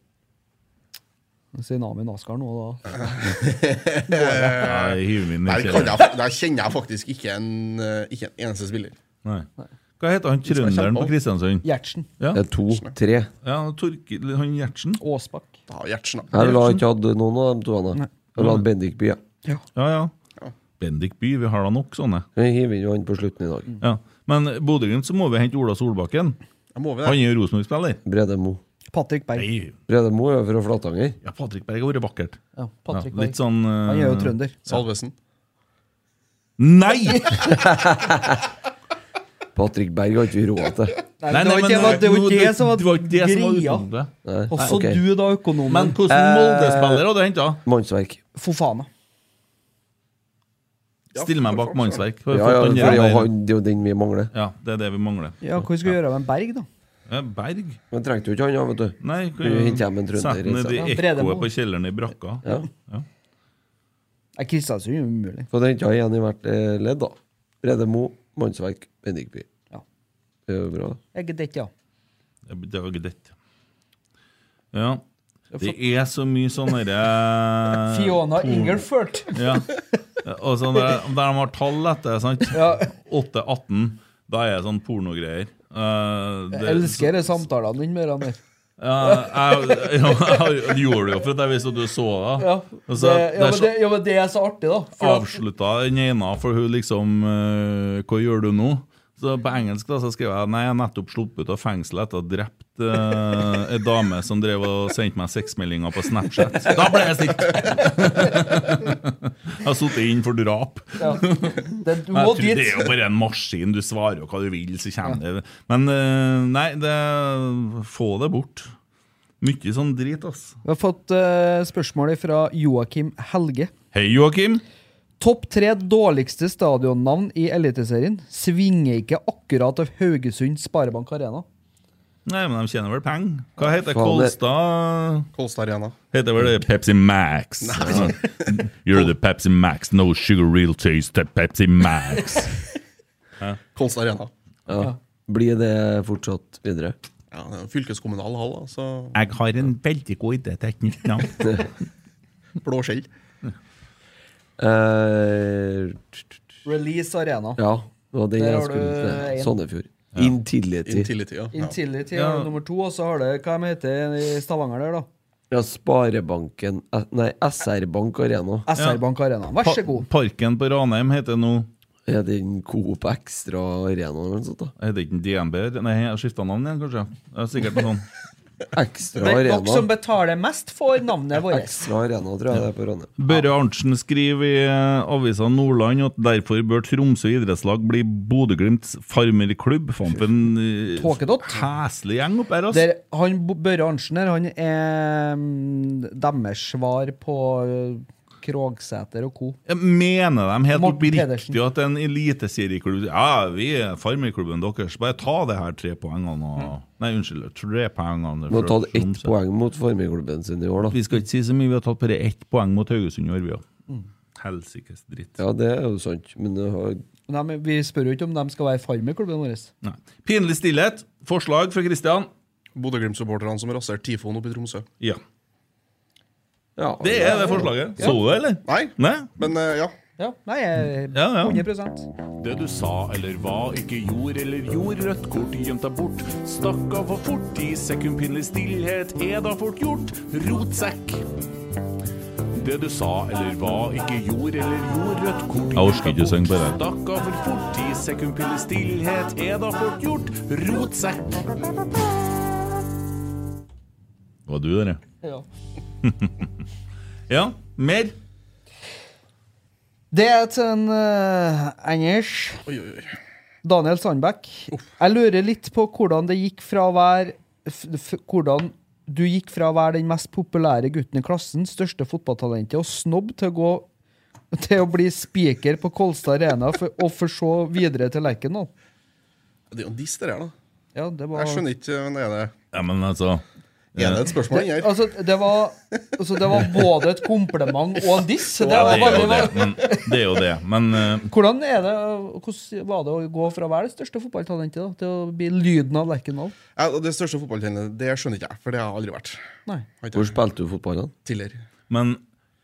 Speaker 6: Tsunami Naskar nå, da.
Speaker 7: Nei,
Speaker 5: hiver vi den i
Speaker 7: Eh, Der,
Speaker 5: kjelleren.
Speaker 7: kan jeg, der kjenner jeg faktisk ikke en, eh, ikke en eneste spiller.
Speaker 5: Nei. Hva heter han trønderen på Kristiansund?
Speaker 6: Gjertsen.
Speaker 5: Ja.
Speaker 4: Det er to, tre.
Speaker 5: Ja, Torkil, han Gjertsen.
Speaker 6: Aasbakk.
Speaker 7: Ja, Gjertsen.
Speaker 4: Jeg ville
Speaker 6: sånn.
Speaker 4: ha ikke hatt noen av de to. Anne. Jeg ville hatt Bendik Bye.
Speaker 5: Ja, ja. Bendik By, vi har da nok sånne.
Speaker 4: Jeg hiver inn han på slutten i dag.
Speaker 5: Ja. Men Bodø-Glimt så må vi hente Ola Solbakken.
Speaker 7: må vi det.
Speaker 5: Han er jo Rosenborg-spiller.
Speaker 4: Brede Mo.
Speaker 6: Patrick Berg.
Speaker 4: Brede Mo er jo fra Flatanger.
Speaker 5: Ja, Patrick Berg har vært vakkert.
Speaker 6: Ja, Patrick
Speaker 5: Ja, litt
Speaker 6: Berg.
Speaker 5: sånn eh,
Speaker 6: Han er jo trønder.
Speaker 7: Salvesen.
Speaker 5: Nei!
Speaker 4: Patrick Berg har ikke vi råd til.
Speaker 6: Nei, det var ikke det var- det var ikke det som var
Speaker 5: det var ikke det som var
Speaker 6: greia.
Speaker 5: utgangspunktet.
Speaker 4: Nei,
Speaker 6: Og så
Speaker 4: ok.
Speaker 6: du, da, økonomen.
Speaker 5: Men
Speaker 7: Eh,
Speaker 5: hvordan Molde-spiller hadde du henta?
Speaker 4: Mannsverk.
Speaker 6: Fofana.
Speaker 5: Still meg bak mannsverk. Har
Speaker 4: Ja,
Speaker 5: vi
Speaker 4: ja,
Speaker 5: fått den
Speaker 4: for
Speaker 5: der?
Speaker 4: ja, han- det er jo den vi mangler.
Speaker 5: ja, det er det vi mangler.
Speaker 6: Ja, hva skal vi gjøre med Berg, da?
Speaker 5: Ja, Berg?
Speaker 4: Men trengte jo ikke han, ja, vet du.
Speaker 5: Nei,
Speaker 4: Kunne hente hjem en trønder.
Speaker 5: sette
Speaker 4: i
Speaker 5: ned
Speaker 4: stedet.
Speaker 5: det ekkoet på kjelleren i brakka.
Speaker 4: Ja.
Speaker 6: Nei, Kristiansund er jo umulig.
Speaker 4: Så det henta jeg igjen i hvert eh, ledd, da. Brede Mo, Mannsverk, Bendik Bye.
Speaker 6: Ja.
Speaker 4: Det er jo bra.
Speaker 6: Jeg er dette, ja.
Speaker 5: Det blir dag ditt. Ja. Det er så mye sånn sånne der-
Speaker 6: Fiona
Speaker 5: Porn-
Speaker 6: Ingelfurt.
Speaker 5: Ja. Og sånn der, der de har tall etter, sant? 8-18. Da er det sånn pornogreier. Eh, det-
Speaker 6: Jeg elsker de samtalene dine med dem der.
Speaker 5: Ja, jeg, ja, jeg, har- det gjorde det jo for at jeg visste at du så det.
Speaker 6: Ja,
Speaker 5: Og
Speaker 6: det,
Speaker 5: så,
Speaker 6: ja,
Speaker 5: der
Speaker 6: men
Speaker 5: så-
Speaker 6: det, ja, men det er så artig, da. For at-
Speaker 5: avslutta den ene, for hun liksom eh, Hva gjør du nå? Så På engelsk da, så skrev jeg Nei, jeg er nettopp sluppet ut av fengselet etter å ha drept eh, en dame som drev og sendte meg sexmeldinger på Snapchat. Da ble jeg sint! jeg har sittet inn for drap.
Speaker 6: Ja. Det- du
Speaker 5: Jeg
Speaker 6: må
Speaker 5: tror det
Speaker 6: dit.
Speaker 5: er jo bare en maskin. Du svarer jo hva du vil, så kommer det Men eh, nei, det, få det bort. Mye sånn drit, ass.
Speaker 6: Vi har fått eh, spørsmål fra Joakim Helge.
Speaker 5: Hei, Joakim.
Speaker 6: Topp tre dårligste stadionnavn i Eliteserien svinger ikke akkurat av Haugesund Sparebank Arena.
Speaker 5: Nei, men de tjener vel penger. Hva heter
Speaker 6: Faen, det-
Speaker 5: Kolstad?
Speaker 7: Kolstad Arena.
Speaker 5: Heter vel det Pepsi Max? Ja. You're the Pepsi Max, no sugar, real taste, the Pepsi Max.
Speaker 7: Kolstad Arena.
Speaker 4: Ja. Blir det fortsatt videre?
Speaker 7: Ja, det er en fylkeskommunal hall, da, så
Speaker 5: Jeg har en veldig god idé til et nytt navn.
Speaker 7: blå skjell.
Speaker 4: Eh,
Speaker 6: Release Arena.
Speaker 4: ja, det var den
Speaker 6: Der
Speaker 4: jeg
Speaker 6: har du
Speaker 4: skulle til.
Speaker 6: en.
Speaker 4: Sandefjord. Intility.
Speaker 7: Intility, ja. ja.
Speaker 6: Intility
Speaker 4: Ja.
Speaker 6: har du nummer to, og så har du hva de heter i Stavanger der, da.
Speaker 4: Ja, Sparebanken eh, Nei, SR Bank Arena.
Speaker 6: SR Bank Arena. Vær så god.
Speaker 5: Parken på Ranheim heter nå
Speaker 4: Er det en Coop Extra Arena eller noe sånt? da?
Speaker 5: Heter ikke den DNB? Nei, jeg har skifta navn igjen, kanskje. Det er sikkert noe sånn.
Speaker 4: Ekstra
Speaker 6: Det er
Speaker 4: Arena.
Speaker 6: dere som betaler mest for navnet vårt.
Speaker 4: Ekstra Arena, tror jeg det er på Ranheim.
Speaker 5: Børre Arntzen skriver i eh, avisa Nordland at derfor bør Tromsø idrettslag bli Bodø-Glimts farmerklubb. Faen, for en eh,
Speaker 6: Tåkedott.
Speaker 5: heslig gjeng oppe her, altså.
Speaker 6: Der, han, Bo- Børre Arntzen her, han er mm, deres svar på eh, Krogsæter og co.
Speaker 5: Jeg mener de helt
Speaker 6: Morten
Speaker 5: oppriktig
Speaker 6: Pedersen.
Speaker 5: at en eliteserieklubb Ja, vi er farmerklubben deres. Bare ta det her tre poengene og
Speaker 7: Mm.
Speaker 5: Nei, unnskyld. Tre poengene.
Speaker 4: De har
Speaker 5: fra
Speaker 4: tatt ett
Speaker 5: Tromsø.
Speaker 4: poeng mot farmerklubben sin i år, da.
Speaker 5: Vi skal ikke si så mye. Vi har tatt bare ett poeng mot Haugesund i år, vi òg.
Speaker 7: Mm.
Speaker 5: Helsikes dritt.
Speaker 4: Ja, det er jo sant, men det har
Speaker 6: Men de, vi spør jo ikke om de skal være farmerklubben vår.
Speaker 5: Nei. Pinlig stillhet. Forslag fra Kristian.
Speaker 7: Bodø-Glimt-supporterne som raserer Tifoen oppe i Tromsø.
Speaker 5: Ja.
Speaker 4: Ja.
Speaker 5: Det er det forslaget. Så du det, eller?
Speaker 7: Nei.
Speaker 5: Nei?
Speaker 7: Men eh, ja.
Speaker 6: Ja, nei, jeg-
Speaker 5: Ja, ja.
Speaker 6: 100
Speaker 9: Det du sa eller hva, ikke gjorde eller gjorde, rødt kort gjemt deg bort. Stakk av for fort i sekundpinlig stillhet, er da fort gjort, rotsekk. Det du sa eller hva, ikke gjorde eller gjorde, rødt kort
Speaker 5: Jeg orker ikke å synge på det.
Speaker 9: Stakk av for fort i sekundpinlig stillhet, er da fort gjort, rotsekk.
Speaker 5: Det var du der,
Speaker 6: Ja.
Speaker 5: ja. Mer?
Speaker 6: Det er til en eh, Engers. Daniel Sandbekk. Jeg lurer litt på hvordan det gikk fra å være f f Hvordan du gikk fra å være den mest populære gutten i klassen, største fotballtalentet og snobb til å gå til å bli spiker på Kolstad Arena for, og for så videre til Lerkendal.
Speaker 7: Det er jo en diss, det her, da.
Speaker 6: var-
Speaker 7: Jeg skjønner ikke, men er det
Speaker 5: Ja, men altså eh,
Speaker 7: Er det et spørsmål inni
Speaker 6: Det,
Speaker 7: her?
Speaker 6: altså, det, var, altså, det var både et kompliment og en diss. Det var
Speaker 5: det er jo
Speaker 6: veldig,
Speaker 5: det. Men, det er jo det. Men eh,
Speaker 6: Hvordan er det, hvordan var det å gå fra å være det største fotballtalentet da, til å bli lyden av Lerkendal?
Speaker 7: Ja, og det største fotballtrenet, det skjønner ikke jeg, for det har jeg aldri vært.
Speaker 6: Nei.
Speaker 4: Hvor spilte du fotball, da?
Speaker 7: Tidligere.
Speaker 5: Men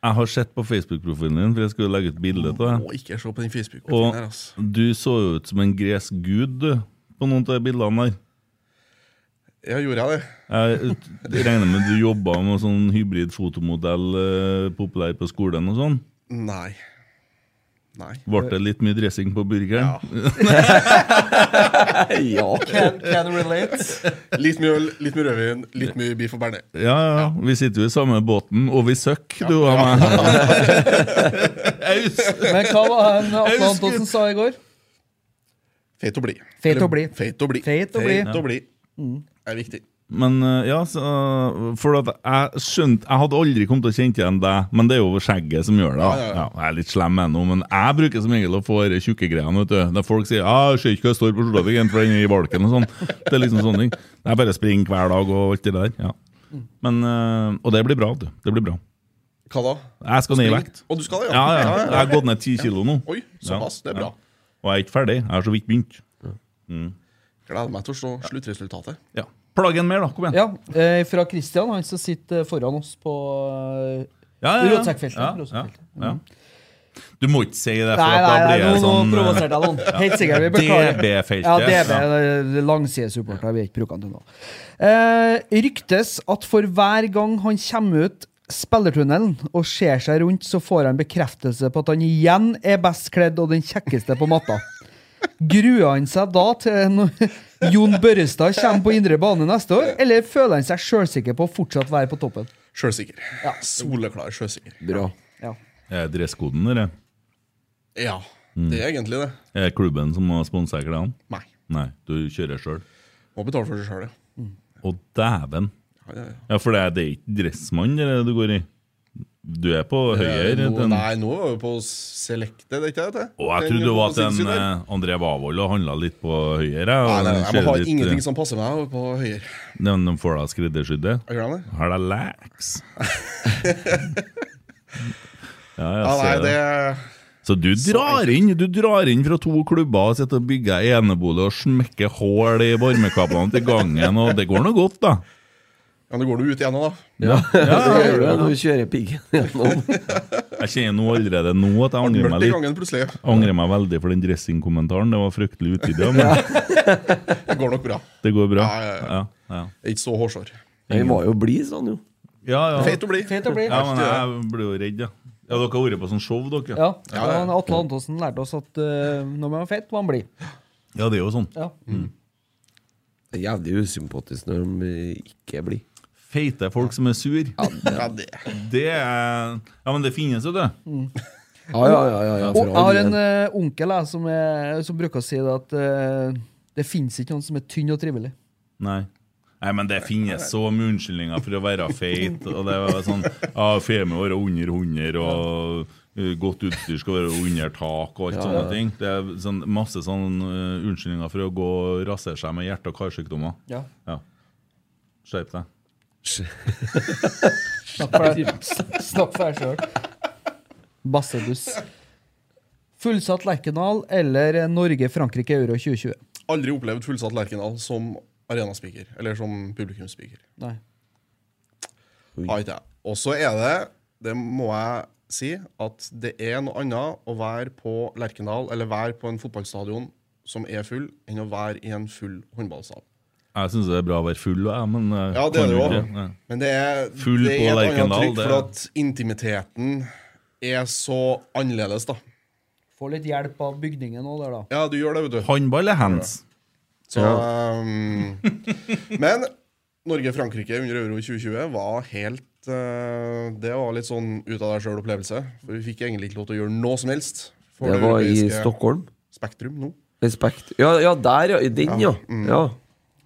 Speaker 5: jeg har sett på Facebook-profilen din, for jeg skulle legge ut bilde av
Speaker 7: Må
Speaker 5: deg.
Speaker 7: ikke se på den Facebook-profilen
Speaker 5: Og
Speaker 7: her, altså.
Speaker 5: du så jo ut som en gresk gud du, på noen av de bildene der.
Speaker 7: Ja, gjorde jeg det?
Speaker 5: Jeg ut- regner med du jobba med sånn hybrid fotomodell eh, populær på skolen og sånn.
Speaker 7: Nei. Nei.
Speaker 5: Ble det litt mye dressing på burgeren?
Speaker 7: Ja.
Speaker 6: Can- can relate.
Speaker 7: Litt mye øl, litt mye rødvin, litt mye biff og bearnés.
Speaker 5: Ja, ja. Vi sitter jo i samme båten, og vi søkk, du og meg.
Speaker 6: Men hva var han Atle Antonsen sa i går?
Speaker 7: Feit å bli.
Speaker 6: Feit å
Speaker 7: Eller,
Speaker 6: bli.
Speaker 7: Feit å bli.
Speaker 6: å bli.
Speaker 7: Feit å bli.
Speaker 6: Mm.
Speaker 7: Det er viktig.
Speaker 5: Men eh, ja, så, for at jeg skjønte Jeg hadde aldri kommet til å kjenne igjen deg, men det er jo skjegget som gjør det. da.
Speaker 7: Ja, ja,
Speaker 5: Ja, jeg er litt slem ennå, men jeg bruker som regel å få de tjukke greiene. vet du. Der folk sier ah, 'Jeg ser ikke hva det står på skjorta di, for den er i valken' og sånn. Det er liksom sånne ting. Jeg bare springer hver dag og alt det der. ja. Men, eh, Og det blir bra. vet du. Det blir bra.
Speaker 7: Hva da?
Speaker 5: Jeg skal ned i
Speaker 7: Spring?
Speaker 5: vekt.
Speaker 7: Å, du skal
Speaker 5: ja?
Speaker 7: det, ja.
Speaker 5: Ja,
Speaker 7: Ja, ja, ja.
Speaker 5: Jeg har gått ned ti
Speaker 7: Ja.
Speaker 5: kilo nå.
Speaker 7: Oi, såpass, det er bra.
Speaker 5: Og jeg er ikke ferdig. Jeg har så vidt begynt. Mm.
Speaker 7: Gleder meg til å se sluttresultatet.
Speaker 5: Ja. Plagg en mer, da. Kom igjen.
Speaker 6: Ja, eh, Fra Christian, han som sitter foran oss på eh, Rotsekkfeltet.
Speaker 5: Ja, ja,
Speaker 6: Rotsekkfeltet.
Speaker 5: ja. Du må ikke si det, for
Speaker 6: Mm. Nei,
Speaker 5: at
Speaker 6: nei,
Speaker 5: da
Speaker 6: nei,
Speaker 5: blir
Speaker 6: nå,
Speaker 5: jeg
Speaker 6: nå
Speaker 5: sånn
Speaker 6: provoserte jeg noen.
Speaker 5: ja.
Speaker 6: Helt sikkert. Vi beklager.
Speaker 5: DB-feltet.
Speaker 6: Ja, DB, langsidesupportere. Vi har ikke brukt den til noe. Eh, ryktes at for hver gang han kommer ut spillertunnelen og ser seg rundt, så får han bekreftelse på at han igjen er best kledd og den kjekkeste på matta. Gruer han seg da til når Jon Børrestad kommer på indre bane neste år, eller føler han seg sjølsikker på å fortsatt være på toppen?
Speaker 7: Sjølsikker. Soleklar sjøsikker.
Speaker 4: Bra.
Speaker 6: Ja.
Speaker 5: Er dresskoden der,
Speaker 7: Ja,
Speaker 5: Mm.
Speaker 7: det er egentlig det.
Speaker 5: er det klubben som har sponsa klærne?
Speaker 7: Nei.
Speaker 5: Nei, du kjører sjøl.
Speaker 7: Må betale for seg sjøl, ja.
Speaker 6: Mm.
Speaker 5: Å, dæven!
Speaker 7: Ja, ja, ja.
Speaker 5: Ja, for det er, det er ikke dressmann det er det du går i? Du er på høyere
Speaker 7: Eh, nå-
Speaker 5: den-
Speaker 7: Nei, nå er vi på Selected, er ikke det? det?
Speaker 5: Og jeg
Speaker 7: Den
Speaker 5: trodde det var
Speaker 7: på
Speaker 5: at en,
Speaker 7: Sinnsyn der.
Speaker 5: eh, André Wavold og handla litt på høyere. og
Speaker 7: Nei, nei,
Speaker 5: den
Speaker 7: jeg må ha
Speaker 5: kjører litt,
Speaker 7: ingenting
Speaker 5: eh,
Speaker 7: som passer meg over på høyre.
Speaker 5: Den de får da skreddersydd det?
Speaker 7: Jeg gjør det.
Speaker 5: Har deg lax? ja, jeg
Speaker 7: Ja,
Speaker 5: ser
Speaker 7: nei,
Speaker 5: det.
Speaker 7: det-
Speaker 5: Så du drar inn du drar inn fra to klubber og sitter og bygger ei enebolig og smekker hull i varmekablene til gangen, og det går nå godt, da.
Speaker 7: Ja, nå går du ut igjen nå, da.
Speaker 5: Ja,
Speaker 4: Det gjør du når du kjører piggen gjennom.
Speaker 5: Jeg kjenner nå allerede nå at jeg
Speaker 7: Ble
Speaker 5: angrer
Speaker 7: mørkt
Speaker 5: meg
Speaker 7: i
Speaker 5: litt.
Speaker 7: gangen plutselig.
Speaker 5: Jeg Angrer meg veldig for den dressingkommentaren. Det var fryktelig utidig. Men
Speaker 7: Det går nok bra.
Speaker 5: det går bra.
Speaker 7: Ja, ja,
Speaker 5: Ja, ja.
Speaker 7: Jeg er ikke så hårsår.
Speaker 4: Jeg var jo blid, sånn, jo.
Speaker 5: Ja, ja.
Speaker 7: Feit å bli.
Speaker 6: Feit å bli.
Speaker 5: Ja, men jeg blir jo redd, ja. Ja, Dere har vært på sånn show, dere?
Speaker 6: Ja, han Atle Antonsen lærte oss at eh, når man er feit, må man bli.
Speaker 5: Ja, det er jo sånn.
Speaker 6: Ja.
Speaker 4: Mm. Det er jævlig usympatisk når de ikke blir.
Speaker 5: Feite folk som er sur.
Speaker 7: Ja, det
Speaker 5: er Ja, men det finnes jo, det.
Speaker 4: Ja, ja, ja, ja, ja, for
Speaker 6: Mm. Og jeg har
Speaker 4: all
Speaker 6: en
Speaker 4: del.
Speaker 6: eh, onkel jeg, som, er, som bruker å si det at eh, det fins ikke noen som er tynn og trivelig.
Speaker 5: Nei. Nei, men det finnes så mye unnskyldninger for å være feit. Og det er sånn ja, Femi være under 100, og uh, godt utstyr skal være under tak, og alt
Speaker 4: Ja,
Speaker 5: sånne
Speaker 4: ja.
Speaker 5: ting. Det er sånn, masse sånn uh, unnskyldninger for å gå og rasere seg med hjerte- og karsykdommer.
Speaker 6: Ja.
Speaker 5: ja. Skjerp deg.
Speaker 6: Snakk for deg- s- snakk for deg sjøl. Basseduss. Fullsatt Lerkendal eller Norge-Frankrike Euro 2020?
Speaker 7: Aldri opplevd fullsatt Lerkendal som arenaspiker, eller som publikumsspiker.
Speaker 6: Nei.
Speaker 7: Har ikke jeg. Og så er det det må jeg si, at det er noe annet å være på Lerkendal eller være på en fotballstadion som er full, enn å være i en full håndballsal.
Speaker 5: Jeg syns det er bra å være full, jeg, men eh,
Speaker 7: Ja, det er det jo.
Speaker 5: kan jo ikke, ja.
Speaker 7: Men det er,
Speaker 5: Full
Speaker 7: det
Speaker 5: på
Speaker 7: er et annet
Speaker 5: Lerkendal,
Speaker 7: trykk,
Speaker 5: det-
Speaker 7: for at intimiteten er så annerledes, da.
Speaker 6: Få litt hjelp av bygningen nå der, da.
Speaker 7: Ja, du gjør det, vet du.
Speaker 5: Håndball er hands.
Speaker 7: Så, um, men Norge-Frankrike under Euro 2020 var helt eh, Det var litt sånn ut av deg sjøl-opplevelse. For vi fikk egentlig ikke lov til å gjøre noe som helst. for
Speaker 4: Det var i
Speaker 7: europeiske
Speaker 4: Stockholm.
Speaker 7: Spektrum nå.
Speaker 4: Respekt. Ja, ja der, ja. I den, ja.
Speaker 7: mm.
Speaker 4: ja.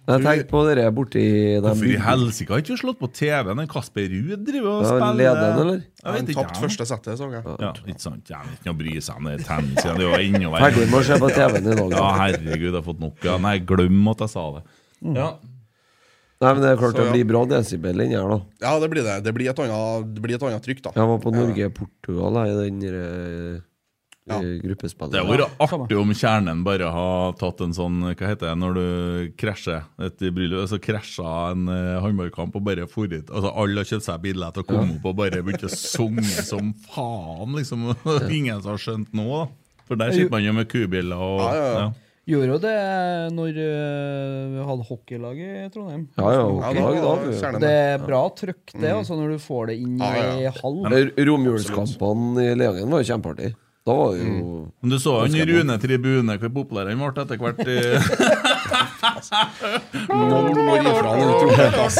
Speaker 4: Jeg
Speaker 5: Du-
Speaker 4: tenkte på dere borti den
Speaker 5: Hvorfor i
Speaker 4: bygden.
Speaker 5: helsike har ikke vi slått på TV-en? Den Kasper Ruud driver og
Speaker 4: Ja,
Speaker 5: spiller
Speaker 4: leder han, eller?
Speaker 5: Jeg
Speaker 7: Han
Speaker 5: vet ikke.
Speaker 7: tapte første settet, så jeg.
Speaker 5: Ja, ikke sant. Jeg vet ikke å bry seg om det er tennis igjen. Det er jo enda verre.
Speaker 4: Ferdig med å se på TV-en i dag.
Speaker 5: Ja, herregud, jeg har fått nok. Ja, nei, glem at jeg sa det. Ja.
Speaker 4: Nei, men det er klart
Speaker 7: Så,
Speaker 4: det
Speaker 7: ja.
Speaker 4: blir bra desibel inni her, da.
Speaker 7: Ja, det blir det. Det blir et annet, det blir et annet trykk, da.
Speaker 4: Jeg var på
Speaker 7: Ja.
Speaker 4: Norge-Portugal jeg, i den eh, ja. gruppespillet.
Speaker 5: Det hadde vært artig om kjernen bare har tatt en sånn Hva heter det når du krasjer et bryllup? Altså krasja en eh, håndballkamp og bare for ut. Altså, alle har kjøpt seg billett og kom opp og bare begynte å synge som faen, liksom. Ingen som har skjønt noe, da. For der sitter man jo med kubiler og ja.
Speaker 6: Gjorde jo det eh, når øh, vi hadde hockeylag i Trondheim.
Speaker 4: Ja, ja,
Speaker 6: Hockey.
Speaker 4: hockeylag da, for- Ja,
Speaker 6: Det er bra trøkk, det,
Speaker 4: Mm.
Speaker 6: altså, når du får det inn
Speaker 4: Ja, ja.
Speaker 6: i hall.
Speaker 4: Men Romjulskampene i Leangen var jo kjempeartig. Da var jo
Speaker 5: Men du så jo han Rune Tribune, hvor populær han ble etter hvert. eh.
Speaker 7: Noen må gi fra han, tror jeg, ass.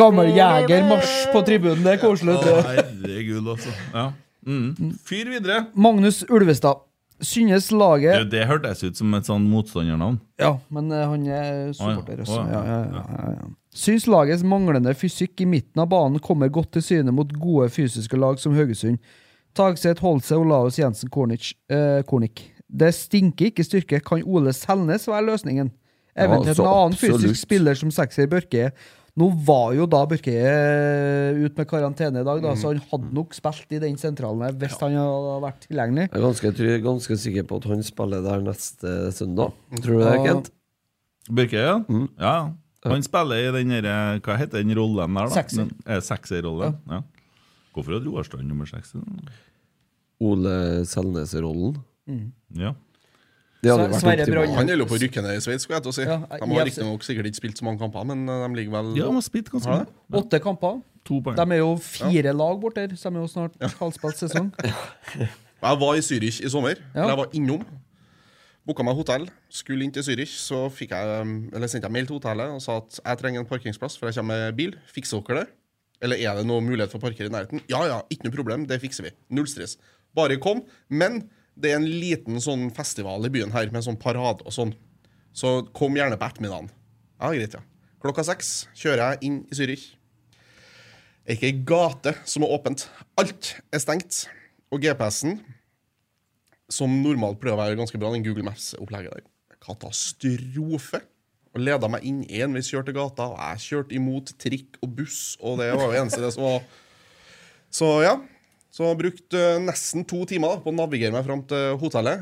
Speaker 6: Gammel jegermarsj på tribunen, det er koselig.
Speaker 5: Å,
Speaker 6: vet du.
Speaker 5: Herregud, altså. Ja. Mm. Fyr videre.
Speaker 6: Magnus Ulvestad. Synes laget
Speaker 5: Du, det hørtes ut som et sånn motstandernavn.
Speaker 6: Ja, men eh, han er
Speaker 5: Å,
Speaker 6: supporter
Speaker 5: ja.
Speaker 6: også.
Speaker 5: Å,
Speaker 6: Ja,
Speaker 5: ja.
Speaker 6: ja, ja, ja, ja. Syns lagets manglende fysikk i midten av banen kommer godt til syne mot gode fysiske lag som Haugesund. Tagseth, Holse, Olaus Jensen, Kornic. Eh, Kornic. Det stinker ikke styrke. Kan Ole Selnes være løsningen?
Speaker 4: Ja,
Speaker 6: Eventuelt
Speaker 4: så
Speaker 6: en annen
Speaker 4: absolutt.
Speaker 6: fysisk spiller som sekser Børke. Nå var jo da Børke eh, ut med karantene i dag, da, så han hadde nok spilt i den sentralen her hvis han hadde vært tilgjengelig.
Speaker 4: Jeg er ganske, try- ganske sikker på at han spiller der neste søndag. Tror du det,
Speaker 6: Ja.
Speaker 4: Kent? Mm.
Speaker 5: Børke, ja. ja. Han spiller i den der, eh, hva heter den rollen der, da?
Speaker 4: Sekser.
Speaker 5: Den- eh, Sekserrollen. Ja. Hvorfor hadde Roarstrand nummer seks?
Speaker 4: Ole Selnes-rollen.
Speaker 5: Mm. Ja.
Speaker 4: Det hadde vært optimalt.
Speaker 7: Han gjelder jo på å rykke ned i Sveits, skulle jeg til å si.
Speaker 6: Ja,
Speaker 7: de har
Speaker 6: jeg-
Speaker 7: riktignok sikkert ikke spilt så mange kamper, men eh, de ligger vel
Speaker 5: Ja, de har spilt ganske
Speaker 7: Har de?
Speaker 5: mye.
Speaker 6: Åtte kamper.
Speaker 5: To poeng.
Speaker 6: De er jo fire lag borte her, så de er jo snart halvspilt sesong.
Speaker 7: Jeg var i Zürich i sommer.
Speaker 6: Ja.
Speaker 7: Eller jeg var innom. Booka meg hotell. Skulle inn til Zürich, så fikk jeg, eller sendte jeg mail til hotellet og sa at jeg trenger en parkeringsplass, for jeg kommer med bil. Fikser dere det? Eller er det noe mulighet for å parkere i nærheten? Ja ja, ikke noe problem, det fikser vi. Null stress. Bare kom. Men det er en liten sånn festival i byen her, med sånn parade og sånn. Så kom gjerne på ettermiddagen. Ja, greit, ja. Klokka seks kjører jeg inn i Zürich. Det er ikke ei gate som er åpent. Alt er stengt. Og GPS-en, som normalt pleier å være ganske bra, den Google Maps-opplegget der, katastrofe. Og leda meg inn én vei kjørte gata, og jeg kjørte imot trikk og buss, og det var jo eneste det som var Så ja. Så jeg brukte eh, nesten to timer da, på å navigere meg fram til hotellet.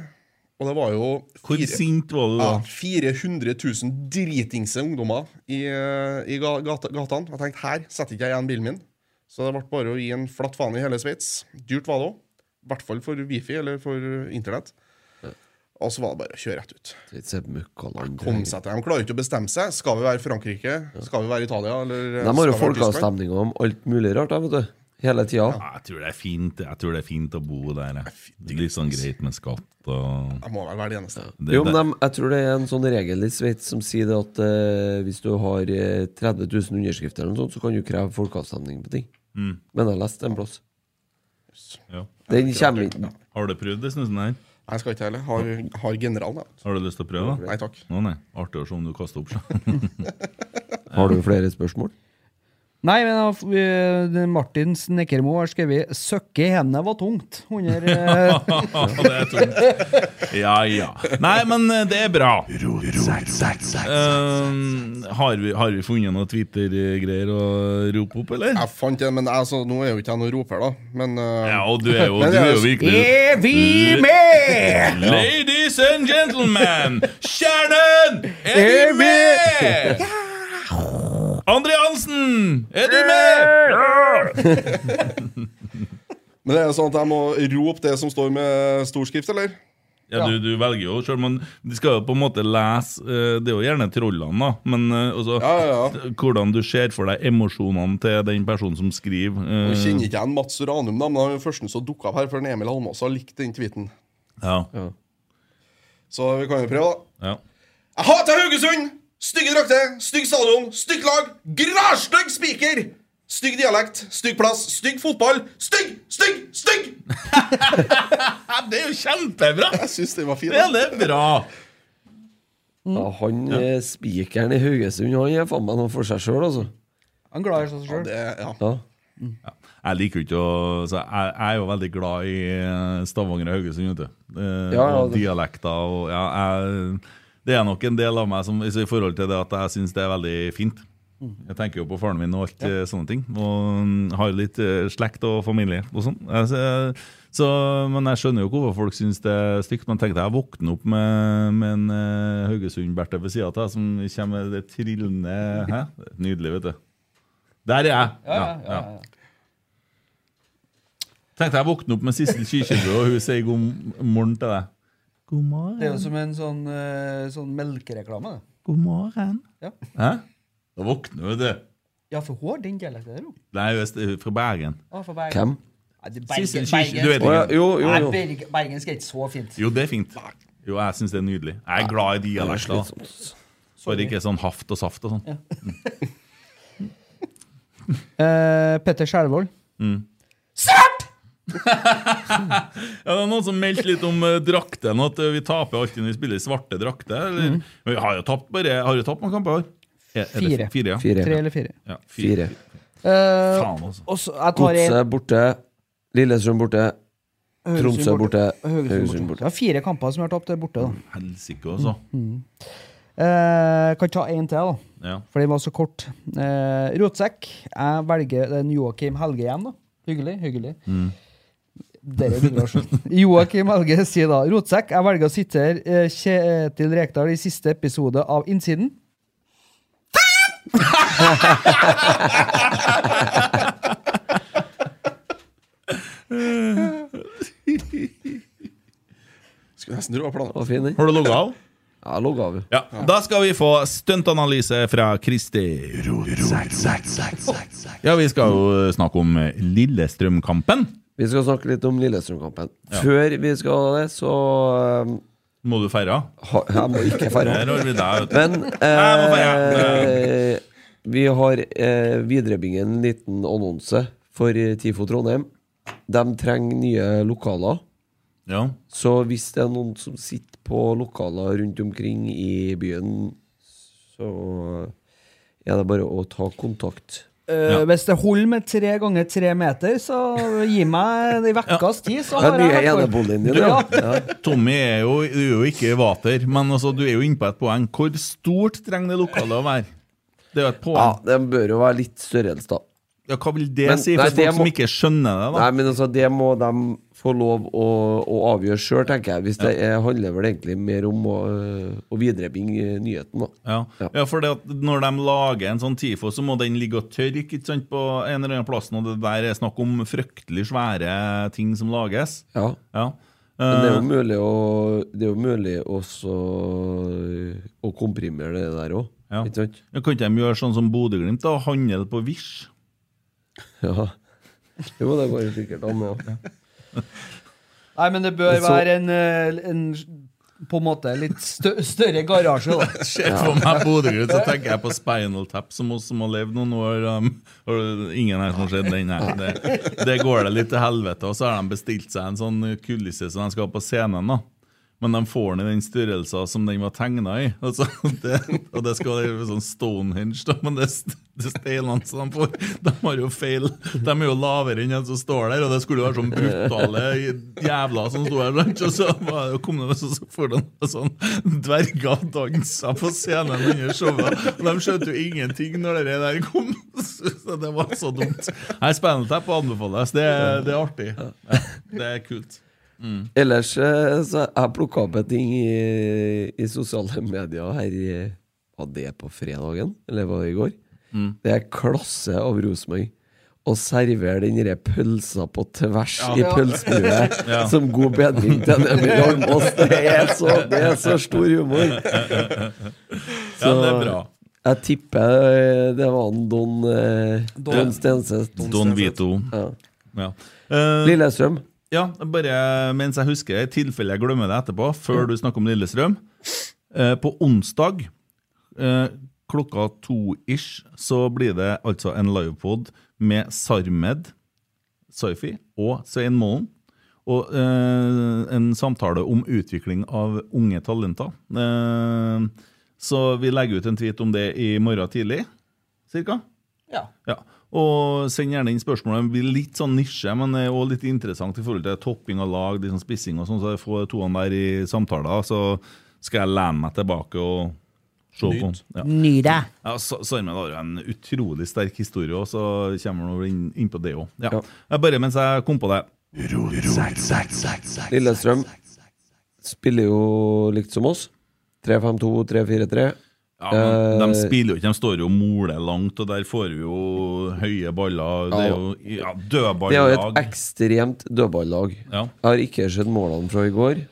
Speaker 7: Og det var jo
Speaker 5: Hvor
Speaker 7: fire-
Speaker 5: sint var du da?
Speaker 7: ja, 400 000 dritingse ungdommer i, eh, i ga- gata, gatene. Jeg tenkte her setter ikke jeg igjen bilen min. Så det ble bare å gi en flatt faen i hele Sveits. Dyrt var det òg. I hvert fall for wifi eller for eh, internett. Og så var det bare å kjøre rett ut. Kom seg til. De klarer ikke å bestemme seg. Skal vi være Frankrike? Skal vi være Italia? Eller eh,
Speaker 4: De har jo
Speaker 7: skal vi være Tyskland?
Speaker 4: folkeavstemninger om alt mulig rart, da, vet du. Hele tida.
Speaker 5: Ja, jeg tror det er fint Jeg tror det er fint å bo der. jeg. Det er Litt sånn greit med skatt og
Speaker 7: Jeg må vel være de eneste.
Speaker 5: Det-
Speaker 4: Jo, men
Speaker 5: det-
Speaker 4: dem- jeg tror det er en sånn regel i Sveits som sier det at eh, hvis du har eh, 30 000 underskrifter, eller noe sånt, så kan du kreve folkeavstemning på ting.
Speaker 5: Mm.
Speaker 4: Men jeg har lest en plass.
Speaker 5: ja.
Speaker 4: Den kommer ikke
Speaker 5: Har du prøvd det, snusen her?
Speaker 7: Nei, jeg skal ikke heller. Har, har generalen, da.
Speaker 5: Har du lyst til å prøve? da?
Speaker 7: Nei, takk.
Speaker 5: Å, nei. Artig å se om du kaster opp. sjøl.
Speaker 4: Har du flere spørsmål?
Speaker 6: Nei, men da f- vi- det- Martin Snekkermo har skrevet 'Søkke i hendene var tungt' under eh,
Speaker 5: det er tungt. Ja ja. Nei, men eh, det er bra. Um, har, vi, har vi funnet noen Twitter-greier å rope opp, eller?
Speaker 7: Jeg fant det, men altså, nå er jo ikke jeg noen roper, da. Men eh,
Speaker 5: Ja, og du er jo,
Speaker 7: men
Speaker 5: du
Speaker 7: det
Speaker 5: er jo
Speaker 7: s-
Speaker 5: virkelig
Speaker 6: Er vi med?
Speaker 5: La- Ladies and gentlemen! Kjernen! Er vi med? André Hansen! Er du med?
Speaker 7: Men det er jo sånn at jeg må rope det som står med storskrift, eller?
Speaker 5: Ja, du, du velger jo selv, men de skal jo på en måte lese eh, Det er jo gjerne trollene, da. Men eh, altså, hvordan du ser for deg emosjonene til den personen som skriver. eh,
Speaker 7: Nå kjenner ikke jeg en Mats Ranum, da, men han er den første som dukka opp her, for den Emil Almås har likt den tweeten.
Speaker 5: Ja.
Speaker 7: Så vi kan jo prøve, da.
Speaker 5: Ja.
Speaker 7: Jeg hater Haugesund! Stygge drakter, stygg stadion, stygt lag, grasstygg spiker! Stygg dialekt, stygg plass, stygg fotball. Stygg, stygg, stygg!
Speaker 5: det er jo kjempebra!
Speaker 7: Jeg syns den var fin.
Speaker 5: Ja, det er bra.
Speaker 4: Ja, han
Speaker 7: Ja.
Speaker 4: eh, spikeren i Haugesund, han er faen meg noe for seg sjøl, altså.
Speaker 6: Han er glad i seg sjøl.
Speaker 4: Ja.
Speaker 5: Jeg liker jo ikke å så jeg, jeg er jo veldig glad i eh, Stavanger og Haugesund, vet du. Eh,
Speaker 4: Ja, ja,
Speaker 5: og
Speaker 4: det-
Speaker 5: dialekter og ja, jeg, Det er nok en del av meg som altså, i forhold til det at jeg syns det er veldig fint. Jeg tenker jo på faren min og alt eh, sånne ting. Og mm, har litt eh, slekt og familie og sånn. Jeg- så- så- men jeg skjønner jo ikke hvorfor folk syns det er stygt. Men tenk deg, jeg våkner opp med, med en eh, Haugesund-Berthe ved sida av deg som kommer med det trillende Hæ? Nydelig, vet du. Der er jeg!
Speaker 6: Ja, ja, ja, ja.
Speaker 5: Tenkte jeg våkne opp med Sissel Kyrkjebø, og hun sier god morgen til deg. God morgen.
Speaker 6: Det er jo som en sånn, eh, sånn melkereklame. det.
Speaker 5: God morgen.
Speaker 6: Ja.
Speaker 5: Hæ? Da våkner hun, du.
Speaker 6: ja, for hun har den dialekten der, hun.
Speaker 5: Nei, hun er st- fra Bergen.
Speaker 6: Ah, for Bergen.
Speaker 5: Hvem?
Speaker 6: Nei, det er
Speaker 5: Sissel
Speaker 6: Bergen,
Speaker 5: Kyrkje-
Speaker 6: Bergen.
Speaker 5: du vet ikke. Å, ja, jo, jo, jo.
Speaker 6: Nei, Bergen, Bergen skal ikke så fint.
Speaker 5: Jo, det er fint. Jo, jeg syns det er nydelig. Jeg er altså. glad i dialekter. da. Bare ikke sånn haft og saft og sånn.
Speaker 6: Eh, Petter Skjervold.
Speaker 5: Mm.
Speaker 6: Svart!
Speaker 5: Ja, det er Noen som meldte litt om uh, draktene, at eh, vi taper alltid når vi spiller i svarte drakter. eller?
Speaker 6: Mhm.
Speaker 5: Men Vi har jo tapt bare Har vi tapt noen kamper? Er- er det
Speaker 6: Fire.
Speaker 5: f- fire, ja.
Speaker 6: Fire. Tre eller fire.
Speaker 5: Ja,
Speaker 4: Fire.
Speaker 6: Eh,
Speaker 5: Faen, altså.
Speaker 6: og så- jeg tar en-
Speaker 4: Godset borte, Lillestrøm borte,
Speaker 6: Haugesund
Speaker 4: Tromsø borte,
Speaker 6: Haugesund borte. Det er fire kamper som vi har tapt, det er borte. da
Speaker 5: Helsike, altså.
Speaker 6: Mm. Eh, kan ta en til, da.
Speaker 5: Ja.
Speaker 6: For den var så kort. Eh, Rotsekk. Jeg velger den Joakim Helge igjen, da. Hyggelig. hyggelig.
Speaker 5: Mm.
Speaker 6: Dere begynner å skjønne. Joakim Helge sier da Rotsekk, jeg velger å sitere eh, Kjetil Rekdal i siste episode av Innsiden.
Speaker 7: Skulle nesten tro det var planen.
Speaker 5: Har du logga av?
Speaker 4: Ja, logga av.
Speaker 5: Ja. Da skal vi få stuntanalyse fra Kristi Ja, vi skal jo eh, snakke om Lillestrøm-kampen.
Speaker 4: Vi skal snakke litt om Lillestrøm-kampen.
Speaker 5: Ja.
Speaker 4: Før vi skal ha det, så eh,
Speaker 5: Må du feire?
Speaker 4: Ha, jeg må ikke feire.
Speaker 5: Der har vi deg, vet du.
Speaker 4: Men
Speaker 5: Jeg må feire.
Speaker 4: eh, vi har eh, viderebingen en liten annonse for eh, TIFO Trondheim. De trenger nye lokaler.
Speaker 5: Ja.
Speaker 4: Så hvis det er noen som sitter på lokaler rundt omkring i byen, så er det bare å ta kontakt.
Speaker 6: Eh, Hvis det holder med tre ganger tre meter, så gi meg i vekkas tid, så har jeg vært for-
Speaker 5: Du,
Speaker 6: Ja.
Speaker 5: Tommy er jo, du er jo ikke vater, men altså, du er jo inne på et poeng. Hvor stort trenger det lokalet å være? Det er jo et
Speaker 4: Ja,
Speaker 5: poeng.
Speaker 4: den bør jo være litt størrelse, da.
Speaker 5: Ja, hva vil det
Speaker 4: Men-
Speaker 5: si
Speaker 4: nei,
Speaker 5: for
Speaker 4: det
Speaker 5: folk som
Speaker 4: må-
Speaker 5: ikke skjønner det? da?
Speaker 4: Nei, men altså, det må de få lov å, å avgjøre sjøl, tenker jeg. Hvis det er, handler vel egentlig mer om å, øh, å viderebringe nyheten, da.
Speaker 5: Ja, ja. for det at når de lager en sånn TIFO, så må den ligge og tørke ikke sant, på en eller annen plass. Og det der er snakk om fryktelig svære ting som lages.
Speaker 4: Ja.
Speaker 5: Ja.
Speaker 4: Men det er jo
Speaker 5: Eh,
Speaker 4: mulig å, det er jo mulig også øh, å komprimere det der òg.
Speaker 5: ja.
Speaker 4: Ikke sant?
Speaker 5: Ja, Kan ikke de gjøre sånn som Bodø-Glimt, da? Handle på Vish?
Speaker 4: Ja. Jo, det går jo sikkert an, det òg.
Speaker 6: Nei, men det bør
Speaker 4: Så-
Speaker 6: være en, eh, en på en måte litt stø større garasje, da.
Speaker 5: Ser for meg Bodø-Glimt, så tenker jeg på Spinal Tap, som oss som har levd noen år. Um, og ingen her som har sett den her. Det, det går det litt til helvete. Og så har de bestilt seg en sånn kulisse som de skal ha på scenen. da. Men de får den i den størrelsen som den var tegna i. Altså, det, og det skal være sånn Stonehenge, da, men det, er st- det er steinene som de får, de har jo feil. De er jo lavere enn den som står der, og det skulle jo være sånn brutale jævler som sto her. sant? Og så var det- kom det så så foran sånn dverger dansa på scenen under showet. Og de skjønte jo ingenting når det der kom. Så det var så dumt. Nei, Spenneltepp anbefales. Det, er- det er artig. Ja, det er kult. Mm.
Speaker 4: Ellers eh, så jeg plukka opp en ting i, i sosiale medier her i Var det på fredagen? Eller var det i går?
Speaker 10: Mm.
Speaker 4: Det er klasse av Rosenborg. Å servere den derre pølsa på tvers
Speaker 10: Ja.
Speaker 4: i
Speaker 10: Ja.
Speaker 4: pølsebuet
Speaker 10: Ja.
Speaker 4: som god bedring til en Emil Almås, det er så, det er så stor humor!
Speaker 10: Ja, det er bra.
Speaker 4: Jeg tipper eh, det var en Don, eh,
Speaker 5: Don-
Speaker 4: Don, Stenseth.
Speaker 5: Don Vito.
Speaker 4: Ja.
Speaker 5: Ja. Eh,
Speaker 4: Lillestrøm.
Speaker 5: Ja, bare mens jeg husker, i tilfelle jeg glemmer det etterpå, før du snakker om Lillestrøm. Eh, på onsdag eh, klokka to-ish så blir det altså en livepod med Sarmed, Saifi og Svein Målen. Og eh, en samtale om utvikling av unge talenter. Eh, så vi legger ut en tweet om det i morgen tidlig, cirka. Ja, og Send gjerne inn spørsmål. Det blir litt sånn nisje, men det er også litt interessant i forhold til topping av lag, litt sånn spissing og sånn, så jeg får toene der i samtaler. Så skal jeg lene meg tilbake og se på.
Speaker 11: Nyt.
Speaker 5: Ja.
Speaker 11: Ny det.
Speaker 5: Ja, Sa- Sarmen har jo en utrolig sterk historie, og så kommer han inn, inn på det òg. Ja. Ja. Bare mens jeg kom på det.
Speaker 4: Lillestrøm spiller jo likt som oss. 3-5-2, 3-4-3.
Speaker 5: Ja, men De
Speaker 4: Eh,
Speaker 5: spiller jo ikke, de står jo og moler langt, og der får vi jo høye baller. Det er jo ja,
Speaker 4: Det er jo
Speaker 5: dødballag.
Speaker 4: et ekstremt dødballag. Jeg har ikke sett målene fra i går.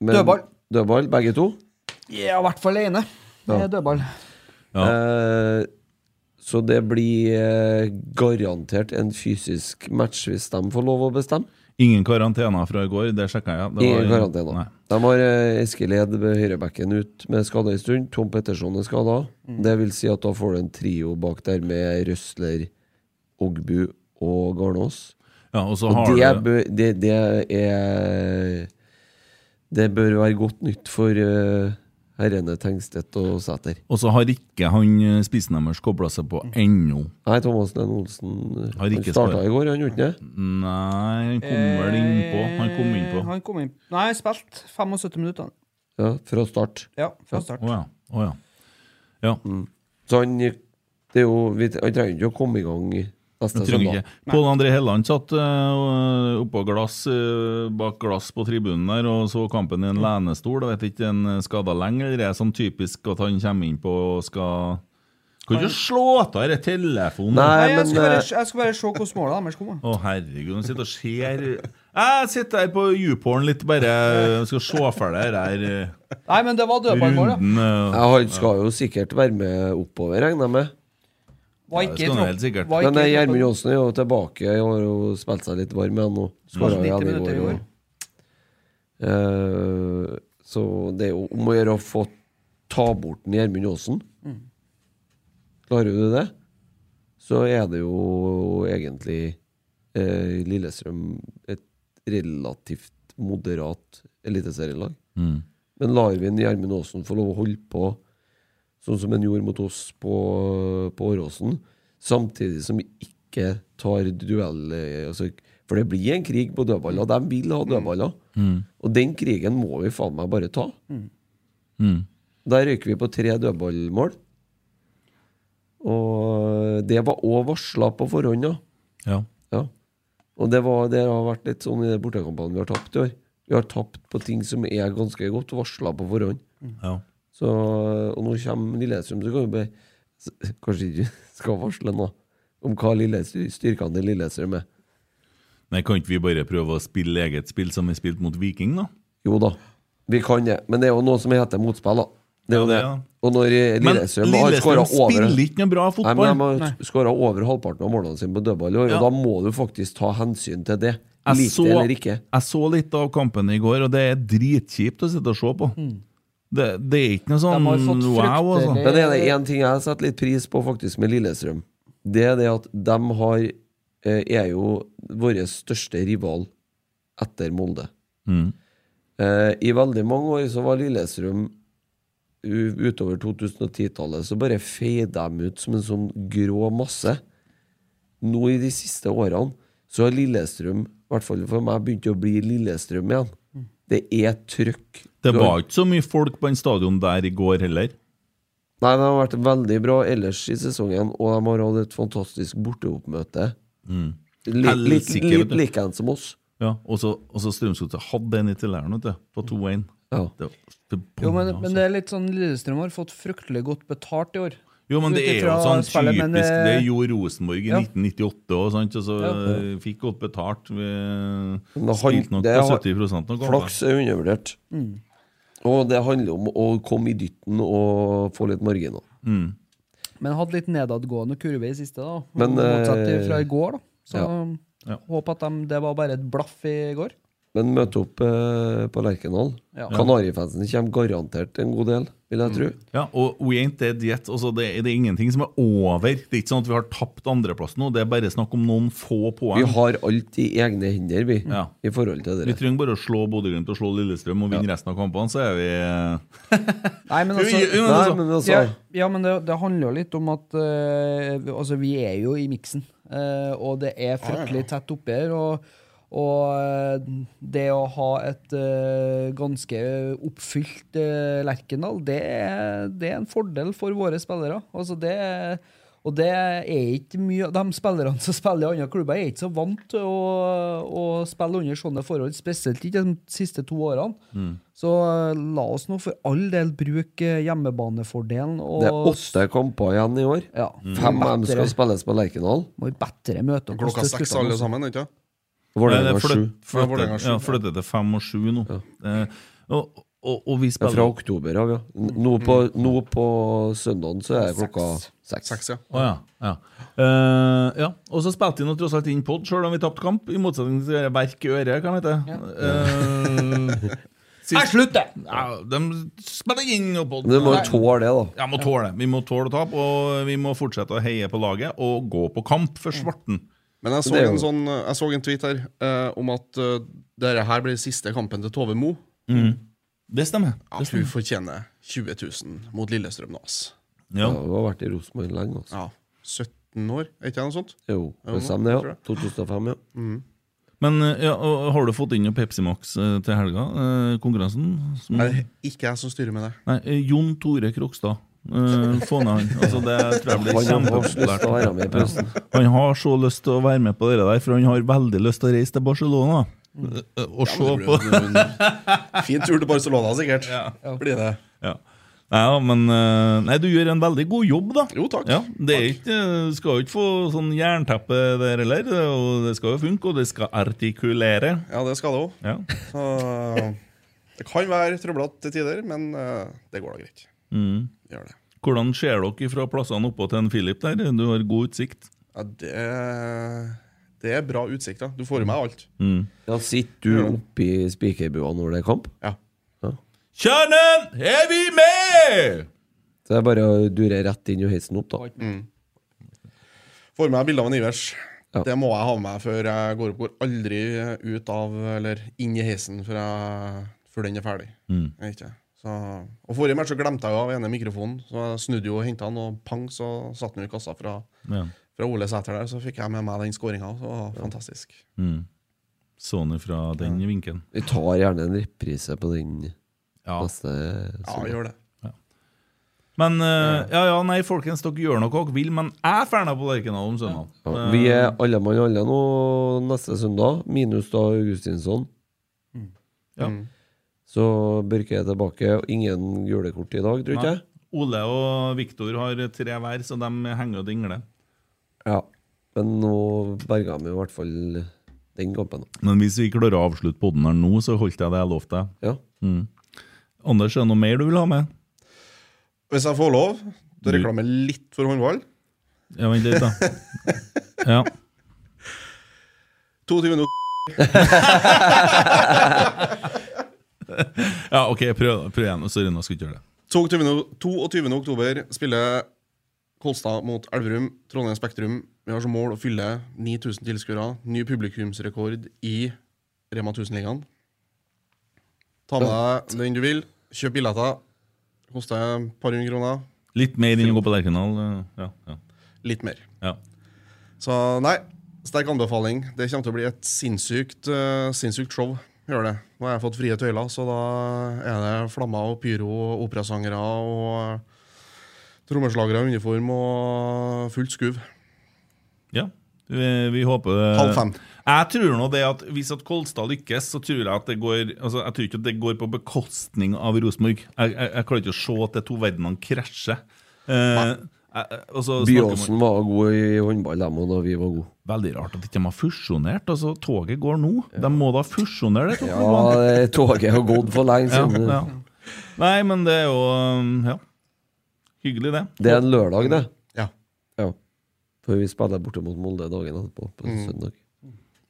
Speaker 4: men-
Speaker 6: Dødball.
Speaker 4: Dødball, begge to.
Speaker 6: Ja, i hvert fall ene. Det
Speaker 4: Ja.
Speaker 6: er dødball.
Speaker 4: Eh, så det blir eh, garantert en fysisk match hvis de får lov å bestemme.
Speaker 5: Ingen karantener fra i går, det sjekka jeg. Det var-
Speaker 4: Ingen karantene.
Speaker 5: Nei.
Speaker 4: De har eh, Eskil Ed ved høyrebekken ut med skade en stund. Tom Petterson er skada. Det vil si at da får du en trio bak der med Røsler, Ogbu og Garnås.
Speaker 5: Ja, og så
Speaker 4: Og
Speaker 5: har
Speaker 4: det,
Speaker 5: du-
Speaker 4: bør, det, det er Det bør være godt nytt for eh, herrene Tengstedt og Sæter.
Speaker 5: Og så har ikke han eh, spissen deres kobla seg på ennå.
Speaker 4: Nei, Thomas Lenn Olsen eh,
Speaker 5: Har
Speaker 4: Han
Speaker 5: ikke
Speaker 4: starta
Speaker 5: skåret.
Speaker 4: i går, han gjorde ikke det?
Speaker 5: Nei, han kom vel innpå. Han kom innpå.
Speaker 6: Eh, Han kom inn. Nei, spilt 75 minutter.
Speaker 4: Ja, fra start. Mm.
Speaker 6: Ja, fra start.
Speaker 5: Å ja. Å ja. Ja.
Speaker 4: Så han det er jo, vi, Han trenger ikke å komme i gang neste
Speaker 5: Jeg trenger
Speaker 4: søndag.
Speaker 5: ikke. Pål André Helland satt øh, oppå glass, øh, bak glass på tribunen der og så kampen i en lenestol. Jeg vet ikke, en eh, skada lenger. Det er sånn typisk at han kommer innpå og skal Kan ikke slå av denne telefonen!
Speaker 6: Nei, jeg, skal
Speaker 4: eh,
Speaker 5: eh,
Speaker 6: bare, jeg skal bare se hvordan målet deres kom. da.
Speaker 5: Å, herregud, nå sitter og ser Jeg sitter her på YouPorn litt, bare eh, skal se ferdig det her. eh,
Speaker 6: Nei, men det var dødballmål, ja.
Speaker 4: Ja, han skal jo sikkert være med oppover, regner jeg med.
Speaker 6: Var ikke
Speaker 5: skal han
Speaker 6: tropp-
Speaker 5: helt sikkert.
Speaker 6: var ikke
Speaker 4: Men eh,
Speaker 6: troppen-
Speaker 4: Gjermund Johnsen er jo tilbake. Han har jo spilt seg litt varm igjen nå. Skåra
Speaker 6: Spilte 90
Speaker 4: igjen i går.
Speaker 6: minutter i
Speaker 4: Og, Eh, så det er jo om å gjøre å få ta bort den Gjermund Johnsen.
Speaker 6: Mm.
Speaker 4: Klarer du det, så er det jo egentlig eh, Lillestrøm et relativt moderat eliteserielag.
Speaker 5: Mm.
Speaker 4: Men lar vi en Gjermund Aasen få lov å holde på sånn som han gjorde mot oss på, på Åråsen, samtidig som vi ikke tar duell eh, altså, For det blir en krig på dødballer. De vil ha dødballer.
Speaker 5: Mm.
Speaker 4: Og den krigen må vi faen meg bare ta.
Speaker 5: Mm.
Speaker 4: Der røyker vi på tre dødballmål. Og det var òg varsla på forhånd, ja.
Speaker 5: Ja.
Speaker 4: ja. Og det, var, det har vært litt sånn i de bortekampene vi har tapt i år. Vi har tapt på ting som er ganske godt varsla på forhånd.
Speaker 5: Ja.
Speaker 4: Så, og nå kommer Lillestrøm, så kan vi bare s- Kanskje ikke skal varsle nå om hva lille, styrkene til Lillestrøm er.
Speaker 5: Nei, kan ikke vi bare prøve å spille eget spill som vi spilte mot Viking, da?
Speaker 4: Jo da, vi kan det. Men det er jo noe som heter motspill, da. Det er jo
Speaker 5: Ja,
Speaker 4: det.
Speaker 5: det, ja.
Speaker 4: Og når eh,
Speaker 5: Men
Speaker 4: Lillestrøm har
Speaker 5: Lillestrøm
Speaker 4: skåra over
Speaker 5: spiller ikke noe bra fotball.
Speaker 4: Nei, men De
Speaker 5: Nei.
Speaker 4: har skåra over halvparten av målene sine på dødball i år,
Speaker 5: Ja.
Speaker 4: og da må du faktisk ta hensyn til det.
Speaker 5: Jeg
Speaker 4: Lite
Speaker 5: så,
Speaker 4: eller ikke.
Speaker 5: jeg så litt av kampen i går, og det er dritkjipt å sitte og se på.
Speaker 4: Mm.
Speaker 5: Det, det er ikke noe sånn wow, altså.
Speaker 4: Men er det én ting jeg setter litt pris på faktisk med Lillestrøm, det er det at de har, eh, er jo vår største rival etter Molde.
Speaker 5: Mm.
Speaker 4: Eh, I veldig mange år så var Lillestrøm u- utover 2010-tallet så bare feide dem ut som en sånn grå masse. Nå i de siste årene så har Lillestrøm, i hvert fall for meg, begynt å bli Lillestrøm igjen. Det er trøkk.
Speaker 5: Det var ikke så mye folk på den stadion der i går heller.
Speaker 4: Nei, de har vært veldig bra ellers i sesongen, og de har hatt et fantastisk borteoppmøte.
Speaker 5: Mm.
Speaker 4: Li- Litt
Speaker 5: Helsike, vet
Speaker 4: litt
Speaker 5: du.
Speaker 4: likens som oss.
Speaker 5: Ja, og så og så Strømsgodset hadde en i tilleren, vet du, på 2-1.
Speaker 4: Mm. Ja.
Speaker 5: Det var forbanna,
Speaker 6: Jo, men, men
Speaker 5: altså.
Speaker 6: det er litt sånn Lillestrøm har fått fryktelig godt betalt i år.
Speaker 5: Jo, men det er jo
Speaker 6: Utifra
Speaker 5: sånn
Speaker 6: spillet,
Speaker 5: typisk.
Speaker 6: men
Speaker 5: Det,
Speaker 6: det-
Speaker 5: gjorde Rosenborg i
Speaker 6: Ja.
Speaker 5: 1998 òg, sant? Og så
Speaker 6: Ja.
Speaker 5: eh, fikk godt betalt. Vi
Speaker 4: Men det
Speaker 5: spilte
Speaker 4: han-
Speaker 5: nok
Speaker 4: det
Speaker 5: på
Speaker 4: har-
Speaker 5: 70 noen ganger.
Speaker 4: Flaks er undervurdert.
Speaker 6: Mm.
Speaker 4: Og det handler om å komme i dytten og få litt marginer.
Speaker 6: Men hadde litt nedadgående kurve i siste, da.
Speaker 4: Men,
Speaker 6: Motsatt
Speaker 4: eh,
Speaker 6: fra i går, da. Så
Speaker 5: ja.
Speaker 6: håp at de, det var bare et blaff i går.
Speaker 4: Men møte opp eh, på Lerkendal.
Speaker 6: Ja.
Speaker 4: Kanarifansen kommer garantert en god del, vil jeg tro.
Speaker 5: Mm. Ja, og we ain't dead yet. Altså, det, er- det er ingenting som er over. Det er ikke sånn at vi har tapt andreplass nå. Det er bare snakk om noen få poeng.
Speaker 4: Vi har alt i egne hender, vi,
Speaker 5: Ja.
Speaker 4: i forhold til
Speaker 5: Vi
Speaker 4: dere.
Speaker 5: trenger bare å slå Bodø-Glimt og slå Lillestrøm og vinne resten av kampene, så er vi
Speaker 6: Nei, men
Speaker 5: Jo,
Speaker 6: altså,
Speaker 5: jo, men Nei, altså- men altså-
Speaker 6: Ja, ja, men det, det handler jo litt om at eh, vi- altså, vi er jo i miksen, eh, og det er fryktelig tett oppi her. Og, og eh, det å ha et eh, ganske oppfylt eh, Lerkendal, det er, det er en fordel for våre spillere. Altså, det er, og det er ikke mye De spillerne som spiller i andre klubber, er ikke så vant til å, å spille under sånne forhold, spesielt ikke de siste to årene. Så eh, la oss nå for all del bruke eh, hjemmebanefordelen. Og
Speaker 4: Det er åtte kamper igjen i år.
Speaker 6: Ja.
Speaker 4: Fem av dem
Speaker 6: Bedre.
Speaker 4: skal spilles på Lerkendal.
Speaker 6: Må vi bedre møte opp
Speaker 7: Klokka seks alle sammen, ikke sant?
Speaker 4: Vålerenga
Speaker 5: Nei, det er
Speaker 4: sju.
Speaker 5: flytt- flyttet-
Speaker 7: Ja, Vålerenga sju.
Speaker 5: Ja, flyttet til fem og sju nå. Eh, og, og, og vi
Speaker 4: Det
Speaker 5: spiller Mm.
Speaker 4: er fra oktober av, ja. Nå på, nå på søndagen så er det klokka seks.
Speaker 7: Seks, ja.
Speaker 5: Å ja. ja. Eh, ja. Og så spilte vi nå tross alt inn pod, sjøl om vi tapte kamp. I motsetning til dere verk i øret, hva heter det? Eh, sist-
Speaker 6: Jeg slutter!
Speaker 5: Ja, de spiller inn og pod.
Speaker 4: Men du må jo tåle det, da.
Speaker 5: Ja, må tåle. Vi må tåle å tape, og vi må fortsette å heie på laget og gå på kamp for svarten.
Speaker 7: Men jeg så,
Speaker 5: Det er jo-
Speaker 7: en, sånn, jeg så en tweet her eh, om at eh, dette her blir siste kampen til Tove Mo.
Speaker 5: Mm. Det stemmer.
Speaker 7: At hun fortjener 20 000 mot Lillestrøm nå, ass.
Speaker 5: Ja.
Speaker 4: Ja, Du har vært i Rosenborg lenge, altså.
Speaker 7: Ja, 17 år, er ikke det noe sånt?
Speaker 4: Jo,
Speaker 7: Er
Speaker 4: det
Speaker 7: noe,
Speaker 4: stemmer,
Speaker 7: tror
Speaker 4: ja.
Speaker 7: jeg.
Speaker 4: 2005, ja.
Speaker 7: Mhm.
Speaker 5: Men eh, ja, og har du fått inn noe Pepsi Max eh, til helga? eh, Konkurransen? Som-
Speaker 7: Er det ikke jeg som styrer med det?
Speaker 5: Nei, eh, Jon Tore Krokstad. Eh, få ned han. Altså, det tror jeg blir
Speaker 4: Han har så lyst til å
Speaker 5: kjempepopulært.
Speaker 4: være med i pausen.
Speaker 5: Ja. Han har så lyst til å være med på det der, for han har veldig lyst til å reise til Barcelona. Eh, Og
Speaker 7: Ja,
Speaker 5: se
Speaker 7: men det
Speaker 5: på
Speaker 7: blir jo en Fin tur til Barcelona, sikkert. Blir det.
Speaker 5: Ja. Nei, ja, men eh, Nei, du gjør en veldig god jobb, da.
Speaker 7: Jo, takk.
Speaker 5: Ja, det er ikke, eh, skal jo ikke få sånn jernteppe der heller. Det er jo- Det skal jo funke, og det skal artikulere.
Speaker 7: Ja, det skal det òg.
Speaker 5: Ja.
Speaker 7: Så det kan være trøblete til tider, men eh, det går da greit.
Speaker 5: Mm.
Speaker 7: Gjør det.
Speaker 5: Hvordan ser dere fra plassene oppå til en Philip der? Du har god utsikt.
Speaker 7: Ja, det, det er bra utsikt. da. Du får jo med alt.
Speaker 5: Mm.
Speaker 4: Ja, Sitter du oppe i spikerbua når det er kamp?
Speaker 7: Ja.
Speaker 5: Kjernen, er vi med?!
Speaker 4: Så det er bare å dure rett inn og heise den opp, da.
Speaker 7: Mm. Får med meg bilde av en Ivers.
Speaker 4: Ja.
Speaker 7: Det må jeg ha med meg før jeg går opp. Går aldri ut av eller inn i heisen før, jeg, før den er ferdig.
Speaker 5: Mm.
Speaker 7: Jeg vet ikke. Så, og Forrige match så glemte jeg jo av ene mikrofonen, så jeg snudde jo og henta den, og pang, så satt den jo i kassa fra,
Speaker 5: Ja.
Speaker 7: fra Ole Sæter der. Så fikk jeg med meg den skåringa. Det var fantastisk.
Speaker 5: Mm. Sånn fra den vinkelen.
Speaker 4: Vi tar gjerne en reprise på den
Speaker 5: Ja.
Speaker 4: neste
Speaker 7: Ja, gjør det.
Speaker 5: Men eh, ja, ja, nei, folkens, dere gjør noe dere vil, men jeg ferner på Lerkendal om søndag. Eh,
Speaker 4: Ja, vi er alle mann alle nå neste søndag, minus da Augustinsson.
Speaker 5: Ja.
Speaker 7: Mm.
Speaker 4: Så Børke er tilbake, og ingen gule kort i dag, tror ikke jeg.
Speaker 5: Ole og Viktor har tre hver, så de henger og dingler.
Speaker 4: Ja. Men nå berga vi i hvert fall den kampen.
Speaker 5: Men hvis vi klarer å avslutte podden her nå, så holdt jeg det jeg lovte deg.
Speaker 4: Ja.
Speaker 5: Mm. Anders, er det noe mer du vil ha med?
Speaker 7: Hvis jeg får lov til
Speaker 5: Du-
Speaker 7: å reklame litt for håndball
Speaker 5: Ja, vent litt, da. Ja.
Speaker 7: 22 minutter
Speaker 5: ja, OK, prøv, prøv igjen. Sorry, nå skal jeg ikke gjøre det.
Speaker 7: 22. 22. oktober spiller Kolstad mot Elverum, Trondheim Spektrum. Vi har som mål å fylle 9000 tilskuere. Ny publikumsrekord i Rema 1000-ligaen. Ta med deg den du vil. Kjøp billetter. Koster et par hundre kroner.
Speaker 5: Litt mer enn å gå på Lerkendal. eh, Ja, ja.
Speaker 7: Litt mer.
Speaker 5: Ja.
Speaker 7: Så nei, sterk anbefaling. Det kommer til å bli et sinnssykt, eh, sinnssykt show. Gjør det. Nå har jeg fått frie tøyler, så da er det flammer og pyro og operasangere og eh, trommeslagere i uniform og fullt skuv.
Speaker 5: Ja, vi, vi håper eh, det.
Speaker 7: Eh, Halv fem.
Speaker 5: Jeg tror nå det at hvis at Kolstad lykkes, så tror jeg at det går Altså, jeg tror ikke at det går på bekostning av Rosenborg. Jeg, jeg, jeg klarer ikke å se at de to verdenene krasjer. Eh, Eh, eh, og så snakker man-
Speaker 4: Byåsen var god i håndball, dem, og da vi var gode.
Speaker 5: Veldig rart at de ikke har fusjonert. altså Toget går nå. De må da fusjonere det?
Speaker 4: Ja, det- toget har gått for lenge siden.
Speaker 5: Ja, ja. Nei, men det er jo um, Ja. Hyggelig, det.
Speaker 4: Det er en lørdag, det.
Speaker 7: Ja.
Speaker 4: For vi spiller borte mot Molde dagen etterpå, på
Speaker 7: Mm.
Speaker 4: søndag.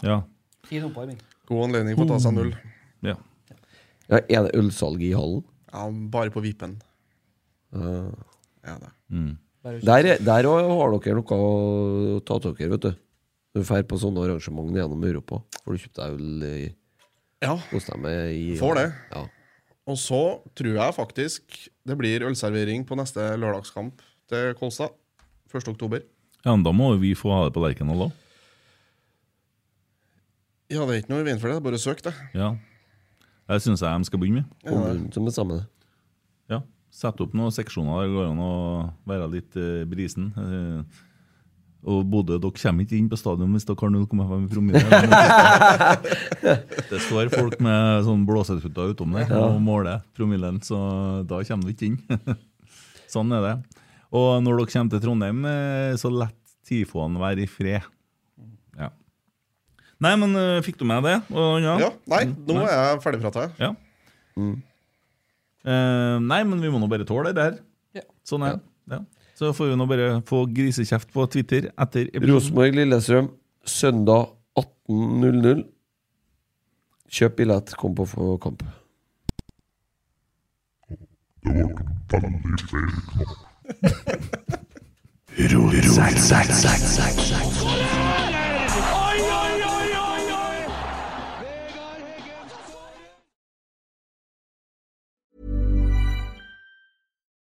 Speaker 5: Ja.
Speaker 6: Fin oppvarming.
Speaker 7: God anledning for å ta seg en øl.
Speaker 5: Ja.
Speaker 4: Ja, er det ølsalg i hallen?
Speaker 7: Ja, bare på vipen.
Speaker 4: Ja.
Speaker 7: Ja, det.
Speaker 5: Mm.
Speaker 4: Der, er- der òg har dere noe å ta til dere, vet du. Når du drar på sånne arrangement gjennom Europa. Får du kjøpt deg øl i,
Speaker 7: Ja.
Speaker 4: hos dem i
Speaker 7: Får det.
Speaker 4: Ja.
Speaker 7: Og så tror jeg faktisk det blir ølservering på neste lørdagskamp til Kolstad. 1. oktober.
Speaker 5: ja, men Da må jo vi få ha det på Lerkendal òg.
Speaker 7: Ja, det er ikke noe i veien for det. det er Bare søk, det.
Speaker 5: Ja. Det syns jeg de skal begynne med.
Speaker 7: Ja, det.
Speaker 4: Som er sammen,
Speaker 5: Ja. Sette opp noen seksjoner der det går an å være litt eh, brisen. Eh, og Bodø, dere kommer ikke inn på stadion hvis dere har 0,5 promille. det står folk med sånn blåsetutter utom der
Speaker 4: Ja.
Speaker 5: og måler promillen, så da kommer du ikke inn. sånn er det. Og når dere kommer til Trondheim, eh, så lett tifoen være i fred. Ja. Nei, men eh, fikk du med det? Og, ja. Mm,
Speaker 7: Ja, nei, nå er jeg ferdigprata.
Speaker 5: Ja. Eh, nei, men vi må nå bare tåle det her. Sånn er det. Ja. Så får vi nå bare få grisekjeft på Twitter etter episoden.
Speaker 4: Rosenborg-Lillestrøm, søndag 18.00. Kjøp billett, kom på f- kamp.